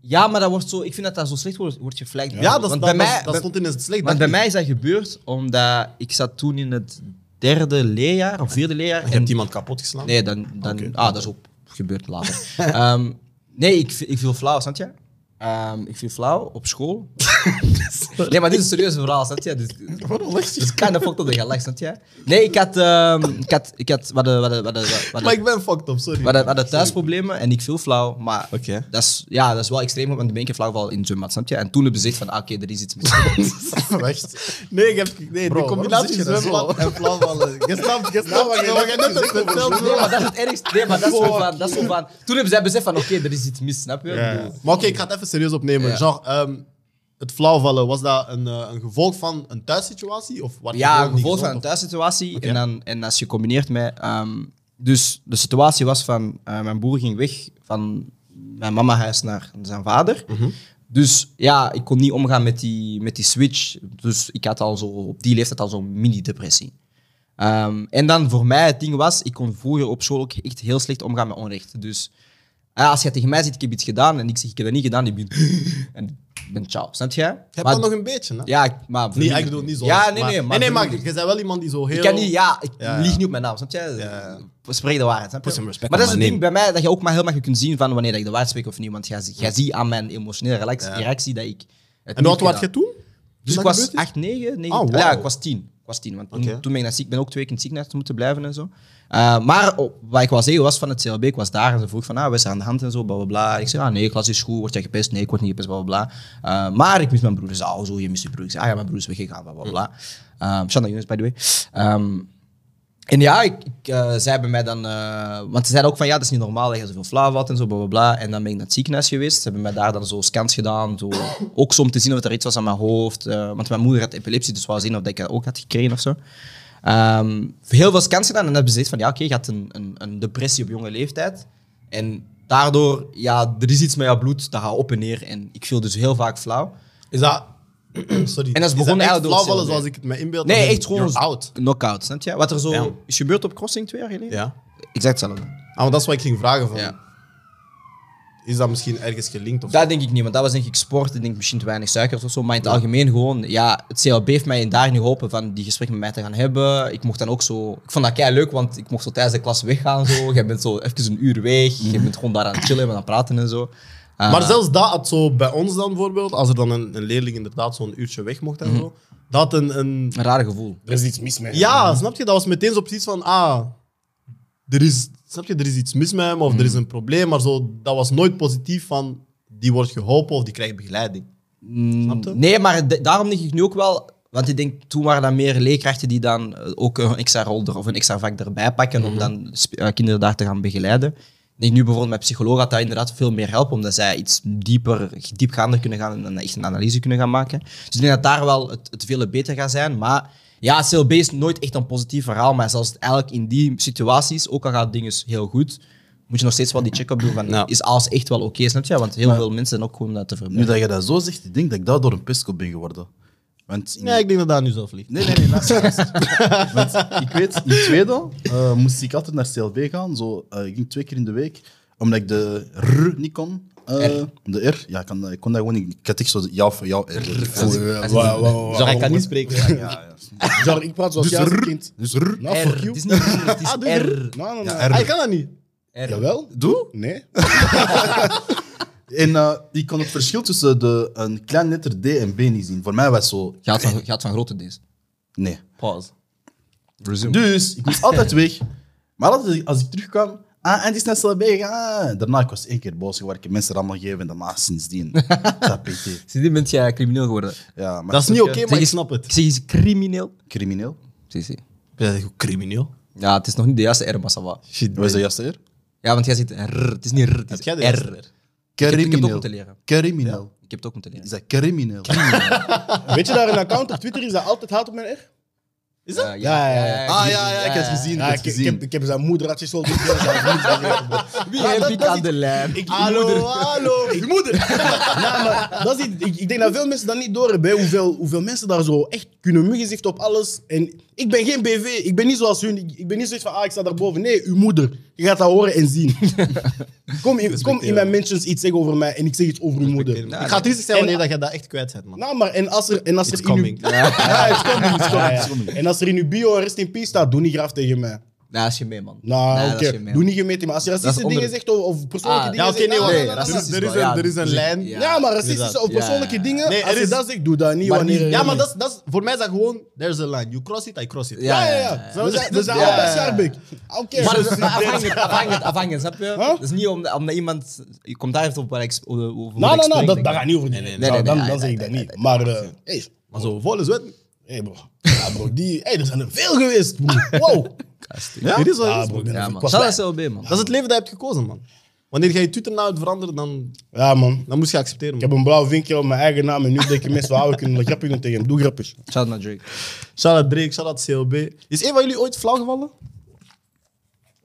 [SPEAKER 5] Ja, maar dat wordt zo, ik vind dat dat zo slecht wordt, wordt geflagged.
[SPEAKER 1] Ja, dat,
[SPEAKER 5] Want
[SPEAKER 1] dat,
[SPEAKER 5] bij mij,
[SPEAKER 1] dat, dat stond in het slecht.
[SPEAKER 5] Want bij
[SPEAKER 1] daglicht.
[SPEAKER 5] mij is dat gebeurd omdat ik zat toen in het derde leerjaar of vierde leerjaar.
[SPEAKER 1] Je hebt iemand kapot geslaan.
[SPEAKER 5] Nee, dan, dan, ah, dat is ook gebeurd later. Ehm, nee, ik, vi- ik viel flauw, snap je? Ehm, ik viel flauw op school. nee, maar dit is een serieus verhaal, snap je? Dus, dus kan de fuck op de galak, snap je? Nee, ik had, ehm, ik had, ik had, wat, wat, wat, wat, wat,
[SPEAKER 1] Maar ik ben fucked up, sorry.
[SPEAKER 5] we hadden, we hadden thuisproblemen en ik viel flauw. Maar
[SPEAKER 1] Oké.
[SPEAKER 5] dat, is, ja, dat is wel extreem, want dan ben ik in flauw gevallen in het zwembad, snap je? En toen heb je gezegd van, ah, oké, er is iets mis.
[SPEAKER 1] Echt. Nee, ik heb, nee de
[SPEAKER 4] zit
[SPEAKER 1] combinatie
[SPEAKER 4] je daar
[SPEAKER 1] zwembad en flauwvallen. Je snapt, je
[SPEAKER 5] Nou,
[SPEAKER 1] snapt. Je mag nou, net het hetzelfde
[SPEAKER 5] Nee, maar dat is het ergste. Nee, maar dat is zo van, dat is zo van... Toen hebben zij beseft van, oké, er is iets mis, snap je? Ik bedoel,
[SPEAKER 1] Maar oké, ik ga het even serieus opnemen.
[SPEAKER 5] Ja.
[SPEAKER 1] Genre, ehm, het flauwvallen, was dat een, eh, een gevolg van een thuissituatie? Of wat
[SPEAKER 5] Ja, een gevolg van een thuissituatie. En, dan, en als je combineert met... ehm, dus de situatie was van, eh, mijn broer ging weg van mijn mama huis naar zijn vader.
[SPEAKER 1] Mhm.
[SPEAKER 5] Dus ja, ik kon niet omgaan met die, met die switch. Dus ik had al zo, op die leeftijd al zo'n mini-depressie. Ehm, en dan voor mij het ding was, ik kon vroeger op school ook echt heel slecht omgaan met onrecht. Dus ah, als je tegen mij zegt, ik heb iets gedaan, en ik zeg, ik heb dat niet gedaan, ik ben... En ik ben ciao, snap je?
[SPEAKER 1] Heb
[SPEAKER 5] Maar-
[SPEAKER 1] dat nog een beetje, hè?
[SPEAKER 5] ja, ik- maar...
[SPEAKER 1] Nee, ik bedoel niet zo.
[SPEAKER 5] Ja, nee, nee.
[SPEAKER 1] maar, nee, nee, maar
[SPEAKER 5] vriendelijk.
[SPEAKER 1] je bent wel iemand die zo heel...
[SPEAKER 5] Ik kan niet, ja, ik
[SPEAKER 1] Ja, ja.
[SPEAKER 5] lieg niet op mijn naam, snap je? Spreek de waarheid, snap je?
[SPEAKER 1] Put some respect
[SPEAKER 5] maar dat
[SPEAKER 1] on
[SPEAKER 5] is het
[SPEAKER 1] my
[SPEAKER 5] ding bij mij, dat je ook maar heel makkelijk kunt zien van wanneer dat ik de waarheid spreek of niet. Want jij, zi- jij ziet aan mijn emotionele relax- reactie dat ik het
[SPEAKER 1] En
[SPEAKER 5] niet
[SPEAKER 1] wat
[SPEAKER 5] gedaan.
[SPEAKER 1] was je toen?
[SPEAKER 5] Dus ik
[SPEAKER 1] dat
[SPEAKER 5] was
[SPEAKER 1] gebeurd is?
[SPEAKER 5] 8, 9, 9
[SPEAKER 1] Ah, wauw.
[SPEAKER 5] Ja, ik was 10. Ik was 10, want toen-
[SPEAKER 1] Oké.
[SPEAKER 5] toen ben ik naar ziek, ben ook twee keer in het ziekenhuis moeten blijven en zo. Eh, maar op- wat ik wel zeggen was van het CLB, ik was daar en ze vroeg van, ah, wat is er aan de hand en zo, bla bla bla. Ik zei, ah nee, klas is goed, word jij gepest? Nee, ik word niet gepest, bla bla bla. Eh, maar ik mis mijn broer. Ze zei, oh zo, je mist je broer. Ik zei, ah ja, mijn broer is weggegaan, bla bla bla.
[SPEAKER 1] Mm.
[SPEAKER 5] Ehm, Shanda Younes, by the way. Ehm, en ja, ik, ik, eh, zij hebben mij dan... eh, want ze zeiden ook van, ja, dat is niet normaal dat je zoveel flauw had en zo, bla, bla, bla. En dan ben ik naar het ziekenhuis geweest. Ze hebben mij daar dan zo scans gedaan. Zo, ook zo om te zien of er iets was aan mijn hoofd. eh, want mijn moeder had epilepsie, dus wou zien of dat ik dat ook had gekregen of zo. Ehm, heel veel scans gedaan en hebben ze gezegd van ja, oké, je had een, een, een depressie op jonge leeftijd. En daardoor, ja, er is iets met jouw bloed, dat gaat op en neer. En ik viel dus heel vaak flauw.
[SPEAKER 1] Is dat... Sorry.
[SPEAKER 5] En dat is begonnen
[SPEAKER 1] echt
[SPEAKER 5] eigenlijk door
[SPEAKER 1] flauwvallen
[SPEAKER 5] hetzelfde.
[SPEAKER 1] zoals ik het me inbeeld?
[SPEAKER 5] Nee,
[SPEAKER 1] Als in,
[SPEAKER 5] echt gewoon-
[SPEAKER 1] you're out.
[SPEAKER 5] Knockout, snap je? Wat er zo
[SPEAKER 2] Ja.
[SPEAKER 5] is gebeurd op Crossing twee jaar geleden.
[SPEAKER 1] Ja.
[SPEAKER 5] Exact hetzelfde.
[SPEAKER 1] Ah, maar dat is wat ik ging vragen van.
[SPEAKER 5] Ja.
[SPEAKER 1] Is dat misschien ergens gelinkt? Of
[SPEAKER 5] Dat denk ik niet, want dat was denk ik sport. Ik denk misschien te weinig suikers of zo. Maar in het algemeen gewoon, ja, het CLB heeft mij daar nu geholpen van die gesprekken met mij te gaan hebben. Ik mocht dan ook zo. Ik vond dat kei leuk, want ik mocht zo tijdens de klas weggaan. Zo. Jij bent zo even een uur weg. Je bent gewoon daar aan het chillen en aan het praten en zo. Ah.
[SPEAKER 1] Maar zelfs dat had zo bij ons dan bijvoorbeeld, als er dan een, een leerling inderdaad zo'n uurtje weg mocht en
[SPEAKER 5] Mhm.
[SPEAKER 1] zo, dat had een, een...
[SPEAKER 5] Een raar gevoel.
[SPEAKER 3] Er is iets mis mee.
[SPEAKER 1] Ja, snap je? Dat was meteen zo precies van, ah, er is, snap je, er is iets mis met hem of er is een probleem, maar zo, dat was nooit positief van, die wordt geholpen of die krijgt begeleiding. Snap je?
[SPEAKER 5] Nee, maar de- daarom denk ik nu ook wel. Want ik denk, toen waren dat meer leerkrachten die dan eh, ook een extra rol er, of een extra vak erbij pakken
[SPEAKER 1] Mhm.
[SPEAKER 5] om dan sp- eh, kinderen daar te gaan begeleiden. Ik denk nu bijvoorbeeld met psychologen gaat dat inderdaad veel meer helpen, omdat zij iets dieper, diepgaander kunnen gaan en dan echt een analyse kunnen gaan maken. Dus ik denk dat daar wel het, het vele beter gaat zijn. Maar ja, CLB is nooit echt een positief verhaal, maar zelfs eigenlijk in die situaties, ook al gaan dingen dus heel goed, moet je nog steeds wel die check-up doen van,
[SPEAKER 1] Ja.
[SPEAKER 5] is alles echt wel oké, snap je? Want heel veel mensen zijn ook gewoon dat te
[SPEAKER 4] Nu
[SPEAKER 5] vermelden.
[SPEAKER 4] dat je dat zo zegt, ik denk dat ik daardoor een pestkop ben geworden. Want in-
[SPEAKER 1] Nee, ik denk dat dat nu zelf ligt.
[SPEAKER 4] Nee, nee, nee, luister, luister. Want ik weet, in Zweden eh, moest ik altijd naar CLB gaan. Zo, eh, ik ging twee keer in de week, omdat ik de R niet kon. eh, De R, ja, ik, kan, ik kon dat gewoon niet. Ik had echt zo de ja voor jou, R. voor-
[SPEAKER 3] Wauw, wauw, wauw.
[SPEAKER 5] Zo, hij kan niet spreken.
[SPEAKER 4] Ja, ja, ja.
[SPEAKER 3] Genre, ik praat zoals
[SPEAKER 4] Dus
[SPEAKER 3] jij als
[SPEAKER 4] R.
[SPEAKER 3] kind.
[SPEAKER 4] Dus R.
[SPEAKER 3] Nou, fuck
[SPEAKER 5] Het
[SPEAKER 3] you.
[SPEAKER 5] is niet R, het is
[SPEAKER 1] Ah, doe
[SPEAKER 5] R.
[SPEAKER 3] Nou, nou, nou.
[SPEAKER 4] Ja, R.
[SPEAKER 1] Ah, ik kan dat niet.
[SPEAKER 5] R.
[SPEAKER 3] Jawel.
[SPEAKER 4] Doe?
[SPEAKER 3] Nee.
[SPEAKER 4] En eh, ik kon het verschil tussen de, een klein letter D en B niet zien. Voor mij was zo.
[SPEAKER 5] Gaat van, gaat van grote D's.
[SPEAKER 4] Nee.
[SPEAKER 5] Pause.
[SPEAKER 4] Dus ik moest altijd weg. Maar altijd als ik terugkwam. Ah, en die is naar CLB gegaan. Ah, Daarna ik was één keer boos geworden. Ik heb mensen allemaal gegeven. En daarna sindsdien. Dat PT.
[SPEAKER 5] Sindsdien bent jij crimineel geworden.
[SPEAKER 4] Ja, maar
[SPEAKER 1] Dat is niet oké, maar ik
[SPEAKER 5] eens-
[SPEAKER 1] snap het.
[SPEAKER 5] Ik zeg eens crimineel.
[SPEAKER 4] crimineel.
[SPEAKER 5] Zie, zie.
[SPEAKER 1] Ben je crimineel?
[SPEAKER 5] Ja, het is nog niet de juiste R, maar ça va.
[SPEAKER 1] Shit,
[SPEAKER 4] Wat is de juiste eer?
[SPEAKER 5] Ja, want jij zegt R. Het is niet R, het
[SPEAKER 1] Heb
[SPEAKER 5] is
[SPEAKER 1] jij de
[SPEAKER 5] R.
[SPEAKER 1] juiste
[SPEAKER 5] Ik heb het ook
[SPEAKER 4] Crimineel.
[SPEAKER 5] moeten leren.
[SPEAKER 4] Crimineel.
[SPEAKER 5] Ik heb het ook moeten leren.
[SPEAKER 4] Is dat crimineel?
[SPEAKER 3] Weet je daar een account op Twitter is dat altijd haat op mijn R?
[SPEAKER 1] Is dat?
[SPEAKER 5] Eh,
[SPEAKER 3] Ja, ja, ja.
[SPEAKER 4] Ah ja, ja, ik heb het gezien. Ik
[SPEAKER 3] Ja,
[SPEAKER 4] heb
[SPEAKER 3] ik,
[SPEAKER 4] het
[SPEAKER 3] ik heb,
[SPEAKER 4] gezien.
[SPEAKER 3] ik heb zijn moeder had je zo gegeven, dat is niet vergeten, bro.
[SPEAKER 5] Wie heb ik aan de lijn?
[SPEAKER 1] Hallo, hallo. Je moeder.
[SPEAKER 3] Ja, maar dat is iets- ik, ik denk dat veel mensen dat niet door hebben. hè, Hoeveel, hoeveel mensen daar zo echt kunnen muggenzicht op alles. En ik ben geen BV. Ik ben niet zoals hun. Ik, ik ben niet zoiets van, ah, ik sta daarboven. Nee, uw moeder. Je gaat dat horen en zien. kom, in, kom in mijn mentions iets zeggen over mij en ik zeg iets over uw moeder.
[SPEAKER 1] Ik ga triestig zijn wanneer dat je dat echt kwijt hebt, man.
[SPEAKER 3] Nou, maar en als er, en als
[SPEAKER 1] It's
[SPEAKER 3] er in uw-
[SPEAKER 1] coming.
[SPEAKER 3] Ja, it's coming, it's coming,
[SPEAKER 4] Ja, ja.
[SPEAKER 3] it's coming. En als er in uw bio rest in peace staat, doe niet graf tegen mij.
[SPEAKER 5] Nee, dat is gemeen, man.
[SPEAKER 3] Nou,
[SPEAKER 5] Nee, dat
[SPEAKER 3] oké.
[SPEAKER 5] is gemeen.
[SPEAKER 3] Doe niet gemeten. Maar als je racistische
[SPEAKER 5] onder-
[SPEAKER 3] dingen zegt of, of persoonlijke
[SPEAKER 5] Ah,
[SPEAKER 3] dingen
[SPEAKER 1] Ja, oké,
[SPEAKER 3] zegt,
[SPEAKER 1] nee,
[SPEAKER 3] nou,
[SPEAKER 1] wacht.
[SPEAKER 3] nou,
[SPEAKER 5] nee,
[SPEAKER 3] nou,
[SPEAKER 1] Er
[SPEAKER 3] nou,
[SPEAKER 1] is-
[SPEAKER 5] racistisch
[SPEAKER 1] Er is
[SPEAKER 5] wel, ja.
[SPEAKER 1] een- er is een
[SPEAKER 5] Dus ik-
[SPEAKER 1] lijn.
[SPEAKER 5] ja.
[SPEAKER 3] nou. Ja, maar racistische of
[SPEAKER 1] Inderdaad.
[SPEAKER 3] persoonlijke
[SPEAKER 5] Ja.
[SPEAKER 3] dingen,
[SPEAKER 1] Nee,
[SPEAKER 3] als
[SPEAKER 1] er
[SPEAKER 3] je
[SPEAKER 1] is-
[SPEAKER 3] dat zegt, doe dat niet
[SPEAKER 1] Maar
[SPEAKER 3] wanneer...
[SPEAKER 1] niet-
[SPEAKER 3] er-
[SPEAKER 1] ja, maar dat is, dat is, voor mij is dat gewoon, there's a line. You cross it, I cross it.
[SPEAKER 3] Ja, ja,
[SPEAKER 5] ja, Dus
[SPEAKER 3] ja. We zijn, we zijn
[SPEAKER 5] Ja,
[SPEAKER 3] allebei
[SPEAKER 5] ja, ja.
[SPEAKER 3] Schaarbeek. Oké.
[SPEAKER 5] Maar dus- dat is maar afhangend, afhangend, afhangend, snap je?
[SPEAKER 3] Dus- Huh?
[SPEAKER 5] Dat is niet omdat omdat iemand... Je komt daar even op waar ik... sp- over- over
[SPEAKER 3] Nou,
[SPEAKER 5] wat ik
[SPEAKER 3] nou, nou,
[SPEAKER 5] spreek,
[SPEAKER 3] dat,
[SPEAKER 5] denk
[SPEAKER 3] dat
[SPEAKER 5] ik.
[SPEAKER 3] gaat niet over die.
[SPEAKER 5] nee, nee,
[SPEAKER 3] Nou,
[SPEAKER 5] nee,
[SPEAKER 3] dan,
[SPEAKER 5] nee,
[SPEAKER 3] dan zeg
[SPEAKER 5] nee,
[SPEAKER 3] ik dat
[SPEAKER 5] nee,
[SPEAKER 3] niet. Maar, eh, hey,
[SPEAKER 1] Maar zo, volle zwet.
[SPEAKER 3] hey bro. Ja, bro, die, hey, er zijn er veel geweest, bro. Wow.
[SPEAKER 1] Ja? Dit is wel
[SPEAKER 3] Ja,
[SPEAKER 1] is,
[SPEAKER 3] bro,
[SPEAKER 1] broer.
[SPEAKER 3] ik ben
[SPEAKER 5] Ja,
[SPEAKER 3] er- ik
[SPEAKER 5] man.
[SPEAKER 3] was
[SPEAKER 5] Shout out
[SPEAKER 3] blij.
[SPEAKER 5] CLB, man.
[SPEAKER 1] Dat is het leven dat je hebt gekozen, man. Wanneer jij je Twitter nou het veranderen, dan,
[SPEAKER 3] Ja, man.
[SPEAKER 1] dan moet je accepteren.
[SPEAKER 3] Ik
[SPEAKER 1] Man.
[SPEAKER 3] heb een blauw vinkje op mijn eigen naam en nu denken mensen, wauw, we kunnen grappig doen tegen hem. Doe grappig.
[SPEAKER 5] Shout out naar Drake.
[SPEAKER 1] Shout-out Drake, shout-out CLB. Is een van jullie ooit flauw gevallen?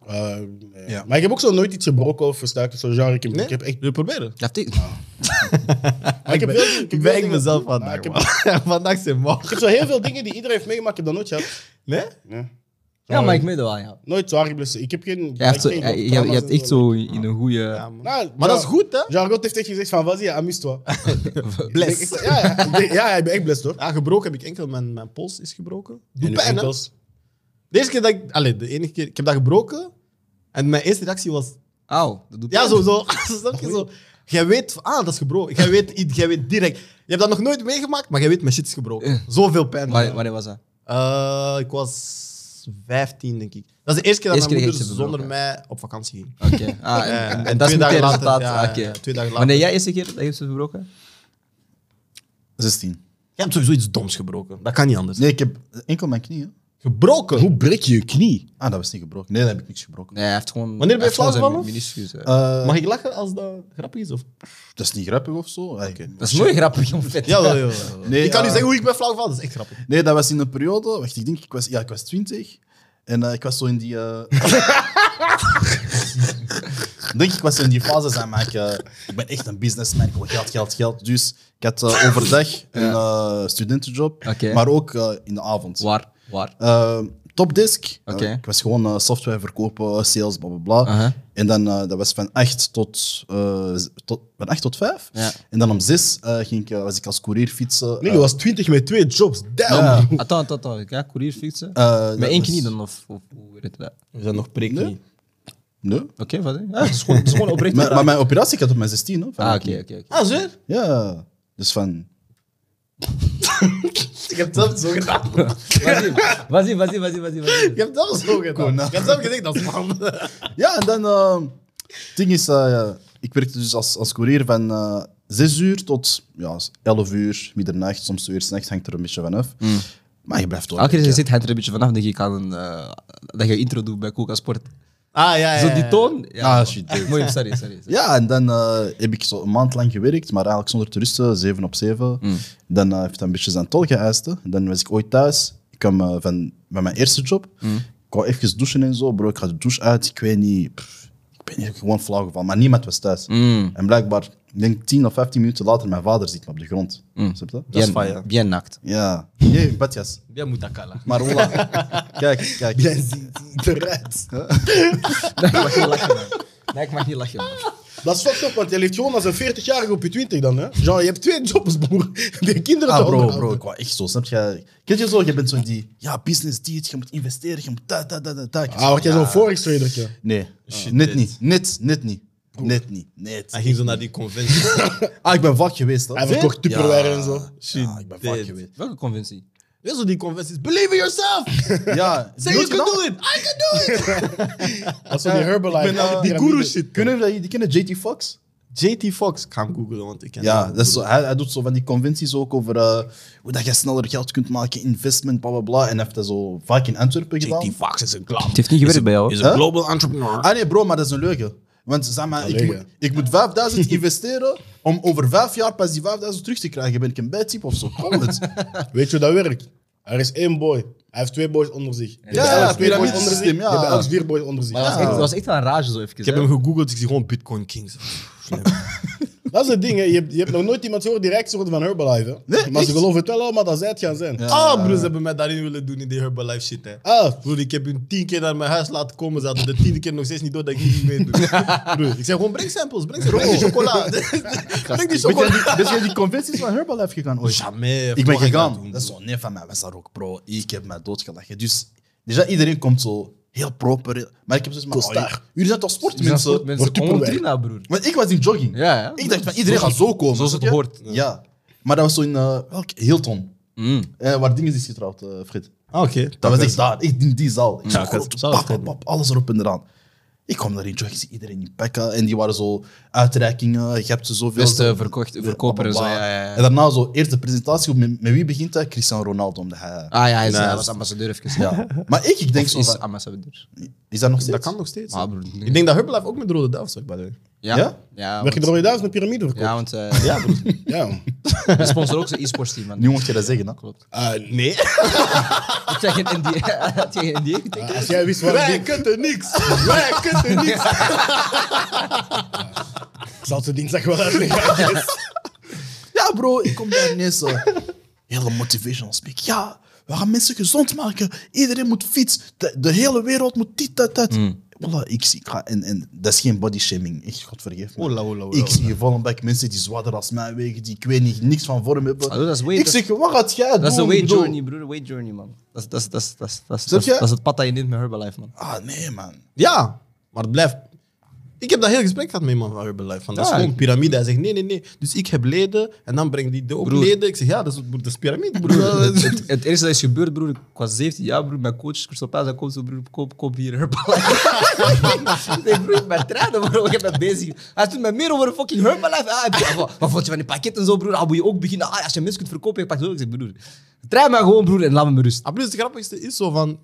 [SPEAKER 3] Eh, nee. Maar ik heb ook zo nooit iets gebroken of verstuikt of zo. Genre, ik, heb- ik heb echt...
[SPEAKER 1] Wil je proberen?
[SPEAKER 5] Ja, die-
[SPEAKER 3] maar ik, heb
[SPEAKER 1] ben-
[SPEAKER 3] heel veel-
[SPEAKER 1] Ik, ben
[SPEAKER 3] heb heel
[SPEAKER 1] echt
[SPEAKER 3] veel-
[SPEAKER 1] mezelf
[SPEAKER 3] maar
[SPEAKER 1] vandaag,
[SPEAKER 3] Ah, ik heb-
[SPEAKER 1] man. Vandaag zijn
[SPEAKER 3] Ik
[SPEAKER 1] morgen.
[SPEAKER 3] heb zo heel veel dingen die iedereen heeft meegemaakt, ik heb dat nooit gehad.
[SPEAKER 1] Nee?
[SPEAKER 3] Nee.
[SPEAKER 5] ja maar ik meen dat wel, ja.
[SPEAKER 3] Nooit zwaar geblesseerd. Ik heb geen...
[SPEAKER 5] Je hebt, zo,
[SPEAKER 3] geen
[SPEAKER 5] je, je- je
[SPEAKER 3] trauma's
[SPEAKER 5] hebt
[SPEAKER 3] en
[SPEAKER 5] echt zo in een goede.
[SPEAKER 1] Ja, man.
[SPEAKER 3] Nou,
[SPEAKER 1] Maar dat is goed, hè?
[SPEAKER 3] Jargot heeft echt gezegd van, vas-y, amuse-toi. Ik- ik-
[SPEAKER 1] Bless.
[SPEAKER 3] Ja, ja, ik denk- ja, ik ben echt blessed hoor.
[SPEAKER 1] Ja, gebroken heb ik enkel. Mijn, mijn pols is gebroken. Doe
[SPEAKER 3] En uw
[SPEAKER 1] pijn, hè?
[SPEAKER 3] enkels.
[SPEAKER 1] De eerste keer dat ik... Allee, de enige keer... Ik heb dat gebroken. En mijn eerste reactie was...
[SPEAKER 5] Auw, dat doet
[SPEAKER 1] Ja,
[SPEAKER 5] pijn.
[SPEAKER 1] zo, zo. Snap je zo? Jij weet, van, ah, dat is gebroken. Jij weet, iets- jij weet direct. Je hebt dat nog nooit meegemaakt, maar jij weet, mijn shit is gebroken. Zoveel pijn.
[SPEAKER 5] Wanneer, wanneer was dat?
[SPEAKER 1] Eh, ik was 15, denk ik. Dat is de eerste keer dat
[SPEAKER 5] Eerste
[SPEAKER 1] mijn moeder
[SPEAKER 5] keer dat je ze
[SPEAKER 1] zonder
[SPEAKER 5] gebroken
[SPEAKER 1] mij op vakantie ging.
[SPEAKER 5] Oké. Ah, en,
[SPEAKER 1] Ja,
[SPEAKER 5] en
[SPEAKER 1] en
[SPEAKER 5] dat is
[SPEAKER 1] twee
[SPEAKER 5] meteen
[SPEAKER 1] dagen later,
[SPEAKER 5] resultaat.
[SPEAKER 1] ja, ja,
[SPEAKER 5] Oké.
[SPEAKER 1] ja, twee dagen
[SPEAKER 5] Wanneer jij eerste keer dat heeft ze verbroken?
[SPEAKER 4] 16.
[SPEAKER 1] Je hebt sowieso iets doms gebroken. Dat kan niet anders.
[SPEAKER 4] Nee, ik heb enkel mijn knieën.
[SPEAKER 1] Gebroken?
[SPEAKER 4] Hoe breek je je knie? Ah, dat was niet gebroken. Nee, dat heb ik niks gebroken.
[SPEAKER 5] Nee, hij heeft gewoon...
[SPEAKER 1] Wanneer ben je
[SPEAKER 5] hij heeft gewoon
[SPEAKER 1] flauwgevallen?
[SPEAKER 5] zijn meniscus, eh.
[SPEAKER 4] Eh,
[SPEAKER 1] Mag ik lachen als dat grappig is? Of?
[SPEAKER 4] dat is niet grappig of zo. Oké.
[SPEAKER 5] Dat is nooit grappig om vet
[SPEAKER 1] Ja, wel, ja, wel.
[SPEAKER 4] Nee,
[SPEAKER 1] ik kan
[SPEAKER 4] eh,
[SPEAKER 1] niet zeggen hoe ik ben flauwgevallen, dat is echt grappig.
[SPEAKER 4] Nee, dat was in een periode. Wacht, ik denk, ik was, ja, ik was 20. En eh, ik was zo in die. eh, ik denk, ik was zo in die fase zijn, maar ik, eh, ik ben echt een businessman. Ik wil geld, geld, geld. Dus ik had eh, overdag een eh, studentenjob,
[SPEAKER 5] Oké.
[SPEAKER 4] maar ook eh, in de avond.
[SPEAKER 5] Waar? Waar?
[SPEAKER 4] Eh, topdesk. Eh,
[SPEAKER 5] Oké.
[SPEAKER 4] ik was gewoon eh, software verkopen, sales, bla bla bla.
[SPEAKER 5] Aha.
[SPEAKER 4] En dan, eh, dat was van 8 tot, eh, z- tot, van 8 tot 5.
[SPEAKER 5] Ja.
[SPEAKER 4] En dan om 6 ging ik, eh, was ik als courier fietsen.
[SPEAKER 1] Nee,
[SPEAKER 4] eh,
[SPEAKER 1] je was 20 met twee jobs. Damn.
[SPEAKER 4] ja.
[SPEAKER 5] Attends, attends, attends. Ja, courier fietsen?
[SPEAKER 4] Eh,
[SPEAKER 5] Met
[SPEAKER 4] dat
[SPEAKER 5] één
[SPEAKER 4] was-
[SPEAKER 5] knie dan, of, of hoe heet dat?
[SPEAKER 1] We zijn nog prik
[SPEAKER 4] Nee. Nee.
[SPEAKER 5] Oké, wat? hè? Ja, het is gewoon, het is gewoon oprecht.
[SPEAKER 4] Maar, maar mijn operatie ik had op mijn 16. Hoor, van
[SPEAKER 5] Ah,
[SPEAKER 4] mijn
[SPEAKER 5] oké,
[SPEAKER 4] knie.
[SPEAKER 5] oké. oké.
[SPEAKER 1] Ah, zeer?
[SPEAKER 4] Ja, dus van.
[SPEAKER 1] Ik heb het zelf zo gedaan.
[SPEAKER 5] Vas-y, vas-y, vas-y, vas-y. vas-y.
[SPEAKER 1] Ik heb het zelf zo gedaan. Ik heb zelf gezegd, dat is man. Ah,
[SPEAKER 4] Ja, en dan. eh, Het ding is, eh, ik werkte dus als, als courier van eh 6 uur tot ja, 11 uur, middernacht, soms weer s'nachts, hangt er een beetje van af. Maar je blijft wel.
[SPEAKER 5] Mm. Elke keer
[SPEAKER 4] werken.
[SPEAKER 5] dus zit hij er een beetje vanaf, denk ik, aan een, eh, dat je intro doet bij Koeka Sport.
[SPEAKER 1] Ah, ja, ja.
[SPEAKER 5] Zo die toon?
[SPEAKER 4] Ah, shit, dude.
[SPEAKER 5] Mooi, sorry, sorry. sorry.
[SPEAKER 4] Ja, en dan eh, heb ik zo een maand lang gewerkt, maar eigenlijk zonder te rusten, 7 op 7. Dan eh, heeft hij een beetje zijn tol geëist. hè. Dan was ik ooit thuis. Ik kwam eh, van, van mijn eerste job. Ik wou even douchen en zo. Bro, ik ga de douche uit. Ik weet niet. pff, ik ben hier gewoon flauw gevallen. Maar niemand was thuis. En blijkbaar, ik denk 10 of 15 minuten later, mijn vader ziet me op de grond. Snap je dat?
[SPEAKER 5] Bien, bien naakt.
[SPEAKER 4] Ja. Nee, badjas.
[SPEAKER 5] Bien mutakala.
[SPEAKER 4] Maar voilà. kijk, kijk.
[SPEAKER 3] Jij ziet het eruit.
[SPEAKER 5] Nee, ik mag niet lachen, man. Nee, ik mag niet lachen, man.
[SPEAKER 3] Dat is fucked up, want je leeft gewoon als een 40-jarige op je 20 dan, hè? Jean, je hebt twee jobs, broer. Die kinderen
[SPEAKER 4] Ah,
[SPEAKER 3] te
[SPEAKER 4] bro,
[SPEAKER 3] onderhouden.
[SPEAKER 4] bro, ik wou echt zo, snap je? Kent je zo, je bent zo die, ja, business diet, je moet investeren, je moet dat, dat, dat, dat, dat.
[SPEAKER 3] Ah, word jij zo'n forex-tradertje?
[SPEAKER 4] Nee,
[SPEAKER 3] Ah.
[SPEAKER 4] net niet, net, net niet, net niet,
[SPEAKER 1] Hij
[SPEAKER 4] net.
[SPEAKER 1] ging zo naar die conventie.
[SPEAKER 4] Ah, ik ben vaak geweest, hoor.
[SPEAKER 3] Hij verkocht Tupperware en zo.
[SPEAKER 1] Shit,
[SPEAKER 4] Ja, ik ben vaak
[SPEAKER 1] dead.
[SPEAKER 4] geweest.
[SPEAKER 5] Welke conventie?
[SPEAKER 1] Weet je zo die conventies? Believe in yourself!
[SPEAKER 4] Ja,
[SPEAKER 1] Say you can do it! I can do it!
[SPEAKER 3] Dat is zo die Herbalife. al die
[SPEAKER 4] eh, die guru
[SPEAKER 3] piramides.
[SPEAKER 4] shit. Kunnen we dat, die kennen JT Fox?
[SPEAKER 1] JT Fox. Ik ga hem googlen, want ik ken
[SPEAKER 4] Ja,
[SPEAKER 1] hem.
[SPEAKER 4] dat is zo, hij, hij doet zo van die conventies ook over eh, hoe dat je sneller geld kunt maken, investment, bla bla bla. En hij heeft dat zo vaak in Antwerpen gedaan.
[SPEAKER 1] Fox is een klap.
[SPEAKER 5] Het heeft niet gewerkt bij jou.
[SPEAKER 4] Huh?
[SPEAKER 1] global entrepreneur.
[SPEAKER 4] Ah nee, bro, maar dat is een leugen. Want zeg maar, ik,
[SPEAKER 3] leugen.
[SPEAKER 4] moet, ik moet 5000 investeren om over vijf jaar pas die 5000 terug te krijgen. Ben ik een bad type of zo? Kom het.
[SPEAKER 3] Weet je hoe dat werkt? Er is één boy. Hij heeft twee boys onder zich. Je hebt
[SPEAKER 4] ja,
[SPEAKER 3] elk twee boys
[SPEAKER 4] piramide
[SPEAKER 3] onder zich. Je
[SPEAKER 4] systeem, ja.
[SPEAKER 3] hebt elk vier boys onder zich.
[SPEAKER 5] Maar dat was echt- dat Ah. was echt wel een rage zo even.
[SPEAKER 1] Ik heb hem gegoogeld, ik zie gewoon Bitcoin Kings.
[SPEAKER 4] Ah.
[SPEAKER 3] Dat is het ding, hè. Je hebt, je hebt nog nooit iemand gehoord die rijk is geworden van Herbalife, hè?
[SPEAKER 4] Nee,
[SPEAKER 3] maar ze
[SPEAKER 4] echt?
[SPEAKER 3] geloven het wel allemaal dat zij het gaan zijn.
[SPEAKER 1] Ah, broers hebben mij daarin willen doen in die Herbalife shit, hè.
[SPEAKER 3] Ah,
[SPEAKER 1] Broer, ik heb hun tien keer naar mijn huis laten komen. Ze hadden de tiende keer nog steeds niet door dat ik niet meedoe. Broer, ik zeg gewoon, breng samples, breng samples. Breng die chocola. breng die
[SPEAKER 4] Ben jij
[SPEAKER 1] chocola.
[SPEAKER 4] die, ben jij die conventies van Herbalife gegaan ooit?
[SPEAKER 1] Oh, Jamais.
[SPEAKER 4] Ik ben
[SPEAKER 1] Wat ga
[SPEAKER 4] gegaan.
[SPEAKER 1] doen,
[SPEAKER 4] Dat is
[SPEAKER 1] broer?
[SPEAKER 4] zo'n neef van mij, was daar ook, bro. Ik heb mij doodgelachen. Dus déjà, iedereen komt zo heel proper. Maar ik heb zoiets van, oh, jullie- jullie zijn toch
[SPEAKER 5] Dus
[SPEAKER 4] sportmensen?
[SPEAKER 5] Mensen
[SPEAKER 3] Wordt
[SPEAKER 5] komen
[SPEAKER 3] Tupperware.
[SPEAKER 5] drie na, broer.
[SPEAKER 4] Want ik was in jogging.
[SPEAKER 5] Ja, ja.
[SPEAKER 4] Ik dacht van, iedereen gaat zo komen.
[SPEAKER 5] Zoals het
[SPEAKER 4] snap je?
[SPEAKER 5] hoort.
[SPEAKER 4] Ja. Maar dat was zo in, eh, welk? Hilton.
[SPEAKER 5] Mm.
[SPEAKER 4] Eh, waar dingen is getrouwd, eh Fred.
[SPEAKER 1] Ah, oké.
[SPEAKER 4] Dat was echt daar, echt in die zaal. Ik
[SPEAKER 1] Ja,
[SPEAKER 4] ja,
[SPEAKER 1] ik had- zou
[SPEAKER 4] pap,
[SPEAKER 1] het
[SPEAKER 4] pap, pap, alles erop en eraan. Ik kwam daarin, joh, ik zie iedereen in pekken. En die waren zo uitreikingen, je hebt ze zoveel...
[SPEAKER 5] Beste verkocht, verkoper en zo,
[SPEAKER 4] Blablabla.
[SPEAKER 5] ja, ja, ja.
[SPEAKER 4] En daarna zo, eerst de presentatie, met, met wie begint hij? Cristiano Ronaldo, omdat hij...
[SPEAKER 5] Ah ja, hij is,
[SPEAKER 1] Nee,
[SPEAKER 5] hij
[SPEAKER 1] dat
[SPEAKER 5] was
[SPEAKER 1] is-
[SPEAKER 5] ambassadeur even.
[SPEAKER 4] Ja. Maar ik, ik denk
[SPEAKER 5] Of
[SPEAKER 4] zo
[SPEAKER 5] is
[SPEAKER 4] van,
[SPEAKER 5] ambassadeur.
[SPEAKER 4] is dat nog steeds?
[SPEAKER 1] Dat kan nog steeds.
[SPEAKER 5] Ah, broer.
[SPEAKER 1] Ik denk dat Herbalife ook met Rode Duivels werkt, by the way.
[SPEAKER 5] Ja?
[SPEAKER 4] Ja?
[SPEAKER 5] Ja,
[SPEAKER 3] werk je
[SPEAKER 5] want,
[SPEAKER 3] er al duizend een piramide verkopen?
[SPEAKER 5] ja, want eh,
[SPEAKER 1] Ja, broer.
[SPEAKER 3] Ja.
[SPEAKER 5] we sponsoren ook zo'n e-sports team, man.
[SPEAKER 4] Nu moet je dat zeggen, hè?
[SPEAKER 5] Klopt.
[SPEAKER 1] Eh, nee.
[SPEAKER 5] Had jij geen NDA, had jij geen NDA getekend?
[SPEAKER 3] Als jij wist waar ik
[SPEAKER 1] Wij kunnen niks. Wij kunnen niks.
[SPEAKER 3] Ik zal ze dinsdag wel uitleggen.
[SPEAKER 4] Ja, bro, ik kom daar ineens. eh, hele motivational speak. Ja, we gaan mensen gezond maken. Iedereen moet fiets. De, de hele wereld moet dit, dat, dat.
[SPEAKER 5] Mm.
[SPEAKER 4] Voilà, ik zie. ik ga- en, en dat is geen body shaming. Echt, God vergeef me.
[SPEAKER 1] Ola, ola, ola,
[SPEAKER 4] ik zie hier Vollenbeck mensen die zwaarder als mij wegen, die ik weet niet, niks van vorm hebben.
[SPEAKER 5] Hallo, Ah, dat is way-
[SPEAKER 4] ik zeg, wat gaat jij doen?
[SPEAKER 5] Dat is de way
[SPEAKER 4] bedoel?
[SPEAKER 5] journey, broer. Way journey, man. Dat is- dat is- dat is- dat is- dat is- dat
[SPEAKER 4] Snap
[SPEAKER 5] is-
[SPEAKER 4] je?
[SPEAKER 5] dat is het pad dat je neemt met Herbalife, man.
[SPEAKER 4] Ah, nee, man.
[SPEAKER 1] Ja, maar het blijft. Ik heb dat heel gesprek gehad met iemand van Urban Life. Van, dat is gewoon piramide. Hij zegt, nee, nee, nee. Dus ik heb leden en dan brengt die de ook
[SPEAKER 5] Broer.
[SPEAKER 1] leden. Ik zeg, ja, dat is, dat is piramide, broer.
[SPEAKER 5] Het, het- het eerste dat is gebeurd, broer, ik was 17 jaar, broer, mijn coach, Crystal Palace, hij komt zo, broer, koop, koop hier Herbalife. ik zeg, broer, ik ben trainer, broer, ik heb dat bezig. Hij doet me meer over een fucking Herbalife. Ah, ik zeg, wat, wat vond je van die pakketten en zo, broer? Ah, moet je ook beginnen, ah, als je mensen kunt verkopen, je pakt zo. Ik zeg, broer, train mij gewoon, broer, en laat me met rust.
[SPEAKER 1] Ah, plus, het grappigste is zo van...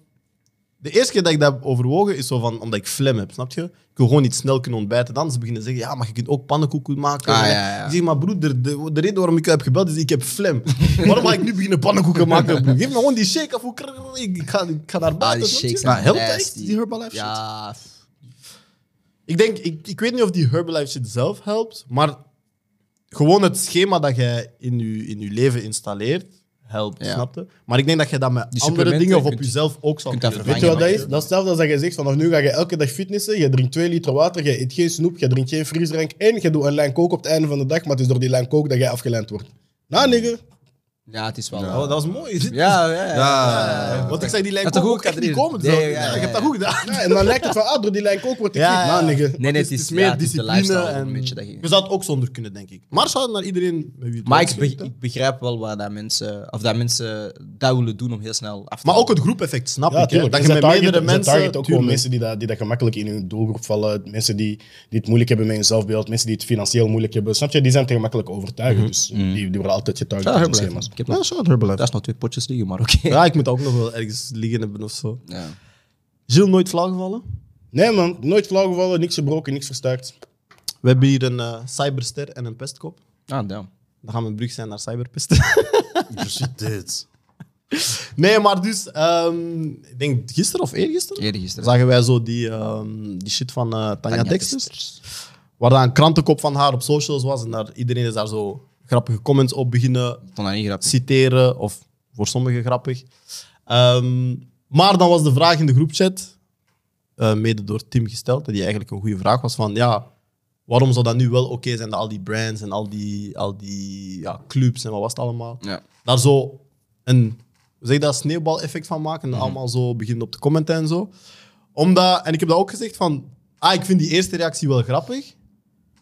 [SPEAKER 1] De eerste keer dat ik dat heb overwogen, is zo van, omdat ik flem heb, snap je? Ik wil gewoon niet snel kunnen ontbijten. Dan ze beginnen te zeggen, ja, maar je kunt ook pannenkoeken maken.
[SPEAKER 2] Ah, ja, ja.
[SPEAKER 1] Ik zeg, maar broeder, de, de reden waarom ik jou heb gebeld is, ik heb flem. waarom ga ik nu beginnen pannenkoeken maken? broer? Geef me gewoon die shake af, hoe krrr, ik, ik ga, ik ga naar buiten.
[SPEAKER 2] Ah, die
[SPEAKER 1] snap je?
[SPEAKER 2] shakes zijn
[SPEAKER 1] maar helpt dat
[SPEAKER 2] nasty.
[SPEAKER 1] echt, die Herbalife shit?
[SPEAKER 2] Ja,
[SPEAKER 1] Ik denk, ik, ik weet niet of die Herbalife shit zelf helpt, maar gewoon het schema dat jij in je, in je leven installeert, helpt,
[SPEAKER 2] Ja.
[SPEAKER 1] snapte? Maar ik denk dat je dat met andere
[SPEAKER 5] supplementen,
[SPEAKER 1] dingen of
[SPEAKER 5] je
[SPEAKER 1] op
[SPEAKER 5] kunt-
[SPEAKER 1] jezelf ook zou
[SPEAKER 5] kunt dat
[SPEAKER 1] kunnen
[SPEAKER 3] Weet
[SPEAKER 1] doen.
[SPEAKER 3] je wat dat
[SPEAKER 5] Vangen,
[SPEAKER 3] is? Dat is hetzelfde als dat je zegt, vanaf nu ga je elke dag fitnessen, je drinkt 2 liter water, je eet geen snoep, je drinkt geen frisdrank en je doet een lijn kook op het einde van de dag, maar het is door die lijn kook dat jij afgeleid wordt. Nou, nigger.
[SPEAKER 5] ja, het is wel.
[SPEAKER 1] Oh, dat was mooi. Dit-
[SPEAKER 5] Ja, ja, ja.
[SPEAKER 1] Eh, Want ik zei, die lijn
[SPEAKER 5] Dat is
[SPEAKER 1] ook
[SPEAKER 5] goed
[SPEAKER 1] echt niet
[SPEAKER 5] kaderen.
[SPEAKER 1] komen.
[SPEAKER 5] Nee,
[SPEAKER 1] zo.
[SPEAKER 5] ja,
[SPEAKER 1] Ja,
[SPEAKER 5] ja,
[SPEAKER 1] je hebt dat
[SPEAKER 5] ja.
[SPEAKER 1] goed gedaan.
[SPEAKER 3] Ja, en dan lijkt het van, ah, door die lijn kook word ik
[SPEAKER 1] Ja,
[SPEAKER 3] niet.
[SPEAKER 1] ja.
[SPEAKER 3] Nou, nigger.
[SPEAKER 5] Nee, nee,
[SPEAKER 1] Het is, het is meer discipline. en
[SPEAKER 5] dat je-
[SPEAKER 1] je zou het ook zonder kunnen, denk ik. Maar shout naar iedereen met wie het
[SPEAKER 5] Maar
[SPEAKER 1] wel
[SPEAKER 5] ik, be-
[SPEAKER 1] schikt, hè.
[SPEAKER 5] ik begrijp wel waar dat mensen, of dat mensen dat willen doen om heel snel af te
[SPEAKER 1] Maar ook het groepeffect, snap
[SPEAKER 3] Ja,
[SPEAKER 1] ik. hè.
[SPEAKER 3] tuurlijk.
[SPEAKER 1] Dat
[SPEAKER 3] En
[SPEAKER 1] je
[SPEAKER 3] ze
[SPEAKER 1] met
[SPEAKER 3] targeten-
[SPEAKER 1] meerdere
[SPEAKER 3] ze
[SPEAKER 1] mensen...
[SPEAKER 3] targeten ook gewoon
[SPEAKER 1] Tuurlijk.
[SPEAKER 3] mensen die dat, die dat gemakkelijk in hun doelgroep vallen. Mensen die, die het moeilijk hebben met hun zelfbeeld. Mensen die het financieel moeilijk hebben. Snap je? Die zijn te gemakkelijk overtuigd.
[SPEAKER 1] Mhm.
[SPEAKER 3] Dus die, die worden altijd getarget
[SPEAKER 5] Ja,
[SPEAKER 3] op hun
[SPEAKER 5] Herbalife.
[SPEAKER 3] schema's.
[SPEAKER 5] Ik heb nog,
[SPEAKER 1] Ja, shout Herbalife.
[SPEAKER 5] daar is nog twee potjes liggen, maar oké.
[SPEAKER 1] Ja, ik moet ook nog wel ergens liggen hebben of zo.
[SPEAKER 5] Ja.
[SPEAKER 1] Gilles, nooit flauwgevallen.
[SPEAKER 3] Nee man, nooit flauwgevallen, niks gebroken, niks verstuikt.
[SPEAKER 1] We hebben hier een eh, cyberster en een pestkop.
[SPEAKER 5] Ah, damn.
[SPEAKER 1] Dan gaan we een brug zijn naar cyberpesten.
[SPEAKER 4] Shit, dit.
[SPEAKER 1] nee, maar dus... ehm, ik denk gisteren of eergisteren?
[SPEAKER 5] Eergisteren.
[SPEAKER 1] Zagen wij zo die, ehm, die shit van eh, Tanja,
[SPEAKER 5] Tanja
[SPEAKER 1] Dexter. Waar dan een krantenkop van haar op socials was. En daar, iedereen is daar zo grappige comments op beginnen
[SPEAKER 5] Ik vond dat niet grappig.
[SPEAKER 1] citeren. Of voor sommigen grappig. Ehm, maar dan was de vraag in de groepchat, eh, mede door Tim gesteld, die eigenlijk een goede vraag was van... Ja, waarom zou dat nu wel oké zijn dat al die brands en al die, al die ja, clubs en wat was het allemaal...
[SPEAKER 5] Ja.
[SPEAKER 1] daar zo een hoe zeg je dat, sneeuwbaleffect van maken en
[SPEAKER 5] Mhm.
[SPEAKER 1] allemaal zo beginnen op te commenten en zo. Omdat, en ik heb dat ook gezegd van, ah, ik vind die eerste reactie wel grappig,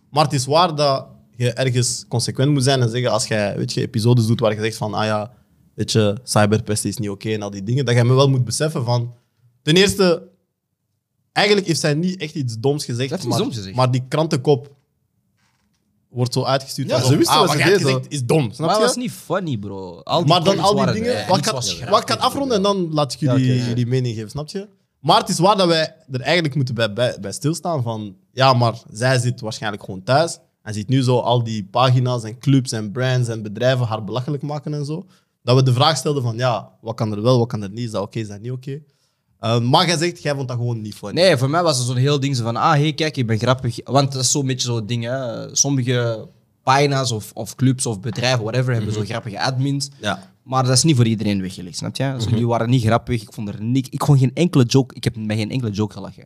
[SPEAKER 1] maar het is waar dat je ergens consequent moet zijn en zeggen als jij, weet je, episodes doet waar je zegt van, ah ja, weet je, cyberpest is niet oké en al die dingen, dat je me wel moet beseffen van, ten eerste, eigenlijk heeft zij niet echt iets doms gezegd,
[SPEAKER 5] heeft iets
[SPEAKER 1] maar,
[SPEAKER 5] doms gezegd.
[SPEAKER 1] maar die krantenkop wordt zo uitgestuurd.
[SPEAKER 4] Ja,
[SPEAKER 1] alsof,
[SPEAKER 4] ze wisten
[SPEAKER 1] ah,
[SPEAKER 4] wat
[SPEAKER 1] wat
[SPEAKER 4] ze
[SPEAKER 1] jij hebt
[SPEAKER 4] deden.
[SPEAKER 1] gezegd is dom, snap
[SPEAKER 5] Maar
[SPEAKER 1] je?
[SPEAKER 5] dat was niet funny, bro. Al die
[SPEAKER 1] maar dan
[SPEAKER 5] comments
[SPEAKER 1] al die
[SPEAKER 5] waren
[SPEAKER 1] dingen.
[SPEAKER 5] er, eh,
[SPEAKER 1] wat ik
[SPEAKER 5] niks
[SPEAKER 1] ga-
[SPEAKER 5] was grappig.
[SPEAKER 1] wat ik ga afronden en dan laat ik jullie, jullie mening geven, snap je? Maar het is waar dat wij er eigenlijk moeten bij, bij, bij stilstaan van... Ja, maar zij zit waarschijnlijk gewoon thuis. En ziet nu zo al die pagina's en clubs en brands en bedrijven haar belachelijk maken en zo. Dat we de vraag stelden van, ja, wat kan er wel, wat kan er niet? Is dat oké, is dat niet oké? Eh, maar jij zegt, jij vond dat gewoon niet funny.
[SPEAKER 5] Nee, voor mij was het zo'n heel ding zo van, ah, hey, kijk, ik ben grappig. Want dat is zo'n beetje zo'n ding, hè. Sommige pagina's of, of clubs of bedrijven, whatever, hebben zo'n grappige admins.
[SPEAKER 1] Mhm. Ja. Mhm.
[SPEAKER 5] Maar dat is niet voor iedereen weggelegd, snap je? Dus jullie waren niet grappig, ik vond er niks... Ik kon geen enkele joke... Ik heb bij geen enkele joke gelachen.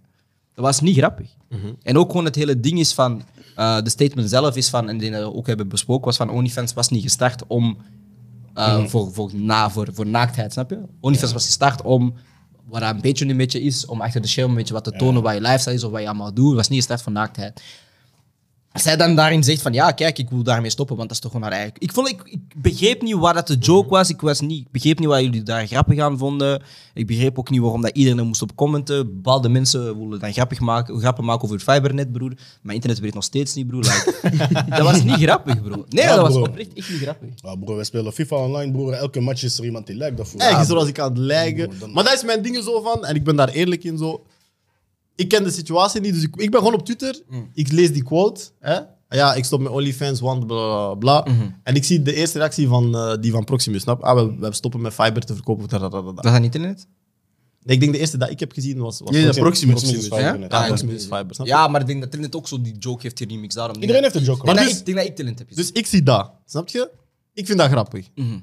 [SPEAKER 5] Dat was niet grappig.
[SPEAKER 1] Mhm.
[SPEAKER 5] En ook gewoon het hele ding is van... eh, de statement zelf is van, en die we ook hebben besproken, was van OnlyFans was niet gestart om... eh, voor, voor, na, voor, voor naaktheid, snap je? OnlyFans was gestart om... Wat dat een beetje nu een beetje is, om achter de schermen een beetje wat te tonen, wat je lifestyle is of wat je allemaal doet. Het was niet gestart voor naaktheid. Als zij dan daarin zegt van ja, kijk, ik wil daarmee stoppen, want dat is toch gewoon haar eigen. Ik, vond, ik, ik begreep niet waar dat de joke was. Ik, was niet, ik begreep niet waar jullie daar grappig aan vonden. Ik begreep ook niet waarom dat iedereen er moest op commenten. Bepaalde mensen willen dan grappig maken, grappen maken over Fibernet, broer. Mijn internet werkt nog steeds niet, broer. Like, dat was niet grappig, broer. Nee,
[SPEAKER 3] Ja,
[SPEAKER 5] dat was
[SPEAKER 3] broer.
[SPEAKER 5] oprecht echt niet grappig.
[SPEAKER 3] Nou broer, we spelen FIFA online, broer. Elke match is er iemand die lijkt daarvoor.
[SPEAKER 1] Ergens zoals ik aan het lijken. Maar dat is mijn ding er zo van. En ik ben daar eerlijk in zo. Ik ken de situatie niet, dus ik, ik ben gewoon op Twitter. Ik lees die quote. Hè? Ja, ik stop met OnlyFans, want bla bla bla. En ik zie de eerste reactie van eh, die van Proximus. Snap? Ah, we, we stoppen met fiber te verkopen. da, da, da, da, da.
[SPEAKER 5] Was dat niet internet?
[SPEAKER 1] Nee, ik denk de eerste dat ik heb gezien was. was
[SPEAKER 4] Ja, ja,
[SPEAKER 1] Proximus.
[SPEAKER 3] Proximus
[SPEAKER 4] Proximus. Proximus.
[SPEAKER 3] is
[SPEAKER 5] Ja?
[SPEAKER 3] fiber net.
[SPEAKER 1] Ja, Proximus fiber. Snap? je?
[SPEAKER 5] Ja, maar ik denk dat Talent ook zo die joke heeft die remix daarom.
[SPEAKER 3] Iedereen heeft een joker.
[SPEAKER 5] maar
[SPEAKER 1] Maar
[SPEAKER 5] ik
[SPEAKER 1] dus-
[SPEAKER 5] denk dat ik Talent heb.
[SPEAKER 1] Dus ik zie dat. Snap je? Ik vind dat grappig.
[SPEAKER 5] Mhm.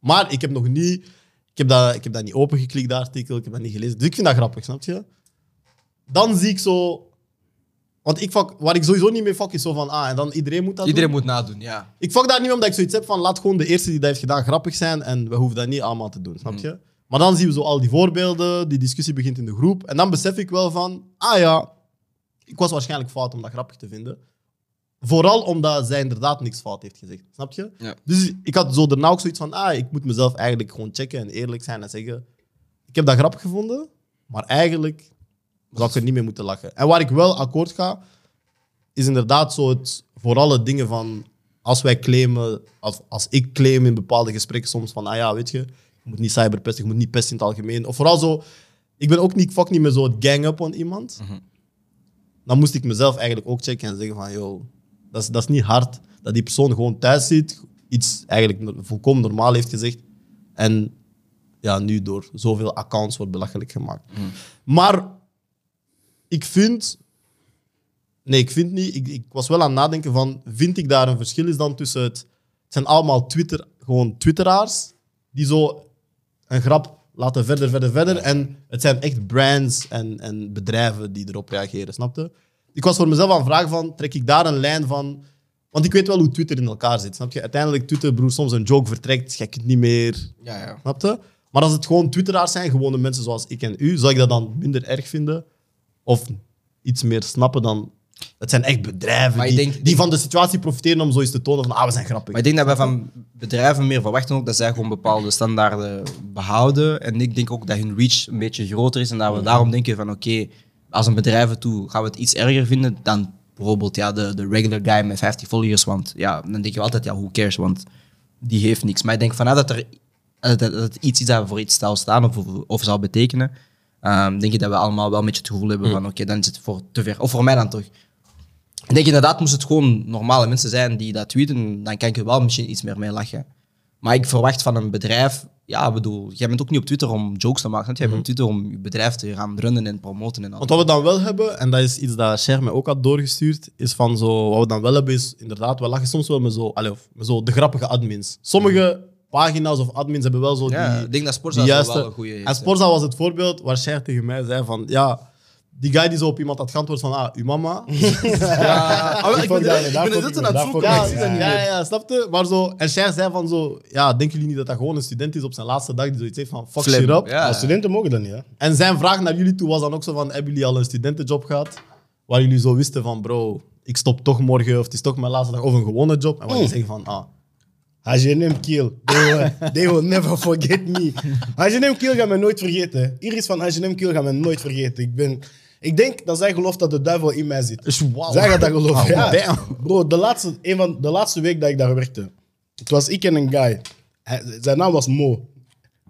[SPEAKER 1] Maar ik heb nog niet. Ik heb, dat, ik heb dat niet opengeklikt, dat artikel. Ik heb dat niet gelezen. Dus ik vind dat grappig, snap je? Dan zie ik zo. Want ik fuck, waar ik sowieso niet mee fuck is zo van. Ah, en dan iedereen moet dat
[SPEAKER 5] Iedereen
[SPEAKER 1] doen.
[SPEAKER 5] moet nadoen, ja.
[SPEAKER 1] Ik fuck daar niet mee omdat ik zoiets heb van. Laat gewoon de eerste die dat heeft gedaan grappig zijn. En we hoeven dat niet allemaal te doen, snap je? Maar dan zien we zo al die voorbeelden. Die discussie begint in de groep. En dan besef ik wel van. Ah ja, ik was waarschijnlijk fout om dat grappig te vinden. Vooral omdat zij inderdaad niks fout heeft gezegd. Snap je?
[SPEAKER 2] Ja.
[SPEAKER 1] Dus ik had zo daarna ook zoiets van, ah, ik moet mezelf eigenlijk gewoon checken en eerlijk zijn en zeggen, ik heb dat grappig gevonden, maar eigenlijk zou ik er niet mee moeten lachen. En waar ik wel akkoord ga, is inderdaad zo het voor alle dingen van als wij claimen, als, als ik claim in bepaalde gesprekken soms van, ah ja, weet je, je moet niet cyberpesten, je moet niet pesten in het algemeen. Of vooral zo, ik ben ook niet, fuck niet meer zo het gang-up on iemand. Dan moest ik mezelf eigenlijk ook checken en zeggen van, yo, dat is, dat is niet hard dat die persoon gewoon thuis zit, iets eigenlijk no- volkomen normaal heeft gezegd en ja, nu door zoveel accounts wordt belachelijk gemaakt. Maar ik vind Nee, ik vind niet. Ik, ik was wel aan het nadenken van, vind ik daar een verschil is dan tussen het... Het zijn allemaal Twitter, gewoon twitteraars die zo een grap laten verder, verder, verder. En het zijn echt brands en, en bedrijven die erop reageren, snapte? Ik was voor mezelf aan het vragen van, trek ik daar een lijn van... Want ik weet wel hoe Twitter in elkaar zit, snap je? Uiteindelijk, Twitter, broer, soms een joke vertrekt, jij kunt niet meer...
[SPEAKER 2] Ja, ja.
[SPEAKER 1] Snapte? Maar als het gewoon twitteraars zijn, gewone mensen zoals ik en u, zou ik dat dan minder erg vinden? Of iets meer snappen dan... Het zijn echt bedrijven
[SPEAKER 5] Maar ik
[SPEAKER 1] die,
[SPEAKER 5] denk-
[SPEAKER 1] die van de situatie profiteren om zoiets te tonen van ah, we zijn grappig.
[SPEAKER 5] Maar ik denk dat wij van bedrijven meer verwachten ook dat zij gewoon bepaalde standaarden behouden. En ik denk ook dat hun reach een beetje groter is. En dat we daarom denken van oké, als een bedrijf het doet, gaan we het iets erger vinden dan bijvoorbeeld ja, de, de regular guy met 50 followers. Want ja, dan denk je altijd, ja, who cares? Want die heeft niks. Maar ik denk vanuit dat er dat, dat- dat het iets is dat voor iets zou staan of, of zou betekenen, ehm, denk je dat we allemaal wel een beetje het gevoel hebben van oké, dan is het voor te ver. Of voor mij dan toch. Ik denk inderdaad, moest het gewoon normale mensen zijn die dat tweeten, dan kan ik er wel misschien iets meer mee lachen. Maar ik verwacht van een bedrijf, ja, ik bedoel, jij bent ook niet op Twitter om jokes te maken. snap je? Jij bent op Twitter om je bedrijf te gaan runnen en promoten en al.
[SPEAKER 1] Want wat we dan wel hebben, en dat is iets dat Cher mij ook had doorgestuurd, is van zo, wat we dan wel hebben is inderdaad, we lachen soms wel met zo, allee, of met zo de grappige admins. Sommige pagina's of admins hebben wel zo
[SPEAKER 5] Ja,
[SPEAKER 1] die,
[SPEAKER 5] ik denk dat Sporza
[SPEAKER 1] die
[SPEAKER 5] zo
[SPEAKER 1] juiste...
[SPEAKER 5] wel een goeie heeft,
[SPEAKER 1] en
[SPEAKER 5] hè.
[SPEAKER 1] Sporza was het voorbeeld waar Cher tegen mij zei van, ja, die guy die zo op iemand had geantwoord van, ah, uw mama.
[SPEAKER 3] Ik ben
[SPEAKER 4] dit aan het zoeken,
[SPEAKER 1] Ja, ja, ja, ja, snapte? Maar zo, en Cher zei van zo, ja, denken jullie niet dat dat gewoon een student is op zijn laatste dag die zoiets heeft van, fuck
[SPEAKER 2] Slim,
[SPEAKER 1] shit up.
[SPEAKER 2] ja.
[SPEAKER 3] Studenten mogen dat niet, hè?
[SPEAKER 1] En zijn vraag naar jullie toe was dan ook zo van, hebben jullie al een studentenjob gehad? Waar jullie zo wisten van, bro, ik stop toch morgen, of het is toch mijn laatste dag, of een gewone job. En waar
[SPEAKER 3] Mm.
[SPEAKER 1] jullie zeggen van, ah,
[SPEAKER 3] Als je hem kill, they will, they will never forget me. Als je hem kill, gaat men nooit vergeten. Iris van Als je hem kill, gaat men nooit vergeten. Ik, ben, ik denk dat zij gelooft dat de duivel in mij zit.
[SPEAKER 1] is dus wauw.
[SPEAKER 3] Zij gaat dat geloven.
[SPEAKER 1] Wauw,
[SPEAKER 3] ja.
[SPEAKER 1] damn.
[SPEAKER 3] Bro, de laatste, een van, de laatste week dat ik daar werkte, het was ik en een guy. Hij- zijn naam was Mo.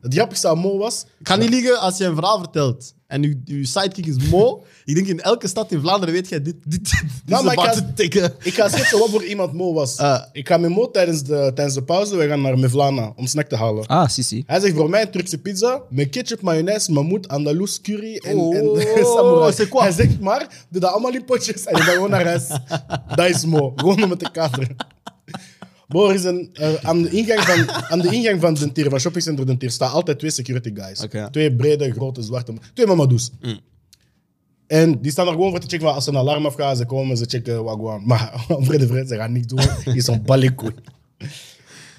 [SPEAKER 3] Het grappigste aan Mo was,
[SPEAKER 1] Ik ga niet liegen, als je een verhaal vertelt en uw, uw sidekick is Mo, ik denk in elke stad in Vlaanderen weet jij dit, dit, dit
[SPEAKER 3] Nou,
[SPEAKER 1] is
[SPEAKER 3] maar
[SPEAKER 1] about
[SPEAKER 3] ik ga-
[SPEAKER 1] to tikken.
[SPEAKER 3] ik ga schetsen wat voor iemand Mo was.
[SPEAKER 1] Ah.
[SPEAKER 3] Ik ga met Mo tijdens de, tijdens de pauze, we gaan naar Mevlana om snack te halen.
[SPEAKER 5] Ah, Sissi.
[SPEAKER 3] Hij zegt voor mij een Turkse pizza met ketchup, mayonaise, mammoet, andalous, curry en,
[SPEAKER 1] Oh,
[SPEAKER 3] en
[SPEAKER 1] oh, oh,
[SPEAKER 3] samurai.
[SPEAKER 1] c'est quoi?
[SPEAKER 3] Hij zegt maar, doe dat allemaal in potjes en je gaat gewoon naar huis. dat is mooi. Gewoon om het te kaderen. Bro, er is een, eh, aan, de ingang van, aan de ingang van Den Tier, van shoppingcentrum Den Tier, staan altijd twee security guys.
[SPEAKER 1] Oké. Mm.
[SPEAKER 3] Twee brede, grote, zwarte... Twee mamadoes. En die staan er gewoon voor te checken. maar Als ze een alarm afgaan, ze komen, ze checken wagwan. Maar vrede, vrede, ze gaan niks doen. Is een balikoe.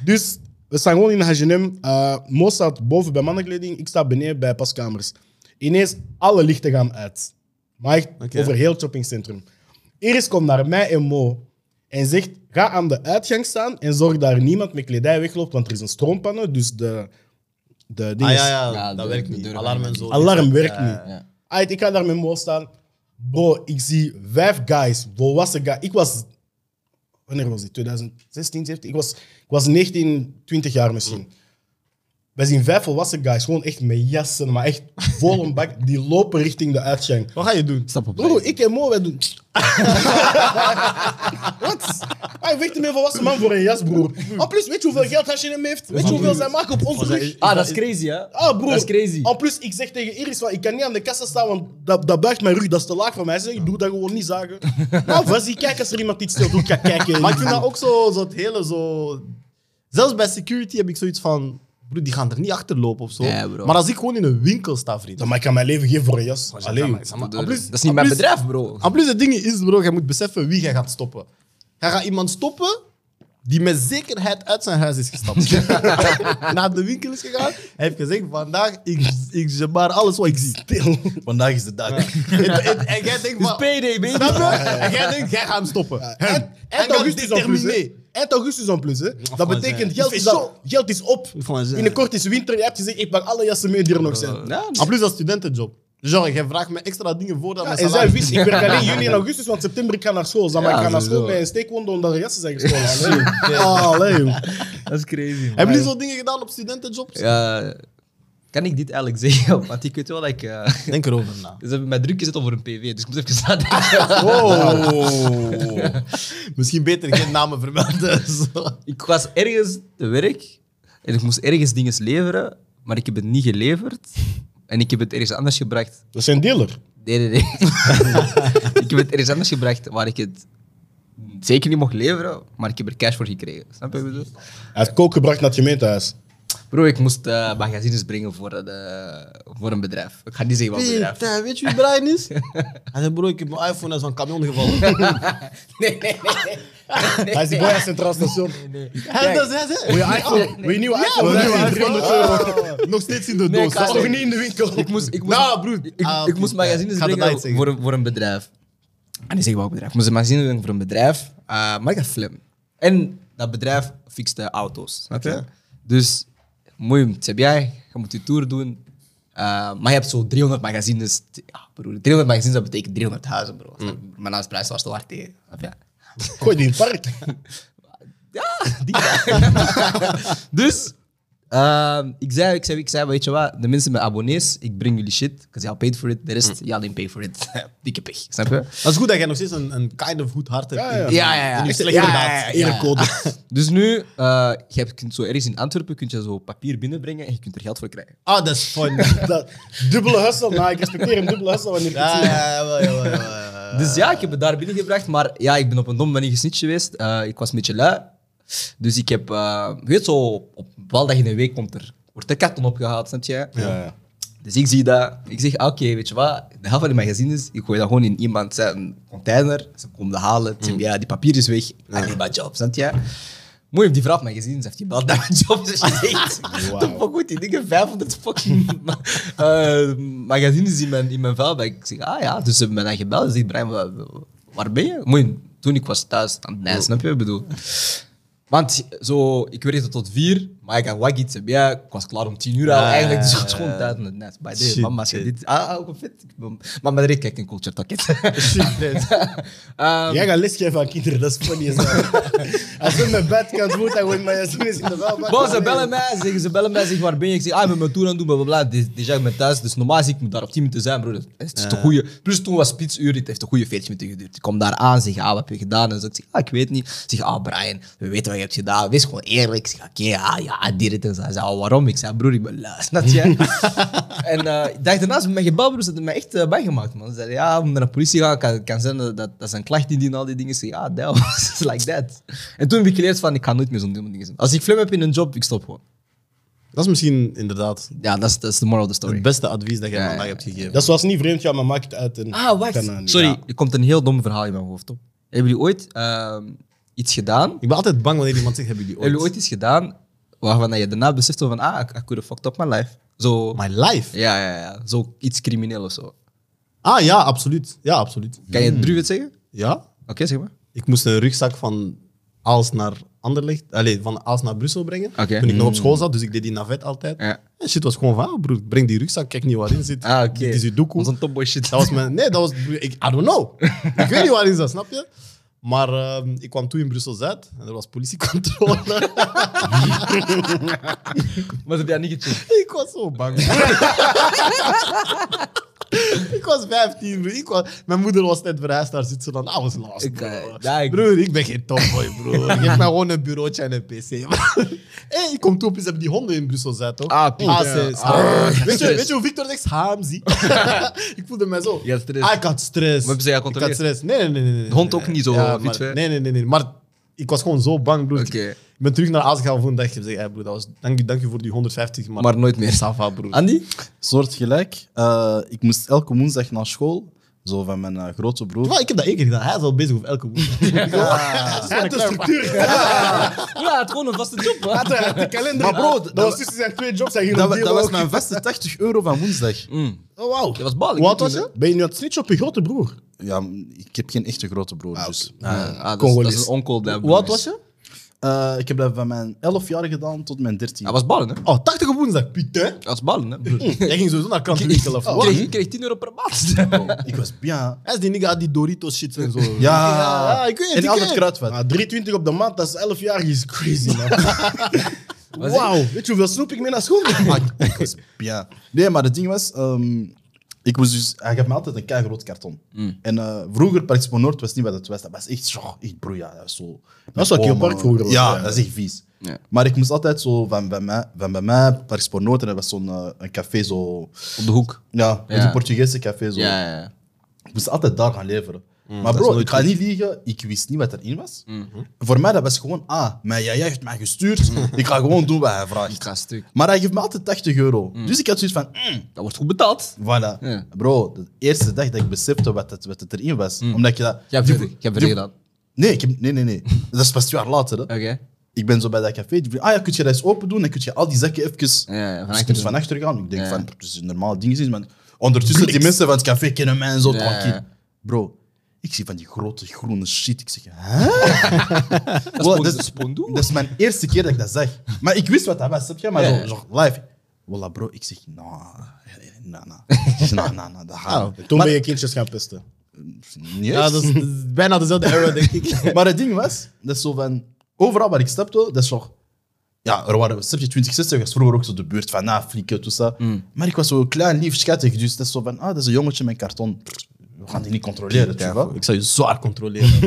[SPEAKER 3] Dus we staan gewoon in Haginem. Eh Mo staat boven bij mannenkleding. Ik sta beneden bij paskamers. Ineens alle lichten gaan uit. Maar echt
[SPEAKER 1] Oké.
[SPEAKER 3] over heel het shoppingcentrum. Iris komt naar mij en Mo en zegt: ga aan de uitgang staan en zorg dat er niemand met kledij wegloopt, want er is een stroompanne. Dus de, de ding
[SPEAKER 1] Ah
[SPEAKER 3] is-
[SPEAKER 1] ja, ja,
[SPEAKER 5] Ja,
[SPEAKER 1] dat
[SPEAKER 5] de-
[SPEAKER 1] werkt
[SPEAKER 5] de
[SPEAKER 1] niet.
[SPEAKER 5] deur-
[SPEAKER 1] Alarm en zo.
[SPEAKER 3] Alarm werkt niet.
[SPEAKER 5] ja.
[SPEAKER 3] Aight, ik ga daar met Mo staan. Bro, ik zie vijf guys, volwassen guys. Ik was. Wanneer was dit? 2016, 17? Ik was, ik was 19, 20 jaar misschien. Wij zien vijf volwassen guys, gewoon echt met jassen, maar echt vol een bak. Die lopen richting de uitgang.
[SPEAKER 1] Wat ga je doen?
[SPEAKER 5] Stap op.
[SPEAKER 3] Bro, ik en Mo, wij doen. Wat? Hij vecht met een volwassen man voor een jas, broer. En plus, weet je hoeveel geld Hashim heeft? Weet je hoeveel zij maken op ons rug?
[SPEAKER 5] Ah, dat is crazy, hè?
[SPEAKER 3] Ah, broer.
[SPEAKER 5] Dat is crazy.
[SPEAKER 3] En plus, ik zeg tegen Iris, van, ik kan niet aan de kassa staan, want dat, dat buigt mijn rug, dat is te laag voor mij. Ze zegt, ik doe dat gewoon niet zagen. nou, was die kijk als er iemand iets stil doet, ik ga kijken.
[SPEAKER 1] Maar ik vind dat ook zo, zo het hele zo... Zelfs bij security heb ik zoiets van... Broer, die gaan er niet achter lopen of zo.
[SPEAKER 5] Nee, bro.
[SPEAKER 1] maar als ik gewoon in een winkel sta, vriend.
[SPEAKER 3] Dan, maar ik kan mijn leven geven voor een jas. Allee, joh.
[SPEAKER 5] Dat
[SPEAKER 1] plus-
[SPEAKER 5] is
[SPEAKER 1] en
[SPEAKER 5] niet
[SPEAKER 3] ah,
[SPEAKER 5] mijn
[SPEAKER 1] plus-
[SPEAKER 5] bedrijf, bro.
[SPEAKER 1] En plus het ding is, bro, jij moet beseffen wie jij gaat stoppen. Jij gaat iemand stoppen die met zekerheid uit zijn huis is gestapt. Naar de winkel is gegaan. Hij heeft gezegd, vandaag, ik, ik maar alles wat ik zie. Stil.
[SPEAKER 4] Vandaag is de dag.
[SPEAKER 1] En, en- en jij denkt, van,
[SPEAKER 5] PD, baby.
[SPEAKER 1] snap je? En jij denkt, jij gaat hem stoppen. Hem. En
[SPEAKER 3] Eind
[SPEAKER 1] dan
[SPEAKER 3] augustus al plus, hè.
[SPEAKER 1] determiné.
[SPEAKER 3] Eind augustus al plus, hè. Dat
[SPEAKER 1] van
[SPEAKER 3] betekent,
[SPEAKER 1] zijn.
[SPEAKER 3] geld
[SPEAKER 1] Ik
[SPEAKER 3] is,
[SPEAKER 1] vind
[SPEAKER 3] al- geld is op.
[SPEAKER 1] Van zijn.
[SPEAKER 3] Binnenkort is winter, je hebt gezegd, ik pak alle jassen mee die er nog zijn.
[SPEAKER 2] Ja,
[SPEAKER 1] En plus dat studentenjob. Dus genre, jij vraagt me extra dingen voor dan
[SPEAKER 3] Ja,
[SPEAKER 1] mijn
[SPEAKER 3] en zij
[SPEAKER 1] salaris.
[SPEAKER 3] wist, ik werk alleen juni en augustus, want september ik ga naar school. Zeg maar
[SPEAKER 2] Ja,
[SPEAKER 3] ik ga naar school
[SPEAKER 2] sowieso.
[SPEAKER 3] met een steekwonde omdat er jassen zijn gestolen. Allee. Allee, joh.
[SPEAKER 2] dat is crazy.
[SPEAKER 1] Hebben jullie zo dingen gedaan op studentenjobs?
[SPEAKER 5] Ja, eh, kan ik dit eigenlijk zeggen? Want ik weet wel dat ik... eh,
[SPEAKER 1] Denk erover na.
[SPEAKER 5] ze hebben mij druk gezet over een PV, dus ik moet even nadenken.
[SPEAKER 1] Misschien beter geen namen vermelden. Zo.
[SPEAKER 5] ik was ergens te werk en ik moest ergens dingen leveren, maar ik heb het niet geleverd. En ik heb het ergens anders gebracht.
[SPEAKER 3] Dat zijn dealer.
[SPEAKER 5] Nee, nee, nee. ik heb het ergens anders gebracht waar ik het zeker niet mocht leveren, maar ik heb er cash voor gekregen. Snap je wat ik bedoel?
[SPEAKER 3] Hij heeft kook gebracht naar het gemeentehuis.
[SPEAKER 5] Bro, ik moest eh, magazines brengen voor, een, eh, voor een bedrijf. Ik ga niet zeggen wat bedrijf.
[SPEAKER 1] Pieter, weet je wie Brian is? Hij zei, bro, ik heb mijn iPhone uit zo'n camion gevallen.
[SPEAKER 5] Nee, nee,
[SPEAKER 3] Hij is die boy uit Centraal Station.
[SPEAKER 1] Hij dat Ah. zei ze.
[SPEAKER 3] Wil je iPhone? Wil je nieuwe iPhone?
[SPEAKER 1] wil je
[SPEAKER 3] Ja,
[SPEAKER 1] iPhone?
[SPEAKER 3] 300 euro.
[SPEAKER 1] Nog steeds in de
[SPEAKER 5] Nee,
[SPEAKER 1] doos.
[SPEAKER 5] ik ga-
[SPEAKER 1] Dat is
[SPEAKER 3] Nog
[SPEAKER 1] nog
[SPEAKER 3] niet in de winkel.
[SPEAKER 5] Ik moest, ik moest,
[SPEAKER 1] Nou, broer.
[SPEAKER 5] Ik,
[SPEAKER 1] Ah,
[SPEAKER 5] ik
[SPEAKER 1] oké.
[SPEAKER 5] moest
[SPEAKER 1] Ik
[SPEAKER 5] magazines
[SPEAKER 1] ga dat
[SPEAKER 5] brengen
[SPEAKER 1] uitzeggen.
[SPEAKER 5] voor, een- voor een bedrijf. En die zeggen welk bedrijf. Ik moest een magazine brengen voor een bedrijf. eh, maar ik had film. En dat bedrijf fixte auto's. Snap je? Dus, moeim, het heb jij. Je moet je tour doen. Eh, maar je hebt zo 300 magazines. Ja, broer, 300 magazines, dat betekent 300 huizen, bro.
[SPEAKER 1] Mm.
[SPEAKER 5] Mijn huisprijs was te hard tegen. Of ja.
[SPEAKER 3] Gooi die in het park.
[SPEAKER 5] Die vraag. dus, ehm, ik, zei, ik, zei, ik zei, weet je wat, de mensen met abonnees, ik breng jullie shit, because y'all paid for it, de rest, y'all didn't pay for it. Dikke pech, snap je?
[SPEAKER 1] Dat is goed dat jij nog steeds een, een kind of goed hart hebt.
[SPEAKER 3] Ja, ja.
[SPEAKER 5] Ja, ja, ja.
[SPEAKER 1] Niet slecht,
[SPEAKER 5] Ja,
[SPEAKER 1] inderdaad.
[SPEAKER 5] ja, ja, ja.
[SPEAKER 1] Erecode.
[SPEAKER 5] Dus nu, eh je hebt- kunt zo ergens in Antwerpen, kun je zo papier binnenbrengen en je kunt er geld voor krijgen.
[SPEAKER 1] Ah, dat is fun.
[SPEAKER 3] Dat, dubbele hustle. Nou, ik respecteer hem. Dubbele hustle wanneer ik het
[SPEAKER 1] Ja,
[SPEAKER 3] zie.
[SPEAKER 1] ja, jawel, jawel, jawel, jawel.
[SPEAKER 5] Dus ja, ik heb het daar binnengebracht, maar ja, ik ben op een domme manier gesnitcht geweest. Eh, ik was een beetje lui. Dus ik heb, eh, je weet zo, op een bepaald dag in de week komt er, wordt de karton opgehaald, snap je? Dus ik zie dat. Ik zeg, ah, oké, weet je wat? De helft van die magazines, ik gooi dat gewoon in iemand zijn container. Ze komen dat halen. Ze zeggen, ja, die papier is weg. alleen maar job, snap je? Mooi op die vraag magazines heeft hij wel dat job. Dus je denkt, de fuck moet die dingen 500 fucking ma- eh, magazines in mijn, in mijn vuilbak. Ik zeg, ah ja, dus ze hebben mij dan gebeld. Ze zegt, Brian, wa- wa- waar ben je? Mooi, toen ik was thuis aan het nijs, snap je wat ik bedoel? Want zo, ik werkte tot vier, maar ik had wat iets. Ja, ik was klaar om tien uur al eigenlijk. Dus ik was gewoon thuis in het net. Bij deze
[SPEAKER 1] Ah, Shit,
[SPEAKER 5] mama, als je dit. Ah, ah, ook fit. Ik ben- Maar mijn rekening kijkt een culture talk.
[SPEAKER 3] Jij gaat lesgeven aan kinderen. Dat is funny. as hell. Als ze mijn bed kan voeten, gewoon mijn jassen is in de vuilbak.
[SPEAKER 5] Bon, ze bellen mij, ze zeggen, ze bellen mij, zeg waar ben je? Ik zeg, ah, ik ben mijn tour aan het doen, bla bla bla. Dit- dit jaar ik ben thuis, dus normaal is ik moet daar op 10 minuten zijn, broer. Het is toch goeie. Plus toen was spitsuur, dit heeft een goede 40 minuten geduurd. Ik kom daar aan, zeg, ah, wat heb je gedaan? En zo, ik zeg, ah, ik weet niet. Ze zeggen, ah, Brian, we weten wat je hebt gedaan. Wees gewoon eerlijk. Ik zeg, oké, ah, ja, dit dit en zo. Hij zei, ah, waarom? Ik zei, broer, ik ben lui, snap je? en eh ik dacht daarnaast, mijn gebouw, broer, ze hadden mij echt eh, bijgemaakt, man. Ze zeiden, ja, we moeten naar de politie gaan, kan, kan zijn dat, dat dat is een klacht indien, al die dingen. Ik zeg, ah, damn, it's like that. En toen heb ik geleerd van, ik ga nooit meer zo'n domme dingen doen. Als ik flim heb in een job, ik stop gewoon.
[SPEAKER 1] Dat is misschien inderdaad
[SPEAKER 5] Ja, dat is, dat is de moral of the story.
[SPEAKER 1] het beste advies dat jij
[SPEAKER 5] Ja,
[SPEAKER 1] vandaag
[SPEAKER 5] ja,
[SPEAKER 1] hebt gegeven.
[SPEAKER 3] Dat is zoals niet vreemd, ja, maar maakt het uit. En
[SPEAKER 5] Ah, wacht.
[SPEAKER 3] kan dat niet.
[SPEAKER 5] Sorry,
[SPEAKER 3] Ja.
[SPEAKER 5] er komt een heel dom verhaal in mijn hoofd op. Hebben jullie ooit ehm, iets gedaan? Hebben
[SPEAKER 1] Ik ben altijd bang wanneer iemand zegt, hebben jullie
[SPEAKER 5] jullie
[SPEAKER 1] ooit...
[SPEAKER 5] ooit iets gedaan waarvan je daarna beseft van, ah, ik could have fucked up my life. Zo,
[SPEAKER 1] My life?
[SPEAKER 5] ja, ja, ja. Zo iets crimineel of zo.
[SPEAKER 1] Ah ja, absoluut. Ja, absoluut.
[SPEAKER 5] Kan je het druid zeggen? Oké,
[SPEAKER 1] Ja?
[SPEAKER 5] zeg maar.
[SPEAKER 1] Ik moest een rugzak van Aals naar Anderlecht, allez, van Aals naar Brussel brengen.
[SPEAKER 5] Oké. Mm.
[SPEAKER 1] Toen ik nog op school zat, dus ik deed die navet altijd.
[SPEAKER 5] Ja.
[SPEAKER 1] En shit was gewoon van, ah, broer, breng die rugzak, kijk niet waarin zit.
[SPEAKER 5] Ah, oké.
[SPEAKER 1] Dit is je doekoe.
[SPEAKER 5] Zo'n topboy shit.
[SPEAKER 1] Dat was mijn... Nee, dat was... broer, Ik, I don't know. ik weet niet waarin zat, snap je? Maar ehm, ik kwam toe in Brussel-Zuid en er was politiecontrole.
[SPEAKER 5] Maar ze hebben jou niet gecheckt.
[SPEAKER 1] Ik was zo bang. ik was 15, broer. Ik was, mijn moeder was net verhuisd naar Zwitserland. I was lost,
[SPEAKER 5] Ik,
[SPEAKER 1] bro.
[SPEAKER 5] eh, ja, ik-
[SPEAKER 1] Broer, ik ben geen topboy, broer. ik heb mij gewoon een bureautje en een pc. hey, ik kom toe op, ze hebben die honden in Brussel zitten, toch?
[SPEAKER 5] Ah, Piet,
[SPEAKER 1] ze-
[SPEAKER 5] ja.
[SPEAKER 1] ze-
[SPEAKER 5] Ah,
[SPEAKER 1] weet, je,
[SPEAKER 5] stress.
[SPEAKER 1] weet je hoe Victor zegt? Hamzi. ik voelde mij zo.
[SPEAKER 5] Je had stress.
[SPEAKER 1] Ah, ik had stress.
[SPEAKER 5] Maar hebben ze jou
[SPEAKER 1] ik had
[SPEAKER 5] gecontroleerd?
[SPEAKER 1] stress. Nee, nee, nee. nee, nee.
[SPEAKER 5] De hond ook niet zo,
[SPEAKER 1] Ja,
[SPEAKER 5] of
[SPEAKER 1] maar-
[SPEAKER 5] iets, hè?
[SPEAKER 1] Nee, nee, nee, nee. Maar ik was gewoon zo bang, broer.
[SPEAKER 5] Oké.
[SPEAKER 1] Ik ben terug naar Azië gegaan voor een dag. Ik heb gezegd, hey, broer, dat was, dank, je, dank je voor die 150, maar...
[SPEAKER 5] Maar nooit meer.
[SPEAKER 1] Safa, broer.
[SPEAKER 5] Andy?
[SPEAKER 4] Soortgelijk. Eh, ik moest elke woensdag naar school. Zo van mijn eh, grote broer.
[SPEAKER 1] Maar ik heb dat één keer gedaan. Hij is al bezig over elke woord.
[SPEAKER 3] Uit de structuur.
[SPEAKER 5] Ah. Ja, het gewoon een vaste job. hè.
[SPEAKER 3] Uit de- uit de kalender.
[SPEAKER 4] Maar bro,
[SPEAKER 3] Dat
[SPEAKER 4] dat-
[SPEAKER 3] was tussen zijn twee jobs. Hij ging
[SPEAKER 4] Dat,
[SPEAKER 3] op
[SPEAKER 4] wa-
[SPEAKER 3] die
[SPEAKER 4] dat was
[SPEAKER 3] ook.
[SPEAKER 4] mijn vaste 80 euro van woensdag.
[SPEAKER 5] Mm.
[SPEAKER 3] Oh, wauw.
[SPEAKER 5] Dat was bal.
[SPEAKER 1] Wat was je?
[SPEAKER 3] Ben je nu aan het snitchen op je grote broer?
[SPEAKER 4] Ja, ik heb geen echte grote broer. dus.
[SPEAKER 5] Ah, dat, is, dat
[SPEAKER 3] Congolees.
[SPEAKER 5] is een onkel. dat-
[SPEAKER 1] Wat was je?
[SPEAKER 4] Eh, ik heb dat van mijn 11 jaar gedaan tot mijn 13.
[SPEAKER 5] Dat was ballen, hè?
[SPEAKER 1] Oh, 80 op woensdag. Putain.
[SPEAKER 5] Dat was ballen, hè? broer. Ik
[SPEAKER 1] Jij ging sowieso naar kant winkelen. of wat?
[SPEAKER 5] kreeg, ik kreeg 10 euro per maand.
[SPEAKER 4] ik was bien.
[SPEAKER 1] Hij is die nigga die Doritos shit en zo.
[SPEAKER 4] Ja.
[SPEAKER 1] ja ik weet het.
[SPEAKER 4] En
[SPEAKER 1] ik
[SPEAKER 4] altijd
[SPEAKER 1] ken.
[SPEAKER 4] kruidvat.
[SPEAKER 3] Ah, 23 op de maand, dat is 11 jaar, is crazy, man. Wauw. Weet je hoeveel snoep ik mee naar school neem?
[SPEAKER 4] ik was bien. Nee, maar het ding was... ehm, ik was dus... Hij gaf me altijd een keigroot karton.
[SPEAKER 1] Mm.
[SPEAKER 4] En eh, vroeger, Park Expo Noord, was niet wat het was. Dat was echt, zo, echt broeia. Dat was zo...
[SPEAKER 3] was wat
[SPEAKER 4] Oh,
[SPEAKER 3] Kielpark
[SPEAKER 4] man.
[SPEAKER 3] vroeger was,
[SPEAKER 4] Ja,
[SPEAKER 3] ja.
[SPEAKER 4] dat is echt vies. Maar ik moest altijd zo van bij mij, van bij mij Park Expo Noord, en dat was zo'n eh, een café zo...
[SPEAKER 5] Op de hoek.
[SPEAKER 4] Ja, met
[SPEAKER 5] Ja.
[SPEAKER 4] een Portugese café zo.
[SPEAKER 5] Ja, ja, ja.
[SPEAKER 4] Ik moest altijd daar gaan leveren.
[SPEAKER 5] Mm,
[SPEAKER 4] maar bro, ik ga niet liegen, ik wist niet wat erin was.
[SPEAKER 5] Mhm.
[SPEAKER 4] Voor mij dat was gewoon, ah, maar jij heeft mij gestuurd,
[SPEAKER 5] Mm.
[SPEAKER 4] ik ga gewoon doen wat hij
[SPEAKER 5] Ik
[SPEAKER 4] vraagt.
[SPEAKER 5] ga stuk.
[SPEAKER 4] Maar hij geeft me altijd 80 euro. Dus ik had zoiets van, mm,
[SPEAKER 5] Dat wordt goed betaald.
[SPEAKER 4] voilà.
[SPEAKER 5] Ja.
[SPEAKER 4] Bro, de eerste dag dat ik besefte wat het, wat het erin was, omdat je dat...
[SPEAKER 5] Jij Mm. hebt
[SPEAKER 4] die-
[SPEAKER 5] verder- jij hebt
[SPEAKER 4] die-
[SPEAKER 5] verder gedaan.
[SPEAKER 4] Nee, ik heb, nee, nee, nee. dat is pas twee jaar later. Hè.
[SPEAKER 5] Oké.
[SPEAKER 4] Ik ben zo bij dat café, die vroeg, ah ja, kun je dat eens open doen, dan kun je al die zakken even...
[SPEAKER 5] Ja, ja, van
[SPEAKER 4] dus ik
[SPEAKER 5] achter
[SPEAKER 4] moest
[SPEAKER 5] doen.
[SPEAKER 4] van achter gaan. Ik denk
[SPEAKER 5] Ja.
[SPEAKER 4] van, het is een normaal ding, is, maar ondertussen die mensen van het café kennen mij en zo.
[SPEAKER 5] Ja, ja, ja.
[SPEAKER 4] tranquille. Bro, ik zie van die grote groene shit. Ik zeg, hè?
[SPEAKER 5] Dat
[SPEAKER 4] Voilà,
[SPEAKER 5] is
[SPEAKER 4] dat-
[SPEAKER 5] een spondoe.
[SPEAKER 4] Dat is mijn eerste keer dat ik dat zeg. Maar ik wist wat dat was, heb je? Maar
[SPEAKER 5] Ja,
[SPEAKER 4] zo,
[SPEAKER 5] ja.
[SPEAKER 4] zo live. Voilà, bro, ik zeg, nou, nou, nou, nou, nou, nou, dat gaat niet.
[SPEAKER 3] Toen
[SPEAKER 4] Maar-
[SPEAKER 3] ben je kindjes gaan pesten.
[SPEAKER 4] Niet
[SPEAKER 1] Ja,
[SPEAKER 4] eens.
[SPEAKER 1] dat is, dat is bijna dezelfde era, denk ik.
[SPEAKER 4] Maar het ding was, dat is zo van... Overal waar ik stapte, dat is toch... Ja, er waren... Snap je, 2060 was vroeger ook zo de buurt van na flikken, tout ça. Maar ik was zo klein, lief, schattig. Dus dat is zo van... Ah, dat is een jongetje met karton. We gaan die niet controleren, tu vois.
[SPEAKER 1] Ik zou je zwaar controleren.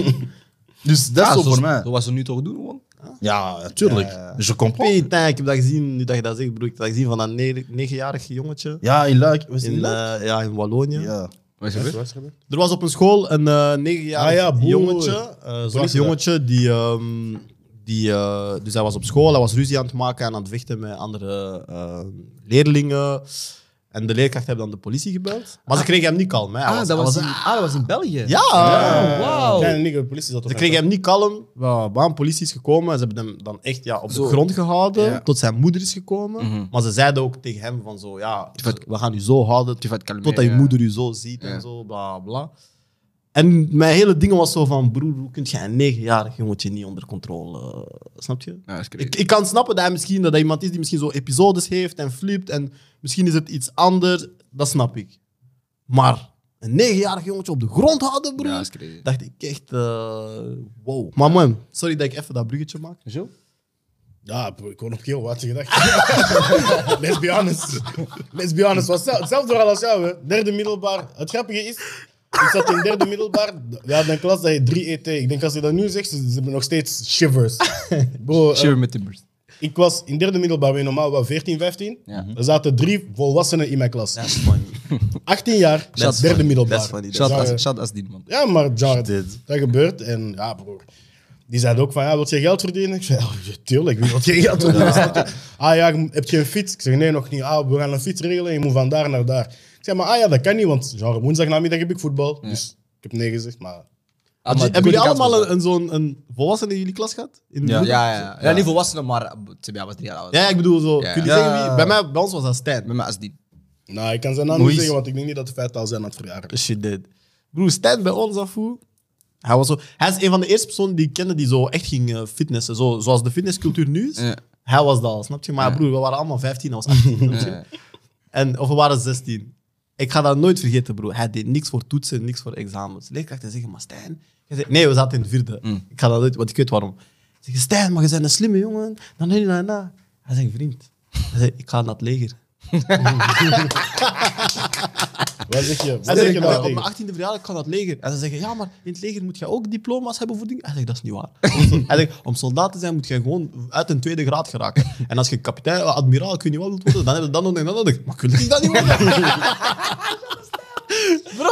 [SPEAKER 4] Dus dat is
[SPEAKER 5] Ah,
[SPEAKER 4] zo
[SPEAKER 5] zoals-
[SPEAKER 4] voor mij.
[SPEAKER 5] Zoals ze nu toch doen, gewoon.
[SPEAKER 4] Ja, natuurlijk. Dus Je comprends.
[SPEAKER 1] Peter, ik heb dat gezien, nu dat je dat zegt, broer. Ik heb dat gezien van dat ne- negenjarig jongetje.
[SPEAKER 4] Ja, in Luik. Was het
[SPEAKER 1] In,
[SPEAKER 4] in Luik?
[SPEAKER 1] eh, ja, in Wallonië.
[SPEAKER 4] Ja.
[SPEAKER 5] Wat is er gebeurd?
[SPEAKER 1] Er was op een school een eh negenjarig
[SPEAKER 3] Ah ja, boer.
[SPEAKER 1] jongetje, eh, zwart
[SPEAKER 3] Politie
[SPEAKER 1] jongetje, die, ehm, die eh, dus hij was op school, hij was ruzie aan het maken en aan het vechten met andere eh, leerlingen. En de leerkracht hebben dan de politie gebeld. Maar ze kregen hem niet kalm. Hè. Hij
[SPEAKER 5] Ah,
[SPEAKER 1] was-
[SPEAKER 5] dat
[SPEAKER 1] hij
[SPEAKER 5] was
[SPEAKER 1] was-
[SPEAKER 5] in, ah, dat was in België.
[SPEAKER 1] ja.
[SPEAKER 5] Oh, wauw.
[SPEAKER 3] Kleine nigger, de politie zat op
[SPEAKER 1] Ze kregen hem niet kalm. Wa- Bam, politie is gekomen. Ze hebben hem dan echt ja, op
[SPEAKER 5] Zo. Mhm.
[SPEAKER 1] de grond gehouden. Tot zijn moeder is gekomen. Maar ze zeiden ook tegen hem van zo... Ja, we gaan u zo houden
[SPEAKER 5] Die vat kalmeren,
[SPEAKER 1] totdat je
[SPEAKER 5] ja.
[SPEAKER 1] moeder u zo ziet en zo. Bla, bla. En mijn hele ding was zo van... Broer, hoe kun je een negenjarig jongetje niet onder controle... eh, Snap je?
[SPEAKER 5] Ja, dat is crazy.
[SPEAKER 1] Ik, ik kan snappen dat hij misschien dat hij iemand is die misschien zo episodes heeft en flipt. En misschien is het iets anders. Dat snap ik. Maar een negenjarig jongetje op de grond houden, broer.
[SPEAKER 5] Ja, dat is crazy.
[SPEAKER 1] dacht ik echt, eh, wow. Maar man, sorry dat ik even dat bruggetje maak.
[SPEAKER 5] Zo?
[SPEAKER 3] Ja, bro, ik hoor nog heel wat je gedacht. Let's be honest. Let's be honest. Was zel- hetzelfde verhaal als jou, hè. Derde middelbaar. Het grappige is, ik zat in derde middelbaar. We hadden een klas dat heet 3ET. E Ik denk als je dat nu zegt, ze ze hebben nog steeds shivers. Bro, eh,
[SPEAKER 5] Shiver met timbers.
[SPEAKER 3] ik was in derde middelbaar, ben je normaal wel 14, 15.
[SPEAKER 5] Ja.
[SPEAKER 3] Er zaten drie volwassenen in mijn klas. 18 jaar, derde middelbaar.
[SPEAKER 5] Shout
[SPEAKER 3] Ja,
[SPEAKER 5] as- shout as die man.
[SPEAKER 3] ja, maar ja, dat gebeurt. En ja, broer. Die zei ook van, ja, wil je geld verdienen? Ik zei, ja, tuurlijk, wie wil je geld verdienen? Snap je? Ah ja, je- heb je een fiets? Ik zeg, nee, nog niet. Ah, we gaan een fiets regelen, je moet van daar naar daar. Ik zei, maar ah ja, dat kan niet, want genre, woensdagnamiddag heb ik voetbal. Dus ik heb nee gezegd, maar...
[SPEAKER 5] Ah, maar
[SPEAKER 1] hebben jullie
[SPEAKER 5] goede kans
[SPEAKER 1] allemaal
[SPEAKER 5] was
[SPEAKER 1] een, een, zo'n een volwassene in jullie klas gehad? In de
[SPEAKER 4] Ja.
[SPEAKER 5] dat.
[SPEAKER 1] groep?
[SPEAKER 5] Ja, ja, ja. Ja, niet volwassenen, maar eh, ze ja, was drie jaar oud.
[SPEAKER 1] Ja, ik bedoel zo.
[SPEAKER 5] Ja.
[SPEAKER 1] Kun je
[SPEAKER 4] Ja.
[SPEAKER 1] zeggen wie? Bij, mij, bij ons was dat Stijn.
[SPEAKER 5] Met mij als die.
[SPEAKER 3] Nou, ik kan zijn naam
[SPEAKER 4] Hoe
[SPEAKER 3] niet
[SPEAKER 4] is-
[SPEAKER 3] zeggen, want ik denk niet dat de feiten al zijn aan het verjaren.
[SPEAKER 1] Shit, dead. Broer, Stijn bij ons af hoe? Hij, was zo, hij is een van de eerste personen die ik kende die zo echt ging eh, fitnessen. Zo, zoals de fitnesscultuur nu is.
[SPEAKER 5] Ja.
[SPEAKER 1] Hij was dat, al, snap je? Maar broer, we waren allemaal 15 als 18. snap je? En, of we waren 16. Ik ga dat nooit vergeten, broer. Hij deed niks voor toetsen, niks voor examens. Leerkrachten zeggen, maar Stijn... Hij zei, nee, we zaten in het vierde. Ik ga dat nooit, want ik weet waarom. Ze zeggen, Stijn, maar je bent een slimme jongen. Dan nee, na, na. Hij zegt, vriend. Hij zei, ik ga naar het leger.
[SPEAKER 3] Wat zeg je?
[SPEAKER 1] Hij
[SPEAKER 3] Wat zeg
[SPEAKER 1] zegt,
[SPEAKER 3] je
[SPEAKER 1] "Maar
[SPEAKER 3] nou
[SPEAKER 1] op mijn
[SPEAKER 3] tegen?
[SPEAKER 1] 18e verjaardag ik ga naar het leger. En ze zeggen, ja, maar in het leger moet je ook diploma's hebben voor dingen. Hij zegt, dat is niet waar. Hij zegt, om soldaat te zijn moet je gewoon uit een tweede graad geraken. En als je kapitein, eh, admiraal, kun je wel wilt worden, dan heb je dat nodig en dat nodig. Maar kun je dat niet worden? Bro.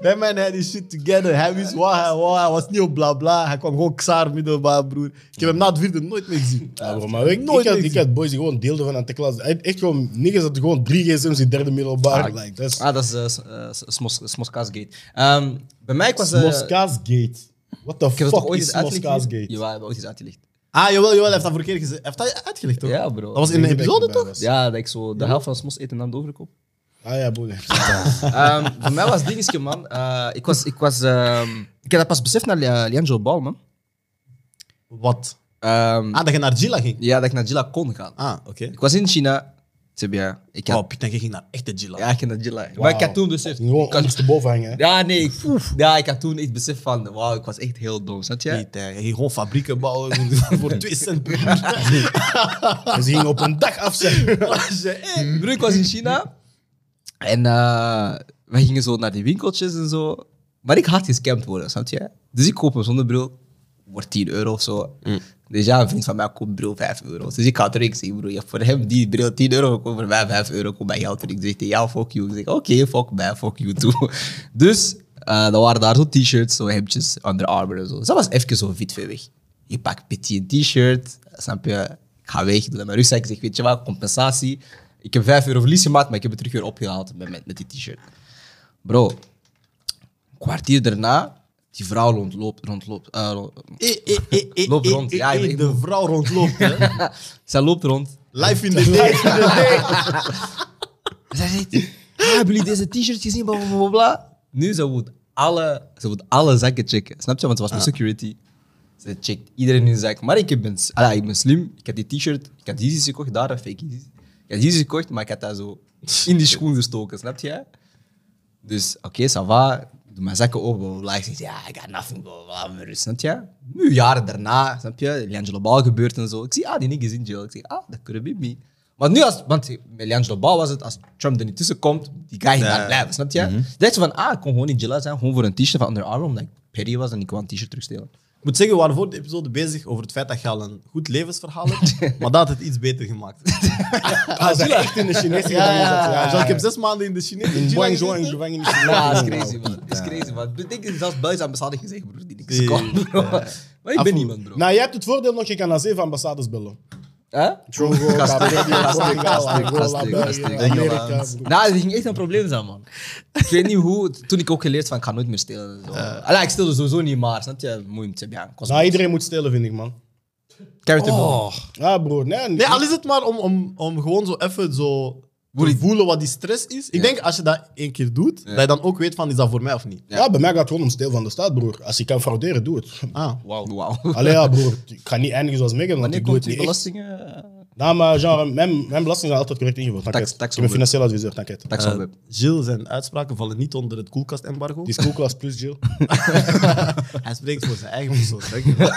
[SPEAKER 1] Nee, man, hij had die shit together. Hij wist wat hij wou. Hij was niet op bla bla. Hij kwam gewoon Xaar middelbaar, broer. Ik heb hem na het vierde nooit meer gezien.
[SPEAKER 3] Ja, bro, maar ik, ik,
[SPEAKER 1] Nooit
[SPEAKER 3] had,
[SPEAKER 1] niks.
[SPEAKER 3] ik had boys die gewoon deelden van aan de klas. Echt echt gewoon, niggas hadden gewoon drie gsm's in derde middelbaar. like, dat is
[SPEAKER 5] Ah, dat is eh, s- eh, s- Smos- Smoskaasgate. Ehm, bij mij was... eh,
[SPEAKER 3] Moskaasgate. What the
[SPEAKER 5] ik heb het toch
[SPEAKER 3] fuck
[SPEAKER 5] ooit
[SPEAKER 3] is
[SPEAKER 5] eens uitgelegd?
[SPEAKER 3] Moskaasgate?
[SPEAKER 5] hier? Jawel, ik heb ooit eens uitgelegd.
[SPEAKER 1] Ah, jawel, jawel. Hij heeft dat vorige keer geze- heeft hij uitgelegd, toch?
[SPEAKER 5] Ja, bro.
[SPEAKER 1] Dat was in een
[SPEAKER 3] Ik denk dat ik
[SPEAKER 1] episode,
[SPEAKER 3] erbij
[SPEAKER 1] toch?
[SPEAKER 3] was.
[SPEAKER 5] Ja, dat ik zo de helft van Smos eten aan de overkop.
[SPEAKER 3] Ah ja, boy.
[SPEAKER 5] Ehm, voor mij was het dingetje, man. Eh, ik, was, ik, was, ehm, ik heb dat pas beseft naar Li- Liangelo Bal, man.
[SPEAKER 1] Wat?
[SPEAKER 5] Ehm,
[SPEAKER 1] Ah, dat je naar Gila ging?
[SPEAKER 5] Ja, dat ik naar Gila kon gaan.
[SPEAKER 1] Ah, oké.
[SPEAKER 5] Ik was in China. Ze hebben, ja, ik had,
[SPEAKER 1] Wow, Piet, denk ik ging naar echte Gila.
[SPEAKER 5] ja, ik ging naar Gila. Maar ik had toen beseft.
[SPEAKER 3] Gewoon
[SPEAKER 5] Ik had-
[SPEAKER 3] ondersteboven hangen. hè.
[SPEAKER 5] ja, nee. Ik, ja, ik had toen echt beseft van, wauw, ik was echt heel dom. Snap je?
[SPEAKER 1] Niet, hè. Je ging gewoon fabrieken bouwen voor 2 cent per uur.
[SPEAKER 3] En ze gingen op een dag afzetten.
[SPEAKER 5] Hey, Eh, broer, ik was in China. En eh, wij gingen zo naar die winkeltjes en zo. Maar ik had gescamd worden, snap je? Dus ik koop een zonnebril. Wordt 10 euro of zo. Dus ja, een vriend van mij koopt bril 5 euro. Dus ik had er niks in, broer. Je hebt voor hem die bril 10 euro gekocht, voor mij 5 euro. Komt mijn geld terug. Dus ik zeg, ja, fuck you. Ik zeg, oké, fuck mij, fuck you too. Dus eh dan waren daar zo t-shirts, zo hemdjes, Under Armour en zo. Dus dat was even zo wit weer weg. Ik pak petit een t-shirt, snap je? Ik ga weg, doe dat in mijn rugzak. Ik zeg, weet je wat, compensatie. Ik heb 5 euro verlies gemaakt, maar ik heb het terug weer opgehaald met, met, met die t-shirt. Bro, een kwartier daarna, die vrouw rondloopt, rondloopt, eh, ro-
[SPEAKER 1] Eh, eh, eh, eh,
[SPEAKER 5] Loop
[SPEAKER 1] eh,
[SPEAKER 5] rond.
[SPEAKER 1] eh,
[SPEAKER 5] Ja,
[SPEAKER 1] eh,
[SPEAKER 5] ik-
[SPEAKER 1] de vrouw rondloopt. hè.
[SPEAKER 5] zij loopt rond.
[SPEAKER 1] Life in the day.
[SPEAKER 5] Zij zegt, "Ah, hebben jullie deze t-shirt gezien, bla, bla, bla, bla?" Nu, ze moet, alle, ze moet alle zakken checken. Snap je? Want ze was met security. Ze checkt iedereen in de zak. Maar ik ben, s- ah, ik ben slim. Ik heb die t-shirt, ik had die gekocht, daar een fake Yeezys. Ik had die gekocht, maar ik had dat zo in die schoen gestoken. Snap je? Dus, oké, ça va. Doe mijn zakken open, bla, bla, bla. Ik zeg, ja, I got nothing, bla, bla, bla, bla. Snap je? Nu, jaren daarna, snap je? Liangelo Bal gebeurt en zo. Ik zie, ah, die niggas in jail. Ik zeg, ah, dat could be me. Want nu, als, want met Liangelo Bal was het, als Trump er niet tussen komt, die guy gaat blijven, snap je? Dat je van, ah, ik kon gewoon in jail zijn, gewoon voor een t-shirt van Under Armour, omdat ik petty was en ik wou een t-shirt terugstelen.
[SPEAKER 1] Ik moet zeggen, we waren voor de episode bezig over het feit dat je al een goed levensverhaal hebt, maar dat had het iets beter gemaakt. Ah,
[SPEAKER 3] Als ze echt in de Chinese
[SPEAKER 1] Ja,
[SPEAKER 3] gevangenis
[SPEAKER 1] ja,
[SPEAKER 3] zaten.
[SPEAKER 1] ja.
[SPEAKER 3] ja.
[SPEAKER 1] ik heb zes maanden in de Chinese
[SPEAKER 3] In
[SPEAKER 1] Gila
[SPEAKER 3] Guangzhou en
[SPEAKER 1] gezeten.
[SPEAKER 3] gevangenis.
[SPEAKER 5] Ja, Ah, dat is crazy, man. Dat is crazy, man. Ik denk dat zelfs Belgische ambassade gezegd, broer, die niks
[SPEAKER 1] Ja.
[SPEAKER 5] kon, bro. Maar ik ben niemand, bro.
[SPEAKER 3] Nou, jij hebt het voordeel nog, je kan naar zeven ambassades bellen.
[SPEAKER 5] Hè?
[SPEAKER 3] Congo, Cameroen, Portugal, Angola,
[SPEAKER 5] Gastig,
[SPEAKER 3] België,
[SPEAKER 5] gastig.
[SPEAKER 3] Amerika. bro.
[SPEAKER 5] Nou, dat ging echt een probleem zijn, man. Ik weet niet hoe. Toen ik ook geleerd van, ik ga nooit meer stelen. en Zo. Allee, ik stilde sowieso niet, maar snap je? Moeiend, heb je aan.
[SPEAKER 3] Nou, iedereen moet stelen, vind ik, man.
[SPEAKER 5] Character building.
[SPEAKER 3] Ja, bro. Nee,
[SPEAKER 1] Nee, al is het maar om, om, om gewoon zo even zo te voelen wat die stress is. Ik denk als je dat één keer doet, dat je dan ook weet van is dat voor mij of niet.
[SPEAKER 3] ja. bij mij gaat het gewoon om steel van de staat, broer. Als je kan frauderen, doe het.
[SPEAKER 1] Ah.
[SPEAKER 5] Wauw. Wauw.
[SPEAKER 3] Allee, ja, broer. Ik ga niet eindigen zoals Megan, want
[SPEAKER 5] Wanneer
[SPEAKER 3] ik doe
[SPEAKER 5] komt
[SPEAKER 3] het
[SPEAKER 5] die
[SPEAKER 3] niet echt.
[SPEAKER 5] belastingen? eh,
[SPEAKER 3] Nou, maar genre, mijn, mijn belasting is altijd correct ingevuld. Dank
[SPEAKER 5] Tax-
[SPEAKER 3] je.
[SPEAKER 5] tax-
[SPEAKER 3] ik ben financieel adviseur, dank je.
[SPEAKER 5] Dat ik
[SPEAKER 1] Eh,
[SPEAKER 5] zo heb.
[SPEAKER 1] Gilles zijn uitspraken vallen niet onder het koelkastembargo.
[SPEAKER 3] Die is koelklas plus, Jill.
[SPEAKER 1] Hij spreekt voor zijn eigen persoon. dankjewel.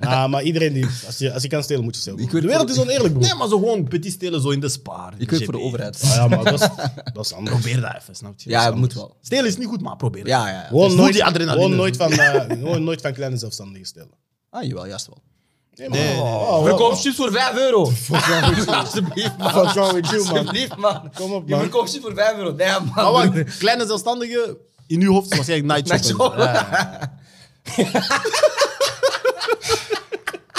[SPEAKER 3] Ah, maar iedereen die... Als je, als je kan stelen, moet je stelen. broer.
[SPEAKER 5] Ik weet-
[SPEAKER 3] de wereld is oneerlijk, broer.
[SPEAKER 1] Nee, maar zo gewoon petit stelen zo in de spaar.
[SPEAKER 5] Ik werk voor de overheid.
[SPEAKER 3] Ah, ja, maar dat is, dat is anders.
[SPEAKER 1] Probeer dat even, snap je?
[SPEAKER 5] Ja,
[SPEAKER 1] Dat
[SPEAKER 5] het
[SPEAKER 1] is
[SPEAKER 5] moet
[SPEAKER 1] anders.
[SPEAKER 5] wel.
[SPEAKER 1] Stelen is niet goed, maar probeer het.
[SPEAKER 5] Ja, ja. ja.
[SPEAKER 3] Gewoon
[SPEAKER 1] Dus doe
[SPEAKER 3] nooit,
[SPEAKER 1] die adrenaline.
[SPEAKER 3] gewoon, nooit van, eh, gewoon nooit van kleine zelfstandigen stelen.
[SPEAKER 5] Ah, jawel, juist wel.
[SPEAKER 3] Nee, man.
[SPEAKER 1] nee, nee.
[SPEAKER 3] Oh,
[SPEAKER 5] Verkoop chips voor 5 euro. Alsjeblieft, man.
[SPEAKER 3] What's wrong with you, man?
[SPEAKER 5] Alsjeblieft, man.
[SPEAKER 3] Kom op,
[SPEAKER 5] Je
[SPEAKER 3] man.
[SPEAKER 5] verkoopt chips voor 5 euro. Nee, man.
[SPEAKER 1] Maar wacht, kleine zelfstandige, in uw hoofd is waarschijnlijk Nightshop.
[SPEAKER 5] Nightshop.
[SPEAKER 1] en zo. Ja, ja, ja.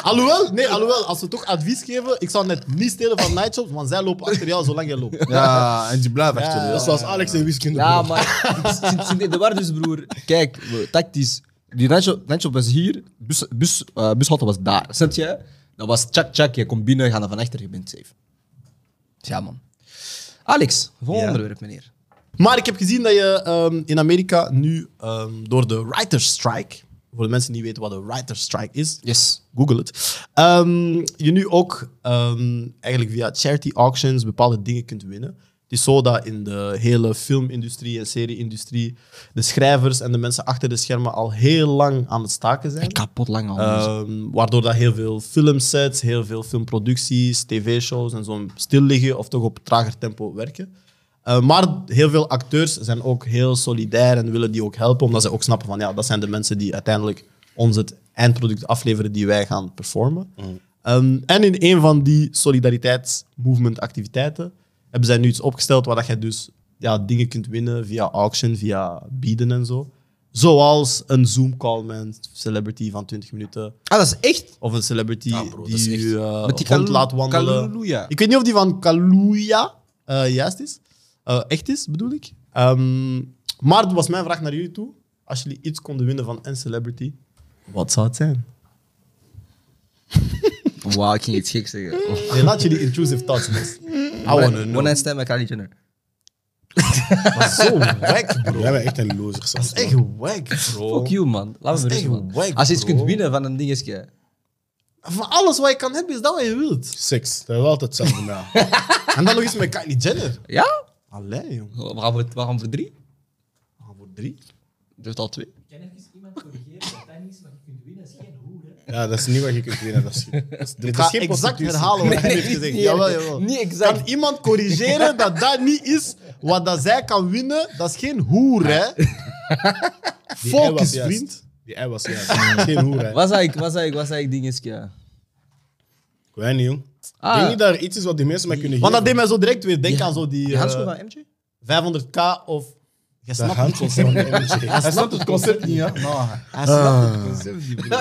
[SPEAKER 1] alhoewel, nee, alhoewel, als we toch advies geven, ik zou net niet stelen van Nightshops, want zij lopen achter jou zolang jij loopt.
[SPEAKER 4] Ja, en die blijven achter je.
[SPEAKER 3] Dat is zoals Alex en wiskunde.
[SPEAKER 5] Ja,
[SPEAKER 3] broer.
[SPEAKER 5] maar sinds- sinds de waar dus, broer. Kijk, bro, tactisch. Die Nightshop was hier, bus, bus, eh, bushalte was daar. Snap je? Dat was tjak tjak, je komt binnen, je gaat naar van achter, je bent safe. Dus Ja, man. Alex, volgende onderwerp, meneer.
[SPEAKER 1] Maar ik heb gezien dat je ehm, in Amerika nu ehm, door de writer's strike, voor de mensen die niet weten wat een writer's strike is,
[SPEAKER 5] Yes.
[SPEAKER 1] Google het. Ehm, je nu ook ehm, eigenlijk via charity auctions bepaalde dingen kunt winnen. Het is zo dat in de hele filmindustrie en serie-industrie de schrijvers en de mensen achter de schermen al heel lang aan het staken zijn.
[SPEAKER 5] Kapot lang al.
[SPEAKER 1] Ehm, waardoor dat heel veel filmsets, heel veel filmproducties, tv-shows en zo stil liggen of toch op trager tempo werken. Eh, maar heel veel acteurs zijn ook heel solidair en willen die ook helpen, omdat ze ook snappen van ja, dat zijn de mensen die uiteindelijk ons het eindproduct afleveren die wij gaan performen. Ehm, en in een van die solidariteitsmovement activiteiten hebben zij nu iets opgesteld waar dat jij dus ja, dingen kunt winnen via auction, via bieden en zo. Zoals een Zoom call met een celebrity van 20 minuten.
[SPEAKER 5] Ah, dat is echt?
[SPEAKER 1] Of een celebrity
[SPEAKER 5] bro, dat is
[SPEAKER 1] die
[SPEAKER 5] echt-
[SPEAKER 1] je eh,
[SPEAKER 5] Met die
[SPEAKER 1] rond
[SPEAKER 5] Kalu-
[SPEAKER 1] laat wandelen.
[SPEAKER 5] Kaluuya.
[SPEAKER 1] Ik weet niet of die van Kaluuya eh, juist is. Eh, echt is, bedoel ik. Ehm, maar dat was mijn vraag naar jullie toe. Als jullie iets konden winnen van een celebrity, wat zou het zijn?
[SPEAKER 5] Wauw, ik ging iets geks zeggen. Oh.
[SPEAKER 1] Nee, laat jullie intrusive thoughts los. I wanna know.
[SPEAKER 5] One night stand met Kylie Jenner.
[SPEAKER 1] Maar zo wack, bro.
[SPEAKER 3] Jij bent echt een loser,
[SPEAKER 1] Dat is
[SPEAKER 3] Sam.
[SPEAKER 1] echt wack, bro.
[SPEAKER 5] Fuck you, man. Laat me
[SPEAKER 1] Dat is
[SPEAKER 5] berusten,
[SPEAKER 1] echt
[SPEAKER 5] man.
[SPEAKER 1] wack,
[SPEAKER 5] Als je iets
[SPEAKER 1] bro.
[SPEAKER 5] kunt winnen van een dingetje.
[SPEAKER 1] Van alles wat je kan hebben, is dat wat je wilt.
[SPEAKER 3] Seks. Dat is wel altijd hetzelfde. maar ja.
[SPEAKER 1] En dan nog iets met Kylie Jenner.
[SPEAKER 5] Ja?
[SPEAKER 1] Allee, jongen.
[SPEAKER 5] Waarom voor, waarom voor drie?
[SPEAKER 1] Ah, voor drie.
[SPEAKER 5] Dat is al twee.
[SPEAKER 6] Ik ken even iemand corrigeren dat dat niet is wat je kunt winnen, is geen hoer. hè.
[SPEAKER 3] ja, dat is niet wat je kunt winnen. Dat is, dat is,
[SPEAKER 1] Ik
[SPEAKER 3] dit is
[SPEAKER 1] ga
[SPEAKER 3] geen
[SPEAKER 1] exact
[SPEAKER 3] prostitutie.
[SPEAKER 1] herhalen wat hij heeft gezegd. Jawel, jawel.
[SPEAKER 5] Niet exact.
[SPEAKER 1] Kan iemand corrigeren dat dat niet is wat dat zij kan winnen? Dat is geen hoer, hè?
[SPEAKER 3] ei was
[SPEAKER 1] Focus,
[SPEAKER 3] juist.
[SPEAKER 1] vriend.
[SPEAKER 3] Die ei was juist. Geen hoer, hè.
[SPEAKER 5] Wat zei ik, wat zei ik, wat zei ik dingetje?
[SPEAKER 3] Ik weet niet, jong. Ik
[SPEAKER 5] Ah.
[SPEAKER 3] denk niet dat er iets is wat die mensen mij kunnen
[SPEAKER 1] Want dat
[SPEAKER 3] geven.
[SPEAKER 1] deed mij zo direct weer denken aan zo die
[SPEAKER 5] Die
[SPEAKER 1] eh,
[SPEAKER 5] handschoen van MJ?
[SPEAKER 1] 500k of... Je
[SPEAKER 3] De
[SPEAKER 1] snapt het
[SPEAKER 3] handjes van de MJ.
[SPEAKER 4] Hij snapt het concept niet, hè? Nou,
[SPEAKER 5] Hij snapt het concept niet, bro.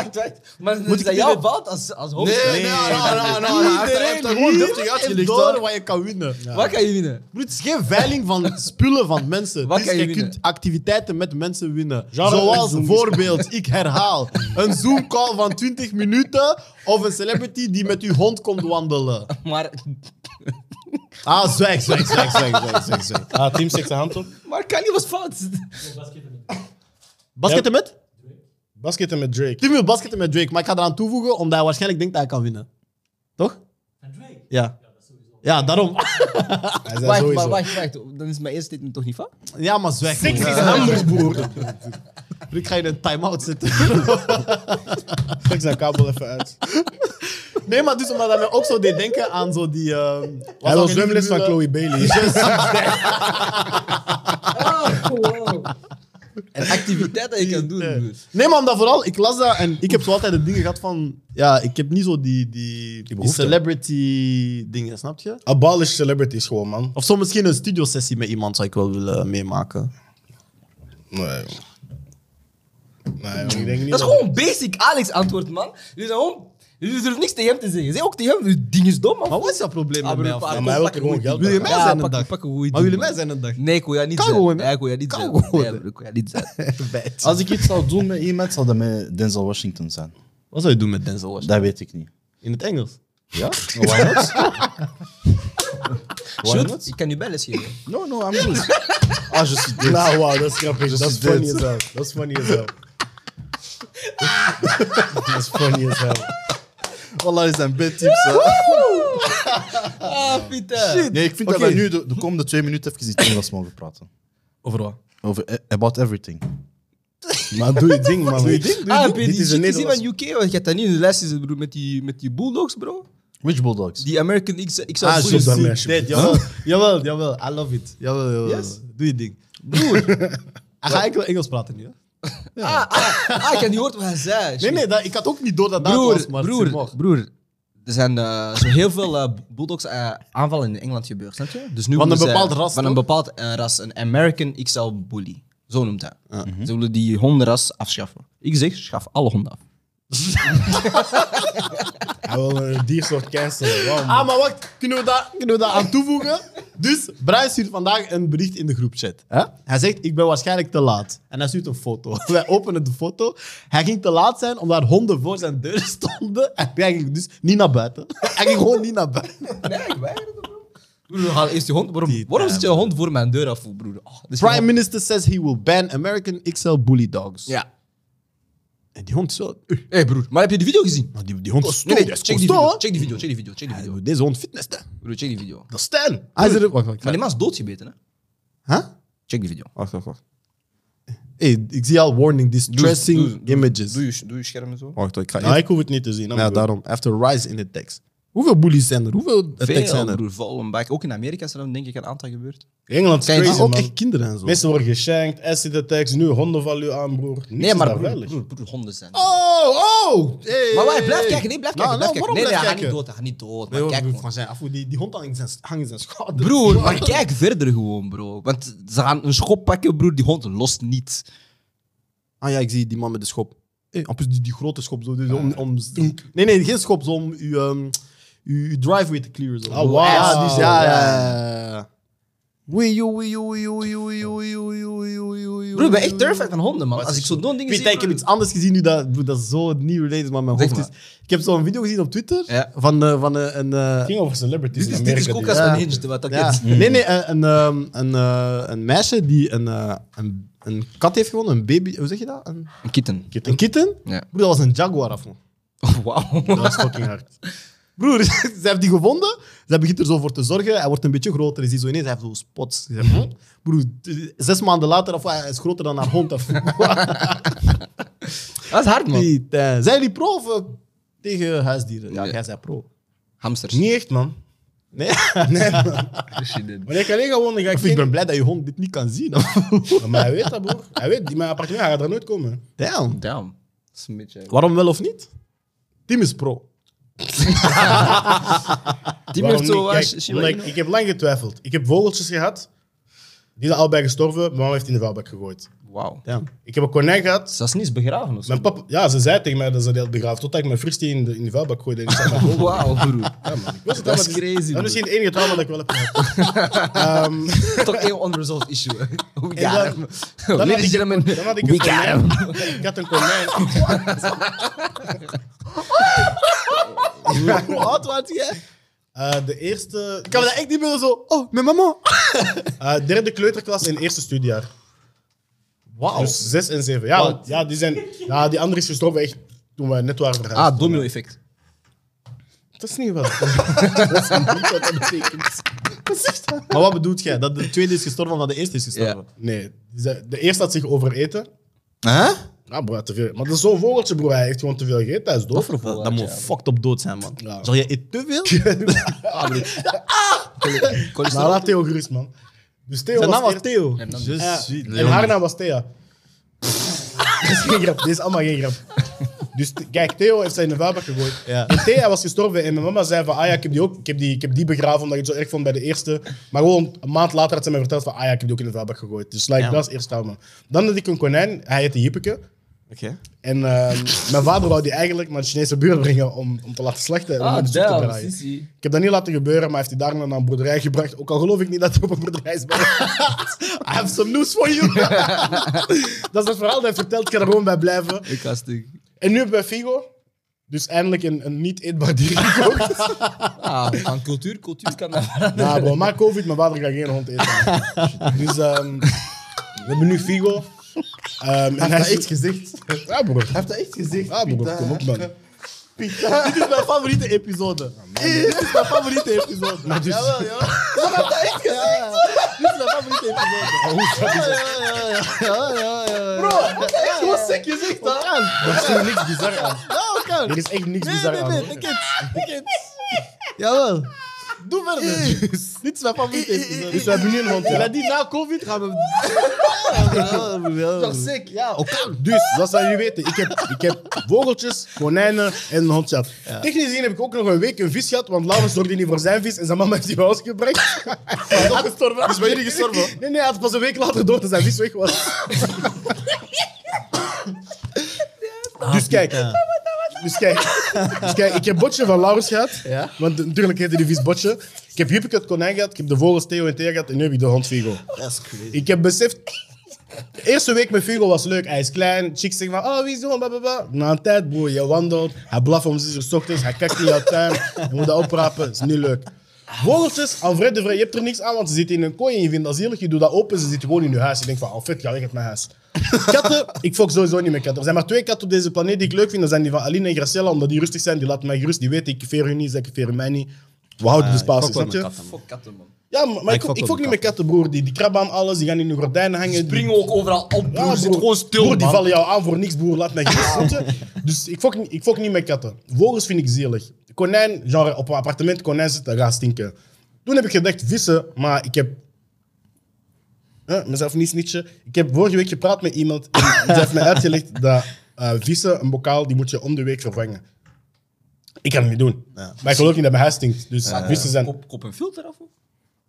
[SPEAKER 5] Maar is dat jouw fout als, als hoofd?
[SPEAKER 1] Nee, nee, nee, nee.
[SPEAKER 4] gewoon deftig
[SPEAKER 1] Iedereen hier
[SPEAKER 4] uitgelegd,
[SPEAKER 1] heeft
[SPEAKER 4] hoor.
[SPEAKER 1] door wat je kan winnen.
[SPEAKER 5] Wat kan je winnen?
[SPEAKER 1] Broer, het is geen veiling van spullen van mensen.
[SPEAKER 5] Wat
[SPEAKER 1] dus
[SPEAKER 5] kan je
[SPEAKER 1] je
[SPEAKER 5] winnen?
[SPEAKER 1] kunt activiteiten met mensen winnen.
[SPEAKER 3] Genre een
[SPEAKER 1] Zoals
[SPEAKER 3] Zoom.
[SPEAKER 1] voorbeeld, ik herhaal, een Zoom call van 20 minuten of een celebrity die met uw hond komt wandelen.
[SPEAKER 5] Maar,
[SPEAKER 1] Ah, zwijg, zwijg, zwijg, zwijg, zwijg, zwijg. zwijg.
[SPEAKER 3] Ah, team steekt de hand op.
[SPEAKER 5] maar Kanye was fout.
[SPEAKER 6] Zo basket hem in.
[SPEAKER 1] Basketten met?
[SPEAKER 3] Basketten met Drake.
[SPEAKER 1] Tim wil basketten met Drake, maar ik ga eraan toevoegen omdat hij waarschijnlijk denkt dat hij kan winnen. Toch?
[SPEAKER 6] En Drake.
[SPEAKER 1] Ja. Ja, daarom.
[SPEAKER 3] Hij zei
[SPEAKER 5] Wacht, maar
[SPEAKER 3] sowieso.
[SPEAKER 5] wacht, wacht. Dan is mijn eerste statement toch niet fout?
[SPEAKER 1] Ja, maar zwijg.
[SPEAKER 3] Seks is
[SPEAKER 1] man.
[SPEAKER 3] hamburger.
[SPEAKER 1] Ik ga je in een time-out zetten.
[SPEAKER 3] Trek zijn kabel even uit.
[SPEAKER 1] Nee, maar dus omdat hij mij ook zo deed denken aan zo die... ehm, was
[SPEAKER 3] Hij
[SPEAKER 1] dat
[SPEAKER 3] wil
[SPEAKER 1] een
[SPEAKER 3] zwemles van
[SPEAKER 1] figuur, eh,
[SPEAKER 3] Chloe Bailey.
[SPEAKER 5] Oh, wow. En activiteit dat je kan doen, broer.
[SPEAKER 1] Nee, maar omdat vooral, ik las dat en ik heb zo altijd de dingen gehad van. Ja, ik heb niet zo die, die, die,
[SPEAKER 3] behoefte.
[SPEAKER 1] celebrity dingen, snap je?
[SPEAKER 3] Abolish celebrities gewoon, man.
[SPEAKER 1] Of zo misschien een studiosessie met iemand zou ik wel willen meemaken.
[SPEAKER 3] Nee. joh. Nee, joh, ik denk niet
[SPEAKER 5] Dat is gewoon basic Alex antwoord, man. Jullie zijn gewoon... Jullie durven niks tegen hem te zeggen. Zeg ook tegen hem, dit ding is dom, man.
[SPEAKER 1] Maar wat is jouw probleem met
[SPEAKER 5] Ah,
[SPEAKER 1] mij?
[SPEAKER 5] broer,
[SPEAKER 1] of-
[SPEAKER 5] pa-
[SPEAKER 3] Maar hij wil
[SPEAKER 5] pak
[SPEAKER 3] er gewoon
[SPEAKER 5] een
[SPEAKER 3] geld
[SPEAKER 1] Wil je
[SPEAKER 3] bij.
[SPEAKER 1] mij
[SPEAKER 5] Ja,
[SPEAKER 1] zijn een
[SPEAKER 5] pak-
[SPEAKER 1] dag?
[SPEAKER 5] pak een goeie
[SPEAKER 1] maar wil je
[SPEAKER 5] ding,
[SPEAKER 1] mij zijn een dag?
[SPEAKER 5] Nee, ik wil jou niet
[SPEAKER 1] Kan
[SPEAKER 5] zijn.
[SPEAKER 1] gewoon, hè?
[SPEAKER 5] Ja, ik wil jou niet
[SPEAKER 1] Kan
[SPEAKER 5] zijn.
[SPEAKER 1] gewoon,
[SPEAKER 5] Nee,
[SPEAKER 1] hè?
[SPEAKER 5] broer, ik wil jou niet zijn.
[SPEAKER 1] Bijt.
[SPEAKER 4] Als ik iets zou doen met iemand, zou dat met Denzel Washington zijn.
[SPEAKER 1] Wat zou je doen met Denzel Washington?
[SPEAKER 4] Dat weet ik niet.
[SPEAKER 1] In het Engels?
[SPEAKER 4] Ja? Why not? Why
[SPEAKER 5] Shoot,
[SPEAKER 4] not?
[SPEAKER 5] ik kan nu bellen geven.
[SPEAKER 4] No, no, I'm good. Ah, je suis dead.
[SPEAKER 3] Nou, wauw, dat is grappig. Dat is
[SPEAKER 4] is
[SPEAKER 3] funny
[SPEAKER 4] dit.
[SPEAKER 3] as hell. Dat is funny as hell. Dat is funny as hell.
[SPEAKER 4] Wallah, is zijn bedtips. hè.
[SPEAKER 5] Ah, Pieter.
[SPEAKER 4] Nee, ik vind
[SPEAKER 5] Oké.
[SPEAKER 4] dat wij nu de, de komende twee minuten even in het Engels mogen praten.
[SPEAKER 5] Over wat?
[SPEAKER 4] Over eh, about everything.
[SPEAKER 3] Maar doe je ding, man. Doe je ding,
[SPEAKER 5] Ah, heb je
[SPEAKER 3] Dit
[SPEAKER 5] die
[SPEAKER 3] is
[SPEAKER 5] shit
[SPEAKER 3] een
[SPEAKER 5] gezien
[SPEAKER 3] Nederlands...
[SPEAKER 5] van UK? Want je hebt dat niet in de les gezien, broer, met die, met die Bulldogs, bro.
[SPEAKER 4] Which Bulldogs?
[SPEAKER 5] Die American League, ze- ik zou
[SPEAKER 1] Ah,
[SPEAKER 5] het
[SPEAKER 3] zo
[SPEAKER 1] juist.
[SPEAKER 3] dan,
[SPEAKER 1] Dead,
[SPEAKER 3] alsjeblieft.
[SPEAKER 1] Jawel, jawel, jawel. I love it. Jawel, jawel. Ah,
[SPEAKER 5] Yes?
[SPEAKER 1] Doe je ding.
[SPEAKER 5] broer.
[SPEAKER 1] Hij gaat enkel Engels praten nu. Hè?
[SPEAKER 5] Ah, ah, ah, ik heb niet gehoord wat hij zei.
[SPEAKER 1] Nee, nee, dat, ik had ook niet door dat dat was,
[SPEAKER 5] broer,
[SPEAKER 1] maar
[SPEAKER 5] broer,
[SPEAKER 1] ze mag.
[SPEAKER 5] broer. Er zijn eh, zo heel veel eh, Bulldogs eh, aanvallen in Engeland gebeurd, snap je? Dus nu
[SPEAKER 1] Van een
[SPEAKER 5] willen ze-
[SPEAKER 1] bepaald ras,
[SPEAKER 5] Van een
[SPEAKER 1] toch?
[SPEAKER 5] bepaald eh, ras. Een American XL Bully. Zo noemt hij. Ze willen die hondenras afschaffen. Ik zeg, schaf alle honden af.
[SPEAKER 3] Hij wil een diersoort cancelen. Wow, man.
[SPEAKER 1] Ah, maar wacht, kunnen we daar, kunnen we daar aan toevoegen? Dus Brian stuurt vandaag een bericht in de groepchat. Hè? Hij zegt, ik ben waarschijnlijk te laat. En hij stuurt een foto. Wij openen de foto. Hij ging te laat zijn omdat honden voor zijn deur stonden. En hij ging dus niet naar buiten. Hij ging gewoon niet naar buiten.
[SPEAKER 5] Nee, ik weiger het, bro. Broer, haal eerst je hond. Waarom,
[SPEAKER 1] Die
[SPEAKER 5] waarom
[SPEAKER 1] time,
[SPEAKER 5] zit je hond voor mijn deur af, broer? Oh, dat is
[SPEAKER 1] Prime
[SPEAKER 5] gewoon-
[SPEAKER 1] Minister says he will ban American XL bully dogs.
[SPEAKER 5] Ja.
[SPEAKER 1] En die hond is eh, wel...
[SPEAKER 5] Hé, broer. Maar heb je die video gezien? Oh,
[SPEAKER 1] Maar die, die hond is
[SPEAKER 5] Nee,
[SPEAKER 1] stoer.
[SPEAKER 5] nee, check die video. Check die video, check die video, check die video.
[SPEAKER 1] Deze hond fitness, hè?
[SPEAKER 5] Broer, check die video.
[SPEAKER 1] Dat is Stijn. Hij is er... Wacht, wacht,
[SPEAKER 5] Maar
[SPEAKER 1] wacht.
[SPEAKER 5] die man is doodgebeten, hè?
[SPEAKER 1] Huh?
[SPEAKER 5] Check die video.
[SPEAKER 1] Wacht, wacht, wacht. Hey, ik zie al warning, distressing
[SPEAKER 5] Doe- doe- doe-
[SPEAKER 1] images.
[SPEAKER 5] Doe je, doe je scherm en zo.
[SPEAKER 1] Wacht, ik ga
[SPEAKER 3] Nou, ik hoef het niet te zien. I'm
[SPEAKER 1] Ja,
[SPEAKER 3] good.
[SPEAKER 1] daarom. After rise in de tekst. Hoeveel bullies zijn er? Hoeveel attacks zijn
[SPEAKER 5] Veel,
[SPEAKER 1] er?
[SPEAKER 5] broer. Vollenbijk. Ook in Amerika is er dan denk ik een aantal gebeurd.
[SPEAKER 3] Engeland is
[SPEAKER 5] Kijk,
[SPEAKER 3] crazy,
[SPEAKER 1] Ah, ook
[SPEAKER 3] man.
[SPEAKER 1] echt kinderen en zo.
[SPEAKER 3] Mensen worden geschenkt, acid attacks, nu hondenvalue aan, broer. Niks
[SPEAKER 5] Nee,
[SPEAKER 3] is
[SPEAKER 5] maar
[SPEAKER 3] daar
[SPEAKER 5] broer,
[SPEAKER 3] veilig.
[SPEAKER 5] broer, broer, honden zijn.
[SPEAKER 1] Oh, Oh, oh! Hey.
[SPEAKER 5] Maar wij blijf kijken, nee, blijf
[SPEAKER 1] Nou,
[SPEAKER 5] kijken.
[SPEAKER 1] nou,
[SPEAKER 5] Blijf kijken.
[SPEAKER 1] waarom
[SPEAKER 5] Nee, nee,
[SPEAKER 1] blijf
[SPEAKER 5] hij gaat niet
[SPEAKER 1] kijken?
[SPEAKER 5] dood, hij gaat niet dood.
[SPEAKER 1] Nee,
[SPEAKER 5] Maar kijk,
[SPEAKER 1] broer,
[SPEAKER 5] man.
[SPEAKER 1] van zijn, af, die, die hond hangt in zijn, hangt in zijn schouder.
[SPEAKER 5] Broer, maar kijk verder gewoon, bro. Want ze gaan een schop pakken, broer. Die hond lost niet.
[SPEAKER 1] Ah ja, ik zie die man met de schop. Hey, en plus die, die grote schop. Zo, dus om, om, nee, nee, geen schop. Zo om uw, ehm, uw, uw driveway te clearen. Zo.
[SPEAKER 5] Oh,
[SPEAKER 3] Ah, wauw.
[SPEAKER 1] Ja, die is- ja, ja. Wee, joe, wee, joe, wee, joe, wee, joe, wee, joe, wee, joe, wee, joe, wee, joe, wee, joe,
[SPEAKER 5] Broer, ik ben echt
[SPEAKER 1] wee,
[SPEAKER 5] terrified van honden, man. Als ik zo'n ding
[SPEAKER 1] Ik
[SPEAKER 5] dingen
[SPEAKER 1] weet,
[SPEAKER 5] zie...
[SPEAKER 1] ik heb iets anders gezien nu, dat, broer, dat is zo niet related, maar mijn
[SPEAKER 5] Zeg
[SPEAKER 1] hoofd
[SPEAKER 5] maar.
[SPEAKER 1] is... Ik heb zo'n video gezien op Twitter
[SPEAKER 5] Ja.
[SPEAKER 1] van, eh, van eh, een... eh,
[SPEAKER 3] Het ging over celebrities
[SPEAKER 5] Dit
[SPEAKER 3] in
[SPEAKER 5] is, dit
[SPEAKER 3] Amerika.
[SPEAKER 5] is
[SPEAKER 3] die-
[SPEAKER 5] kokas
[SPEAKER 1] Ja.
[SPEAKER 5] van Hinge, wat dat
[SPEAKER 1] ja.
[SPEAKER 5] is.
[SPEAKER 1] Nee, nee, een, een, ehm, een, eh, een meisje die een, eh, een, een kat heeft gewonnen, een baby... Hoe zeg je dat? Een,
[SPEAKER 5] Een kitten.
[SPEAKER 1] een kitten?
[SPEAKER 5] Ja.
[SPEAKER 1] Broer, dat was een jaguar, afval.
[SPEAKER 5] Wauw.
[SPEAKER 3] Dat was fucking hard.
[SPEAKER 1] Broer, ze heeft die gevonden. Ze begint er zo voor te zorgen. Hij wordt een beetje groter. Hij ziet zo ineens, hij heeft zo spots. Ik zeg,
[SPEAKER 5] Mhm.
[SPEAKER 1] hm? Broer, t- zes maanden later, of hij is groter dan haar hond. Of,
[SPEAKER 5] Dat is hard, man.
[SPEAKER 1] Piet, eh, zijn jullie pro of eh, tegen huisdieren? Ja,
[SPEAKER 5] Ja.
[SPEAKER 1] jij bent pro.
[SPEAKER 5] Hamsters. Dus
[SPEAKER 3] Niet echt, man.
[SPEAKER 1] Nee?
[SPEAKER 3] Wanneer ik alleen ga wonen, ga ik
[SPEAKER 1] Of ik
[SPEAKER 3] geen...
[SPEAKER 1] ben blij dat je hond dit niet kan zien.
[SPEAKER 3] Maar hij weet dat, broer. Hij weet, die mijn appartement, hij gaat er nooit komen.
[SPEAKER 1] Damn.
[SPEAKER 5] Damn. Dat is een beetje...
[SPEAKER 1] Waarom wel of niet? Tim is pro.
[SPEAKER 5] Die
[SPEAKER 3] Waarom
[SPEAKER 5] heeft zo...
[SPEAKER 3] niet?
[SPEAKER 5] eh,
[SPEAKER 3] Kijk,
[SPEAKER 5] Shiba
[SPEAKER 3] omdat ik,
[SPEAKER 5] Inu.
[SPEAKER 3] ik heb lang getwijfeld. Ik heb vogeltjes gehad. Die zijn allebei gestorven. Mijn mama heeft die in de vuilbak gegooid.
[SPEAKER 5] Wauw.
[SPEAKER 1] Damn.
[SPEAKER 3] Ik heb een konijn gehad.
[SPEAKER 5] Dus dat is niet eens begraven of zo.
[SPEAKER 3] Mijn papa, ja, ze zei tegen mij dat ze die had begraven. Totdat ik mijn fristie in de, in de vuilbak gooide. En ik zei, maar, wow.
[SPEAKER 5] Wauw, broer.
[SPEAKER 3] ja, man. Ik was het
[SPEAKER 5] Dat is
[SPEAKER 3] allemaal-
[SPEAKER 5] crazy, broer.
[SPEAKER 3] Dat is misschien het enige trauma dat ik wel heb gehad. Ehm,
[SPEAKER 5] Toch één unresolved issue. hè. We
[SPEAKER 3] En dan-
[SPEAKER 5] got him.
[SPEAKER 3] had
[SPEAKER 5] Ladies and
[SPEAKER 3] ik-
[SPEAKER 5] gentlemen,
[SPEAKER 3] dan had ik
[SPEAKER 5] we
[SPEAKER 3] een
[SPEAKER 5] got
[SPEAKER 3] konijn.
[SPEAKER 5] him.
[SPEAKER 3] Ik had een konijn.
[SPEAKER 1] Hoe oud was jij?
[SPEAKER 3] Eh, de eerste...
[SPEAKER 1] Ik kan me dat echt niet meer zo... Oh, mijn mama.
[SPEAKER 3] eh, derde kleuterklas en eerste studiejaar.
[SPEAKER 1] Wauw.
[SPEAKER 3] Dus zes en zeven. Ja,
[SPEAKER 1] Wat?
[SPEAKER 3] want- ja, die, zijn, ja die andere is gestorven echt toen we net waren verhuisd.
[SPEAKER 5] Ah, domino-effect.
[SPEAKER 3] Dat is niet wat. dat is niet wat dat betekent.
[SPEAKER 1] maar wat bedoelt jij? Dat de tweede is gestorven omdat de eerste is gestorven?
[SPEAKER 3] Nee, ze- de eerste had zich overeten.
[SPEAKER 2] Huh?
[SPEAKER 3] Nou, bro, hij had te veel. Maar dat is zo'n vogeltje, bro. Hij heeft gewoon te veel gegeten. Hij is doof.
[SPEAKER 5] voor
[SPEAKER 1] Dat, dat moet fucked op dood zijn, man.
[SPEAKER 3] Ja.
[SPEAKER 1] Zal je eet te veel?
[SPEAKER 3] Nou, laat Theo gerust, man. Dus Theo
[SPEAKER 1] Zijn
[SPEAKER 3] was
[SPEAKER 1] naam was
[SPEAKER 3] eerst-
[SPEAKER 1] Theo.
[SPEAKER 5] dan-
[SPEAKER 1] Je
[SPEAKER 3] Ja,
[SPEAKER 1] ziet-
[SPEAKER 3] en haar naam was Thea. Dit is geen grap. Dit is allemaal geen grap. Dus t- kijk, Theo heeft zijn in de vuilbak gegooid.
[SPEAKER 1] Ja.
[SPEAKER 3] En Thea was gestorven. En mijn mama zei van, ah ja, ik heb die, ook, ik heb die, ik heb die begraven omdat ik het zo erg vond bij de eerste. Maar gewoon een maand later had ze mij verteld van, ah ja, ik heb die ook in de vuilbak gegooid. Dus like, dat is eerst trauma. Dan had ik een konijn. Hij heette Jippeke.
[SPEAKER 1] Oké.
[SPEAKER 3] En ehm, mijn vader wou die eigenlijk naar de Chinese buurt brengen om, om te laten slachten. En om
[SPEAKER 5] Ah,
[SPEAKER 3] in de soep te
[SPEAKER 5] damn,
[SPEAKER 3] draaien.
[SPEAKER 5] sissie.
[SPEAKER 3] Ik heb dat niet laten gebeuren, maar hij heeft die daarna naar een boerderij gebracht. Ook al geloof ik niet dat hij op een boerderij is. beland.
[SPEAKER 1] I have some news for you.
[SPEAKER 3] dat is het verhaal dat hij vertelt. Ik kan er gewoon bij blijven.
[SPEAKER 5] Ik ga stuk.
[SPEAKER 3] En nu hebben we Figo. Dus eindelijk een, een niet eetbaar dier gekocht.
[SPEAKER 5] Ah, aan cultuur, cultuur kan dat
[SPEAKER 3] nou bro, maar covid, mijn vader gaat geen hond eten. Dus ehm, we hebben nu Figo. Ehm, en hij is
[SPEAKER 1] gezicht.
[SPEAKER 3] Ja bro,
[SPEAKER 1] Hij heeft dat echt gezicht.
[SPEAKER 3] ja, bro. kom op man.
[SPEAKER 1] Dit is mijn favoriete episode. Dit is mijn favoriete episode. Maar dus... Jawel, jawel. Maar hij heeft dat echt gezicht. Dit is mijn favoriete episode. Ja, ja, ja, ja. Bro, dat is echt gewoon sick gezicht, hè.
[SPEAKER 3] Er is hier niks bizar aan.
[SPEAKER 1] Ja, dat kan.
[SPEAKER 3] Er is echt niks
[SPEAKER 1] Nee,
[SPEAKER 3] bizar
[SPEAKER 1] nee,
[SPEAKER 3] aan.
[SPEAKER 1] nee.
[SPEAKER 3] hoor.
[SPEAKER 1] De kids. De kids. Jawel. Doe verder. Dit is mijn favoriete episode.
[SPEAKER 3] Dus we hebben nu een hond.
[SPEAKER 1] Ja.
[SPEAKER 3] ja.
[SPEAKER 1] dat die na COVID gaan we. Toch sick, ja.
[SPEAKER 3] Dus, zoals dat jullie weten, ik heb, ik heb vogeltjes, konijnen en een hond gehad. Technisch gezien heb ik ook nog een week een vis gehad, want Laurens zorgde niet voor zijn vis en zijn mama heeft die bij ons gebracht. Hij is ook gestorven. Is bij jullie gestorven? Nee, nee, hij had pas een week later door dat zijn vis weg was. Dus kijk, dus kijk, dus kijk, ik heb Botje van Laurens gehad,
[SPEAKER 1] Ja.
[SPEAKER 3] want natuurlijk heette die vis Botje. Ik heb Juppie het konijn gehad, ik heb de vogels Theo en Thea gehad en nu heb ik de hond Vigo.
[SPEAKER 1] Dat is crazy.
[SPEAKER 3] Ik heb beseft. De eerste week met Figo was leuk. Hij is klein. Chicks zeggen van, oh, wie is die hond? Blah, blah, blah. Na een tijd, broer, je wandelt. Hij blaft om 6 uur 's ochtends. Hij kijkt in jouw tuin. Je moet dat oprapen. is niet leuk. Vogeltjes, aan vrede vrij. Je hebt er niks aan, want ze zitten in een kooi en je vindt dat zielig. Je doet dat open, ze zitten gewoon in je huis. Je denkt van, oh, vet, ga weg uit mijn huis. Katten, ik fok sowieso niet met katten. Er zijn maar twee katten op deze planeet die ik leuk vind. Dat zijn die van Aline en Graciela, omdat die rustig zijn. Die laten mij gerust. Die weten, ik veer hun niet, ik veer mij niet. We houden de spatie, snap je?
[SPEAKER 5] Fuck katten, man.
[SPEAKER 3] Ja, maar, maar Ah, ik, ik, fok niet met katten, broer. Die, die krabben aan alles, die gaan in hun gordijnen hangen. Die-
[SPEAKER 5] Springen ook overal op,
[SPEAKER 3] Ja,
[SPEAKER 5] broer. Zit gewoon stil,
[SPEAKER 3] Broer, die
[SPEAKER 5] man.
[SPEAKER 3] vallen jou aan voor niks, broer. Laat mij gerust. snap je? dus ik fok, niet- ik fok niet met katten. Vogels vind ik zielig. Konijn, genre, op een appartement konijn zitten, gaat stinken. Toen heb ik gedacht, vissen, maar ik heb... Hè, mezelf niet snitchen. Ik heb vorige week gepraat met iemand en ze heeft mij uitgelegd dat... eh, eh, vissen, een bokaal, die moet je om de week vervangen. Ik kan het niet doen. Maar ik geloof niet dat mijn huis stinkt. Dus vissen zijn...
[SPEAKER 5] Kop, kop een filter af?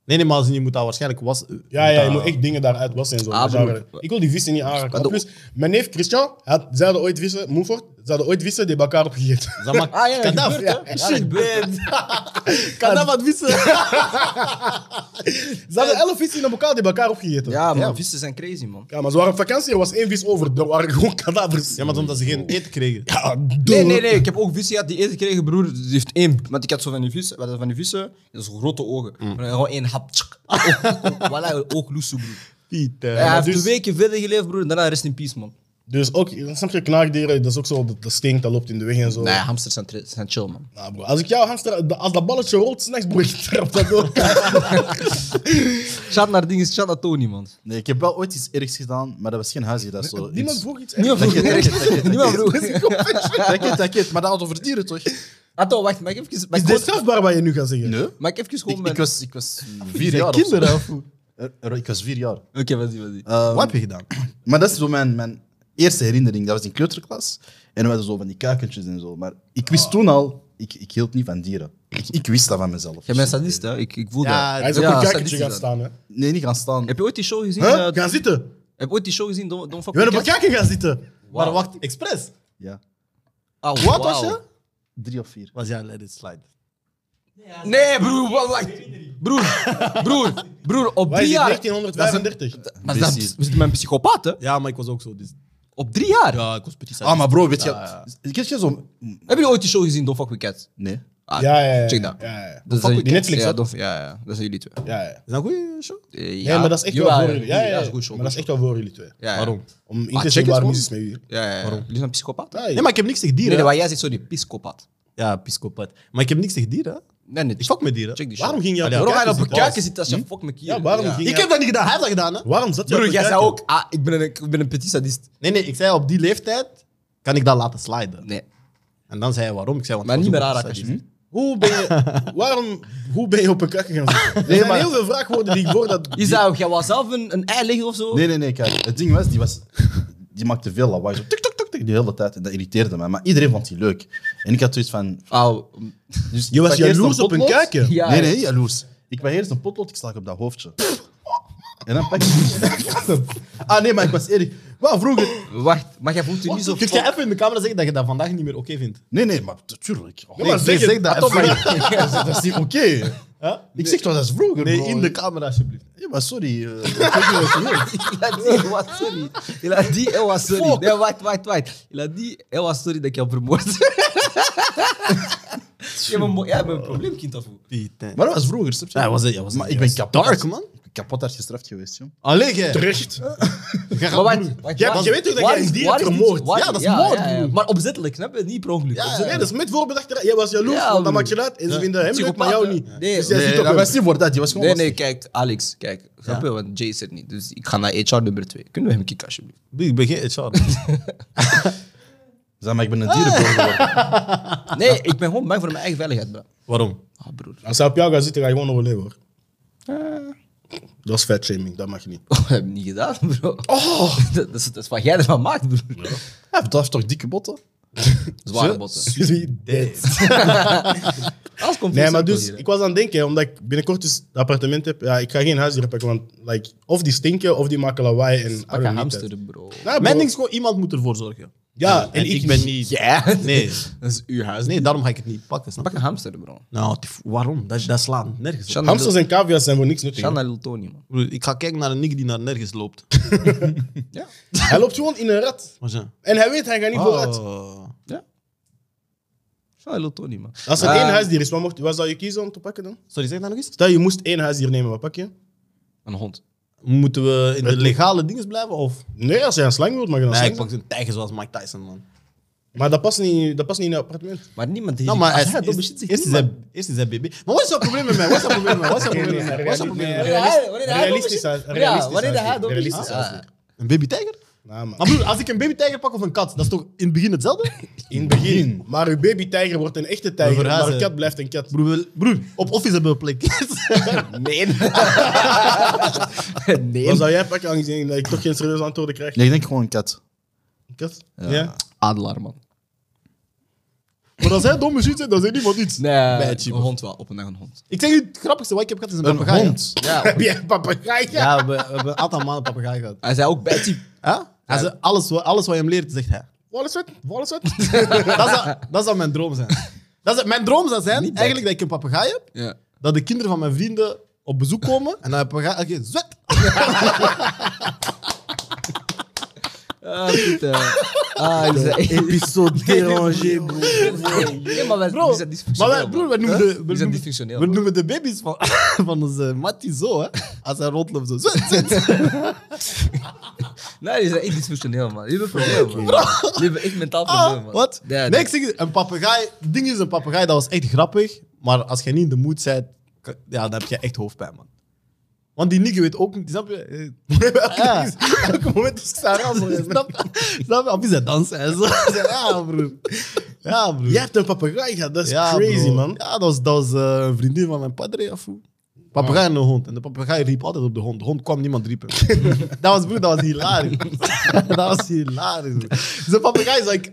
[SPEAKER 1] Nee, nee, maar als je moet dat waarschijnlijk was.
[SPEAKER 3] Ja, ja, je moet echt dingen daaruit wassen en zo.
[SPEAKER 5] Ah,
[SPEAKER 3] Genre.
[SPEAKER 5] broer.
[SPEAKER 3] ik wil die vissen niet aanraken.
[SPEAKER 5] de-
[SPEAKER 3] En Plus, mijn neef Christian, had, zij hadden ooit vissen, Moefort, ze hadden ooit vissen die bij elkaar opgegeten.
[SPEAKER 1] Dat maakt.
[SPEAKER 5] Ah ja, dat
[SPEAKER 1] Kadaf.
[SPEAKER 5] gebeurt, hè. Ja, dat gebeurt.
[SPEAKER 1] Kadaf had vissen.
[SPEAKER 3] Ze hadden elf vissen in elkaar die bij elkaar opgegeten. Ja.
[SPEAKER 5] Ja, man, vissen zijn crazy, man.
[SPEAKER 3] maar ze waren op vakantie, er was één vis over. Er waren gewoon kadavers.
[SPEAKER 1] Ja, maar omdat ze geen eten kregen.
[SPEAKER 3] Ja, doe.
[SPEAKER 5] Nee, nee, nee. Ik heb ook vissen gehad die eten kregen, broer. Die heeft één. Want ik had zo van die vissen. Wat van die vissen? Dat is grote ogen. Maar gewoon één hap. Tsk. Oog- Voilà, ook loesoe, broer.
[SPEAKER 1] Piet.
[SPEAKER 5] Hij
[SPEAKER 1] eh.
[SPEAKER 5] heeft
[SPEAKER 3] dus-
[SPEAKER 5] een weekje verder geleefd, broer. En daarna rest in peace, man.
[SPEAKER 3] Dus ook, snap je, knaagdieren, dat is ook zo, dat, dat stinkt, dat loopt in de weg en zo.
[SPEAKER 5] Nee, hamsters zijn, tri- zijn chill, man.
[SPEAKER 3] Nou, bro, als ik jou hamster, da- als dat balletje rolt, s'nachts, broer, ik trap dat door.
[SPEAKER 5] Shout naar dingen, shout naar Tony, man.
[SPEAKER 4] Nee, ik heb wel ooit iets ergs gedaan, maar dat was geen huisje. Dat is zo.
[SPEAKER 3] Niemand
[SPEAKER 4] iets-
[SPEAKER 3] vroeg iets.
[SPEAKER 5] Niemand vroeg.
[SPEAKER 4] Dat je- dat je- dat je-
[SPEAKER 5] Niemand vroeg.
[SPEAKER 4] Dat kent, dat kent. Maar dat had over dieren toch?
[SPEAKER 5] Atto, wacht, mag ik even... Mag
[SPEAKER 3] Is
[SPEAKER 5] ik
[SPEAKER 3] dit
[SPEAKER 5] gewoon,
[SPEAKER 3] strafbaar wat je nu gaat zeggen?
[SPEAKER 4] Nee.
[SPEAKER 5] mag ik even gewoon
[SPEAKER 4] Ik,
[SPEAKER 5] mijn-
[SPEAKER 4] ik was, ik was vier
[SPEAKER 1] zijn
[SPEAKER 4] jaar.
[SPEAKER 1] kinderen,
[SPEAKER 4] of zo. Er- er- Ik was vier jaar.
[SPEAKER 5] Oké, wat is die, wat is die?
[SPEAKER 4] Ehm,
[SPEAKER 1] Wat heb je gedaan?
[SPEAKER 4] Maar dat is zo mijn, mijn eerste herinnering. Dat was in kleuterklas. En we hadden zo van die kuikentjes en zo. Maar ik wist toen al, ik, ik hield niet van dieren. Ik, ik wist dat van mezelf.
[SPEAKER 5] Jij bent sadist, hè? Ik, ik voel
[SPEAKER 1] Ja,
[SPEAKER 5] dat.
[SPEAKER 3] Hij is ook
[SPEAKER 5] Ja,
[SPEAKER 3] een kijkertje
[SPEAKER 5] sadistisch
[SPEAKER 3] gaan
[SPEAKER 5] dan.
[SPEAKER 3] staan, hè.
[SPEAKER 4] Nee, niet gaan staan.
[SPEAKER 5] Heb je ooit die show gezien?
[SPEAKER 3] Huh?
[SPEAKER 5] eh,
[SPEAKER 3] Gaan zitten.
[SPEAKER 5] heb je ooit die show gezien? Don't, don't fuck
[SPEAKER 3] Je bent op
[SPEAKER 5] with
[SPEAKER 3] een kijker gaan zitten.
[SPEAKER 1] Maar wacht, expres.
[SPEAKER 4] Ja,
[SPEAKER 5] cats. Ah,
[SPEAKER 1] Wat was
[SPEAKER 5] wauw.
[SPEAKER 1] je?
[SPEAKER 4] drie of vier.
[SPEAKER 1] Was jij let it slide?
[SPEAKER 5] Nee, broer, wa- wacht. Broer, broer, broer, op
[SPEAKER 3] Waar is
[SPEAKER 5] drie jaar.
[SPEAKER 3] dit, 1935?
[SPEAKER 5] Maar dat
[SPEAKER 4] Precies.
[SPEAKER 5] we zitten met een psychopaat, hè?
[SPEAKER 1] Ja, maar ik was ook zo. Dus...
[SPEAKER 5] Op drie jaar.
[SPEAKER 1] Ja, ik was petit
[SPEAKER 4] Ah, maar bro, weet je...
[SPEAKER 1] ja.
[SPEAKER 4] Kent je zo...
[SPEAKER 5] Heb je ooit die show gezien? Don't fuck with cats.
[SPEAKER 4] Nee.
[SPEAKER 5] Ah,
[SPEAKER 3] Ja, ja, ja.
[SPEAKER 5] Check dat.
[SPEAKER 3] Ja, ja, ja.
[SPEAKER 5] Dat
[SPEAKER 3] Fuck
[SPEAKER 5] zijn-
[SPEAKER 3] with Netflix,
[SPEAKER 5] ja,
[SPEAKER 3] hè?
[SPEAKER 5] dat- ja, ja, dat zijn jullie twee.
[SPEAKER 3] Ja, ja.
[SPEAKER 1] Is dat een goede show?
[SPEAKER 5] Eh,
[SPEAKER 3] Nee,
[SPEAKER 5] ja.
[SPEAKER 3] maar dat is echt
[SPEAKER 5] Jawel,
[SPEAKER 3] wel voor jullie. Ja, ja,
[SPEAKER 5] dat is
[SPEAKER 3] ja.
[SPEAKER 5] een goede show.
[SPEAKER 3] Maar dat is echt wel voor jullie twee.
[SPEAKER 5] Ja, ja.
[SPEAKER 1] Waarom?
[SPEAKER 3] Om
[SPEAKER 5] check
[SPEAKER 3] in te
[SPEAKER 5] het
[SPEAKER 3] zien waar
[SPEAKER 5] gewoon.
[SPEAKER 3] mis is met jullie.
[SPEAKER 5] Ja, ja, ja. Waarom? Jullie zijn psychopaat?
[SPEAKER 3] Ja,
[SPEAKER 1] Nee, maar ik heb niks tegen
[SPEAKER 5] Nee,
[SPEAKER 1] dieren.
[SPEAKER 5] nee, wat jij zegt, sorry, psychopaat.
[SPEAKER 1] Ja, piscopat. Maar ik heb niks tegen dieren.
[SPEAKER 5] Nee, nee.
[SPEAKER 1] Ik fuck met dieren.
[SPEAKER 5] Check die show.
[SPEAKER 3] Waarom ging jij
[SPEAKER 1] Ja,
[SPEAKER 3] op
[SPEAKER 5] Waarom ga je
[SPEAKER 3] kijken
[SPEAKER 5] op een
[SPEAKER 3] zitten?
[SPEAKER 5] kuiken zitten als je fuck met kieren?
[SPEAKER 3] Hm? Ja, waarom ging
[SPEAKER 1] Ik heb dat niet gedaan. Hij heeft dat gedaan, hè?
[SPEAKER 3] Waarom zat je
[SPEAKER 5] Broer,
[SPEAKER 3] op
[SPEAKER 5] jij
[SPEAKER 3] een
[SPEAKER 5] zei
[SPEAKER 3] kijker?
[SPEAKER 5] ook, ah, ik ben een, ik ben een petit sadist.
[SPEAKER 1] Nee, nee, ik zei op die leeftijd kan ik dat laten sliden.
[SPEAKER 5] Nee,
[SPEAKER 1] En dan zei hij waarom. Ik zei, want
[SPEAKER 5] maar
[SPEAKER 1] ik
[SPEAKER 5] niet
[SPEAKER 1] was
[SPEAKER 5] meer
[SPEAKER 1] ook
[SPEAKER 5] aanraken,
[SPEAKER 1] sadist.
[SPEAKER 5] alsjeblieft.
[SPEAKER 3] Hoe ben je, waarom, hoe ben je op een kijker gaan zitten? Er zijn heel veel vraagwoorden die ik hoor dat...
[SPEAKER 5] Is dat, jij was zelf een, een ei liggen of zo?
[SPEAKER 4] Nee, nee, nee, kijk. Het ding was, die, was, die maakte veel lawaai. Zo tik, tik, tik, tik, de hele tijd. En dat irriteerde mij. Maar iedereen vond die leuk. En ik had zoiets van...
[SPEAKER 5] Au.
[SPEAKER 4] Dus
[SPEAKER 3] Je was
[SPEAKER 4] pak eerst
[SPEAKER 3] jaloers op een
[SPEAKER 4] potlood.
[SPEAKER 3] kijker.
[SPEAKER 5] Ja.
[SPEAKER 4] Nee, nee, jaloers. Ik ben eerst een potlood, ik slag op dat hoofdje. En dan pak ik... ah nee, maar ik was eerlijk. Wat vroeger...
[SPEAKER 5] Wacht, maar jij voelt je niet zo...
[SPEAKER 1] Kun je even in de camera zeggen dat je dat vandaag niet meer oké vindt?
[SPEAKER 4] Nee, nee, maar natuurlijk. Oh,
[SPEAKER 3] Ja, maar zeg het.
[SPEAKER 1] dat even.
[SPEAKER 4] dat is niet oké. Ik zeg toch, dat is vroeger,
[SPEAKER 1] Nee,
[SPEAKER 4] bro.
[SPEAKER 1] in de camera alsjeblieft.
[SPEAKER 4] Ja, maar sorry. eh, ik weet niet wat je wilt.
[SPEAKER 5] Il a dit, elle was sorry. Il a dit, elle was sorry. Nee, wacht, wacht, wacht. Il a dit, elle was sorry dat ik jou vermoord. Jij hebt een mo- jij hebt een probleem, kind of hoe?
[SPEAKER 1] Pieter.
[SPEAKER 4] maar dat was vroeger, snap je?
[SPEAKER 1] Ja, was het, ja, was het,
[SPEAKER 4] maar
[SPEAKER 1] ja,
[SPEAKER 4] ik ben
[SPEAKER 1] was
[SPEAKER 4] kapot.
[SPEAKER 1] Dark, man.
[SPEAKER 4] Kapot hard gestraft geweest, joh.
[SPEAKER 1] Allee, jij.
[SPEAKER 3] Terecht.
[SPEAKER 5] Maar wacht, wacht,
[SPEAKER 3] Jij-
[SPEAKER 5] wacht.
[SPEAKER 3] jij weet toch dat
[SPEAKER 5] Waar
[SPEAKER 3] jij
[SPEAKER 5] is-
[SPEAKER 3] een dier
[SPEAKER 5] waar is die-
[SPEAKER 3] vermoord?
[SPEAKER 5] waar-
[SPEAKER 3] Ja, dat is moord, broer.
[SPEAKER 5] Maar opzettelijk, snap je? Niet per ongeluk.
[SPEAKER 3] Ja,
[SPEAKER 5] Opzettelijk.
[SPEAKER 3] nee, dat is met voorbedacht. Jij was jaloers,
[SPEAKER 5] Ja,
[SPEAKER 3] want dan
[SPEAKER 5] broer.
[SPEAKER 3] maak je dat. En ze vinden hem leuk, maar jou niet.
[SPEAKER 5] Nee,
[SPEAKER 3] Dus jij
[SPEAKER 4] Nee,
[SPEAKER 3] zit
[SPEAKER 4] dat
[SPEAKER 3] op
[SPEAKER 4] was niet voor dat. Die was gewoon
[SPEAKER 5] Nee, nee,
[SPEAKER 4] lastig.
[SPEAKER 5] kijk, Alex, kijk. Snap je? Want Jay is er niet. Dus ik ga naar HR nummer 2. Kunnen we hem kicken, alsjeblieft?
[SPEAKER 1] Ik ben geen HR.
[SPEAKER 4] Zeg maar, ik ben een dierenbro geworden.
[SPEAKER 5] Nee, ik ben gewoon bang voor mijn eigen veiligheid, bro.
[SPEAKER 1] Waarom?
[SPEAKER 5] Ah, broer.
[SPEAKER 3] Als hij op jou gaat zitten, ga je gewoon overleven, hoor. Dat is fat shaming, dat mag je niet.
[SPEAKER 5] Oh, dat heb ik niet gedaan, bro. Oh. Dat, dat, is, dat is wat jij ervan maakt, broer.
[SPEAKER 4] Hij heeft toch dikke botten?
[SPEAKER 5] Zware botten. Alles komt
[SPEAKER 3] Nee,
[SPEAKER 5] van
[SPEAKER 3] maar
[SPEAKER 5] cirkel
[SPEAKER 3] dus,
[SPEAKER 5] hier, hè.
[SPEAKER 3] ik was aan het denken, omdat ik binnenkort dus een appartement heb. Ja, ik ga geen huisdieren pakken, want like, of die stinken, of die maken lawaai en...
[SPEAKER 5] Pak
[SPEAKER 3] I
[SPEAKER 5] een
[SPEAKER 3] don't need that.
[SPEAKER 5] hamster, bro.
[SPEAKER 3] Nou,
[SPEAKER 1] Mijn
[SPEAKER 3] bro,
[SPEAKER 1] ding is gewoon, iemand moet ervoor zorgen.
[SPEAKER 3] Ja, en,
[SPEAKER 1] En ik ben niet...
[SPEAKER 5] Ja.
[SPEAKER 1] Nee.
[SPEAKER 5] Dat is uw huis.
[SPEAKER 1] nee, daarom ga ik het niet pakken. Snap
[SPEAKER 5] Pak
[SPEAKER 1] je?
[SPEAKER 5] een hamster, bro.
[SPEAKER 1] Nou, tief, waarom? Dat, dat slaat nergens op.
[SPEAKER 5] Shanna
[SPEAKER 3] Hamsters en cavia's zijn voor niks nuttig.
[SPEAKER 5] Shanna Lil Tony, man.
[SPEAKER 1] Broer, Ik ga kijken naar een nick die naar nergens loopt.
[SPEAKER 3] Hij loopt gewoon in een rat.
[SPEAKER 1] Maar zo.
[SPEAKER 3] En hij weet, hij gaat niet vooruit.
[SPEAKER 1] Oh.
[SPEAKER 5] Shanna Lil Tony, man.
[SPEAKER 3] Als er
[SPEAKER 5] Ah.
[SPEAKER 3] één huisdier is, wat, mocht, wat zou je kiezen om te pakken dan?
[SPEAKER 1] Sorry, zeg dat nog eens?
[SPEAKER 3] Stel, je moest één huisdier nemen, wat pak je?
[SPEAKER 5] Een hond.
[SPEAKER 1] Moeten we in de legale dingen blijven? Of?
[SPEAKER 3] Nee, als jij een slang wilt, mag je dan
[SPEAKER 1] Nee,
[SPEAKER 3] slang
[SPEAKER 1] ik pak zo'n tijger zoals Mike Tyson, man.
[SPEAKER 3] zijn. Maar dat past, niet, dat past niet in een appartement.
[SPEAKER 5] Maar niemand heeft...
[SPEAKER 1] Nou, maar
[SPEAKER 5] als
[SPEAKER 1] hij-
[SPEAKER 5] hij
[SPEAKER 1] eerst
[SPEAKER 5] domme
[SPEAKER 1] eerst
[SPEAKER 5] shit zegt,
[SPEAKER 1] is
[SPEAKER 5] niemand.
[SPEAKER 1] hij- eerst is hij baby. Maar wat is jouw probleem met mij? Wat is jouw probleem met mij? Wat is jouw probleem met mij? Wat is jouw probleem met mij?
[SPEAKER 5] Wanneer hij- wanneer hij
[SPEAKER 3] Realistisch
[SPEAKER 5] domme
[SPEAKER 3] huis-
[SPEAKER 5] shit-
[SPEAKER 3] realistisch
[SPEAKER 5] Ja, wanneer hij
[SPEAKER 3] huisdier,
[SPEAKER 5] domme shit-
[SPEAKER 3] realistisch
[SPEAKER 5] Ah.
[SPEAKER 3] huisdier.
[SPEAKER 1] Een baby tijger?
[SPEAKER 3] Nou, man.
[SPEAKER 1] Maar broer, als ik een baby tijger pak of een kat, dat is toch in het begin hetzelfde?
[SPEAKER 3] In het begin. Maar uw babytijger wordt een echte tijger, maar
[SPEAKER 1] verhuizen.
[SPEAKER 3] een kat blijft een kat.
[SPEAKER 1] Broer, we- broer op office hebben we plek.
[SPEAKER 5] Nee. nee. Ah,
[SPEAKER 3] Wat zou jij pakken, aangezien dat ik toch geen serieuze antwoorden krijg?
[SPEAKER 4] Nee, ik denk gewoon een kat.
[SPEAKER 3] Een kat? Ja.
[SPEAKER 5] adelaar, man.
[SPEAKER 1] Maar als hij dom is, iets, dan zegt niemand iets.
[SPEAKER 5] Nee,
[SPEAKER 1] Bijtje,
[SPEAKER 5] een
[SPEAKER 1] man.
[SPEAKER 5] hond wel. Op een dag een hond.
[SPEAKER 1] Ik zeg u, het grappigste wat ik heb gehad is een,
[SPEAKER 4] Een
[SPEAKER 1] papegaai.
[SPEAKER 4] hond.
[SPEAKER 5] Ja,
[SPEAKER 3] Heb jij papegaai? Ja.
[SPEAKER 1] Ja, we, we hebben een aantal maanden papegaai gehad.
[SPEAKER 5] hij zei ook bijtje.
[SPEAKER 1] Huh? Hij zei, alles, wat- alles wat je hem leert, zegt hij.
[SPEAKER 3] Wallace Wet? Wallace Wet?
[SPEAKER 1] dat, zou, dat zou mijn droom zijn. Dat zou, mijn droom zou zijn eigenlijk dat ik een papegaai heb,
[SPEAKER 5] Ja.
[SPEAKER 1] dat de kinderen van mijn vrienden op bezoek komen en dan een papegaai... Oké, zwet!
[SPEAKER 5] Ah, goed, eh. Ah, hij zei...
[SPEAKER 4] Episode dérangé, bro.
[SPEAKER 5] Nee, maar wij
[SPEAKER 1] Bro,
[SPEAKER 5] die zijn
[SPEAKER 1] Maar
[SPEAKER 5] dysfunctioneel,
[SPEAKER 1] wij, broer,
[SPEAKER 5] man.
[SPEAKER 1] wij noemen, de, we
[SPEAKER 5] Die zijn
[SPEAKER 1] noemen,
[SPEAKER 5] dysfunctioneel.
[SPEAKER 1] we
[SPEAKER 5] man.
[SPEAKER 1] noemen de baby's van, van onze Mattie zo, hè. Als hij rondloopt, zo zwet, zwet.
[SPEAKER 5] Nee, die zijn echt dysfunctioneel, man. Die hebben een probleem, man. Die hebben echt mentaal probleem,
[SPEAKER 1] Ah,
[SPEAKER 5] man.
[SPEAKER 1] wat?
[SPEAKER 5] Ja,
[SPEAKER 1] Nee, ik zeg het, een papegaai... Het ding is, een papegaai, dat was echt grappig, maar als je niet in de moed bent, k- ja, dan heb je echt hoofdpijn, man. Want die nigger weet ook niet, snap je? Eh, Ja.
[SPEAKER 3] Elke moment is Sarah, bro.
[SPEAKER 1] Snap snap je? Of is hij dansen en zo. Ik zeg, Ja, broer. Ja, broer.
[SPEAKER 3] Jij hebt een papegaai gehad, dat is
[SPEAKER 1] Ja,
[SPEAKER 3] crazy,
[SPEAKER 1] bro.
[SPEAKER 3] man.
[SPEAKER 1] Ja, dat was, dat was eh, een vriendin van mijn padre. of hoe. Papegaai en een hond. En de papegaai riep altijd op de hond. De hond kwam, niemand riep hem. dat was broer, dat was hilarisch. dat was hilarisch. broer. Dus een papegaai is like...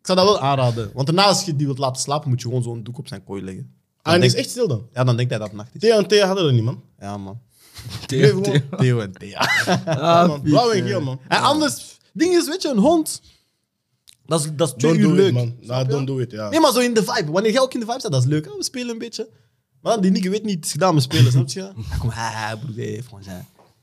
[SPEAKER 1] Ik zou dat wel aanraden. Want daarna, als je die wilt laten slapen, moet je gewoon zo'n doek op zijn kooi leggen.
[SPEAKER 3] Ah,
[SPEAKER 1] Dan
[SPEAKER 3] en die is
[SPEAKER 1] denk-
[SPEAKER 3] echt stil dan.
[SPEAKER 1] Ja, dan denkt hij dat het nacht is.
[SPEAKER 3] Theo en Thea hadden dat niet, man.
[SPEAKER 1] Ja, man.
[SPEAKER 3] Bleef gewoon-
[SPEAKER 1] Theo en Thea.
[SPEAKER 3] Ja, man. Blauw en geel, man.
[SPEAKER 1] En anders... Ding is, weet je, een hond... Dat is, dat is twee
[SPEAKER 3] Don't
[SPEAKER 1] uur
[SPEAKER 3] do
[SPEAKER 1] leuk.
[SPEAKER 3] it, man. Nah, don't do it, ja.
[SPEAKER 1] Nee, maar zo in de vibe. Wanneer jij ook in de vibe staat, dat is leuk. Ah, we spelen een beetje. Maar dan die Nikke weet niet, het is gedaan met spelen, snap je? Hij komt, ah, broer, eh, François.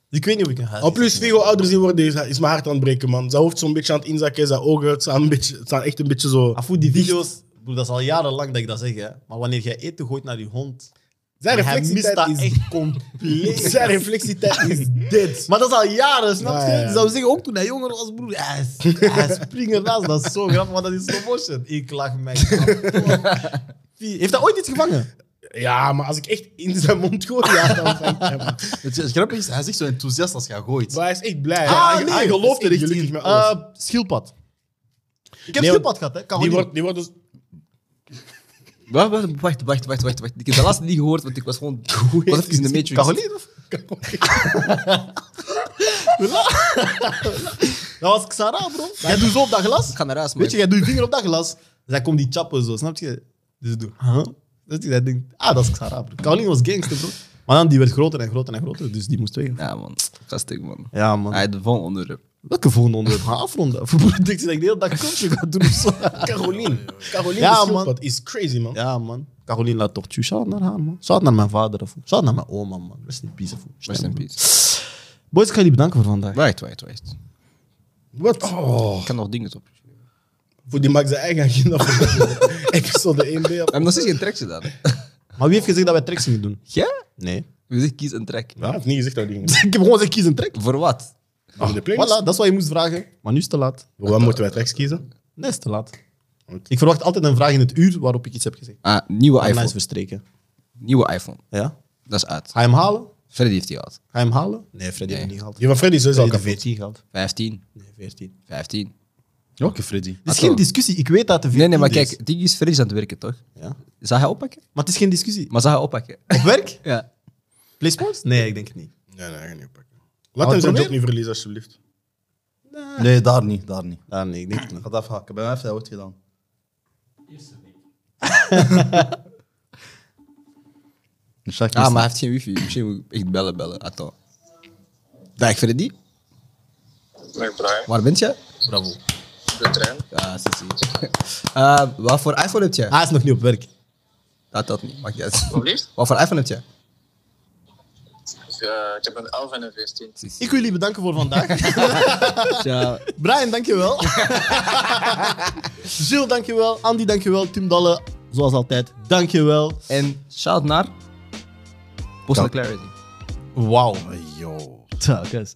[SPEAKER 1] Dus ik weet niet of ik een huis
[SPEAKER 3] En plus, Figo ouder zien worden is, is mijn hart aan het breken, man. Zijn hoofd zo'n beetje aan het inzakken, zijn ogen staan, een beetje, staan echt een beetje zo...
[SPEAKER 1] Afoe, die video's, broer, dat is al jarenlang dat ik dat zeg, hè. Maar wanneer jij eten gooit naar die hond,
[SPEAKER 3] Zijn
[SPEAKER 1] hij mist dat
[SPEAKER 3] reflectietijd is...
[SPEAKER 1] echt compleet.
[SPEAKER 3] Zijn reflectietijd is dead.
[SPEAKER 1] Maar dat is al jaren, snap je?
[SPEAKER 3] Ja, ja, ja.
[SPEAKER 1] Dus dat we zeggen, ook toen hij jonger was, broer, hij, hij springt ernaast. Dat is zo grappig, want dat is slow motion. Ik lach mij. kapot. Heeft dat ooit iets gevangen?
[SPEAKER 3] Ja, maar als ik echt in zijn mond gooi, ja, dan ben ik hem.
[SPEAKER 4] Het is- het grappige is, hij is echt zo enthousiast als je gaat gooit.
[SPEAKER 3] Maar hij is echt blij.
[SPEAKER 1] Ah,
[SPEAKER 3] hij,
[SPEAKER 1] nee.
[SPEAKER 3] hij gelooft er echt
[SPEAKER 1] Gelukkig
[SPEAKER 3] in.
[SPEAKER 1] met
[SPEAKER 3] Met
[SPEAKER 1] alles.
[SPEAKER 3] alles.
[SPEAKER 1] Eh, schildpad. Ik heb
[SPEAKER 3] Nee,
[SPEAKER 1] schildpad gehad, hè? Kan
[SPEAKER 3] die,
[SPEAKER 1] gewoon
[SPEAKER 3] wordt, die wordt dus...
[SPEAKER 5] Wacht, wacht, wacht, wacht, wacht, wacht, wacht. Ik heb de laatste niet gehoord, want ik was gewoon... Wat even in de Matrix.
[SPEAKER 1] Caroline of? Dat was Xara, bro. Jij doet zo op dat glas.
[SPEAKER 5] Ik ga naar huis, man.
[SPEAKER 1] Weet je, jij doet je vinger op dat glas. Zij komt die chappen zo, snap je? Dus doe. Huh? Dus die zij denkt, ah, dat is Xara, bro. Caroline was gangster, bro. Maar dan, die werd groter en groter en groter, dus die moest weg.
[SPEAKER 5] Ja, man. Gastig, man.
[SPEAKER 1] Ja, man.
[SPEAKER 5] Hij had de volgende onderwerp.
[SPEAKER 1] Welke volgende onderwerp gaan afronden? Voor broer, ik denk dat ik de hele dag coaching ga doen of zo.
[SPEAKER 3] Caroline. Caroline
[SPEAKER 1] Ja,
[SPEAKER 3] ja,
[SPEAKER 1] man.
[SPEAKER 3] man. is crazy, man.
[SPEAKER 1] Ja, man. Caroline laat toch shout naar haar, man. Shout naar mijn vader, of shout naar mijn oma, man. Rest in peace, of
[SPEAKER 5] Rest in peace.
[SPEAKER 1] Boys, ik ga jullie bedanken voor vandaag.
[SPEAKER 5] Wacht, wacht, wacht.
[SPEAKER 3] Wat? Oh.
[SPEAKER 5] Ik kan nog dingen op.
[SPEAKER 3] Voor die maakt zijn eigen agenda voor episode 1
[SPEAKER 5] We
[SPEAKER 3] b
[SPEAKER 5] hebben nog steeds geen track gedaan. hè.
[SPEAKER 1] Maar wie heeft gezegd dat wij tracks gingen doen?
[SPEAKER 5] Ja?
[SPEAKER 1] Nee.
[SPEAKER 5] We zeggen kies een track.
[SPEAKER 3] Hij heeft niet gezegd dat ding.
[SPEAKER 1] ik heb gewoon gezegd, kies een track.
[SPEAKER 5] Voor wat?
[SPEAKER 3] de
[SPEAKER 1] Voilà,
[SPEAKER 3] playlist.
[SPEAKER 1] dat is wat je moest vragen. Maar nu is het te laat.
[SPEAKER 3] Voor Ah, Wat moeten wij tracks kiezen?
[SPEAKER 1] Nee, is te laat. Ik verwacht altijd een vraag in het uur waarop ik iets heb gezegd.
[SPEAKER 5] Ah, nieuwe
[SPEAKER 1] Timeline is
[SPEAKER 5] iPhone.
[SPEAKER 1] verstreken.
[SPEAKER 5] Nieuwe iPhone.
[SPEAKER 1] Ja?
[SPEAKER 5] Dat is uit.
[SPEAKER 1] Ga je hem halen?
[SPEAKER 5] Freddy heeft die gehad.
[SPEAKER 1] Ga je hem halen? Nee, Freddy
[SPEAKER 5] Nee.
[SPEAKER 1] heeft hem niet gehaald.
[SPEAKER 3] Die van Freddy is sowieso al
[SPEAKER 1] Freddy heeft
[SPEAKER 3] kapot.
[SPEAKER 1] 14 gehaald.
[SPEAKER 5] 15.
[SPEAKER 1] Nee, 14.
[SPEAKER 5] 15.
[SPEAKER 4] Oké, Freddy.
[SPEAKER 1] Het is geen discussie. Ik weet dat de 14
[SPEAKER 5] Ah, Nee, nee, maar
[SPEAKER 1] is.
[SPEAKER 5] kijk, het ding is Freddy is aan het werken, toch?
[SPEAKER 1] Ja.
[SPEAKER 5] Zou hij oppakken?
[SPEAKER 1] Maar het is geen discussie.
[SPEAKER 5] Maar zou hij oppakken?
[SPEAKER 1] Op werk?
[SPEAKER 5] Ja.
[SPEAKER 1] Play sports? Nee, ik denk het niet.
[SPEAKER 3] Nee, nee, hij gaat niet pakken.
[SPEAKER 1] Wat
[SPEAKER 3] Laat hem zijn
[SPEAKER 1] probeer?
[SPEAKER 3] job niet verliezen, alsjeblieft.
[SPEAKER 4] Nee, daar niet, daar niet.
[SPEAKER 1] Ah, nee, ik denk het niet.
[SPEAKER 4] Gaat afhaken, bij mij heeft hij ooit gedaan.
[SPEAKER 6] Eerste week.
[SPEAKER 4] Shaq
[SPEAKER 5] Ah, maar
[SPEAKER 4] is-
[SPEAKER 5] hij heeft geen wifi. Misschien moet ik echt bellen, bellen. Atto. Dag Freddy.
[SPEAKER 7] Dag Brian,
[SPEAKER 5] Waar bent je?
[SPEAKER 1] Bravo.
[SPEAKER 7] de trein.
[SPEAKER 5] Ja, Sissi. Eh, wat voor iPhone heb je?
[SPEAKER 1] Ah, Hij is nog niet op werk.
[SPEAKER 5] Dat dat niet, maakt niet uit.
[SPEAKER 7] Alsjeblieft.
[SPEAKER 5] Wat voor iPhone heb je?
[SPEAKER 7] Eh, ik heb een 11 en een 14.
[SPEAKER 1] Ik wil jullie bedanken voor vandaag.
[SPEAKER 5] Ja.
[SPEAKER 1] Brian, dankjewel. Jules, dankjewel. Andy, dankjewel. Tim Dalle, zoals altijd, dankjewel.
[SPEAKER 5] En shout naar... Postal Clarity.
[SPEAKER 1] Wauw.
[SPEAKER 4] Yo.
[SPEAKER 1] Tja, kus.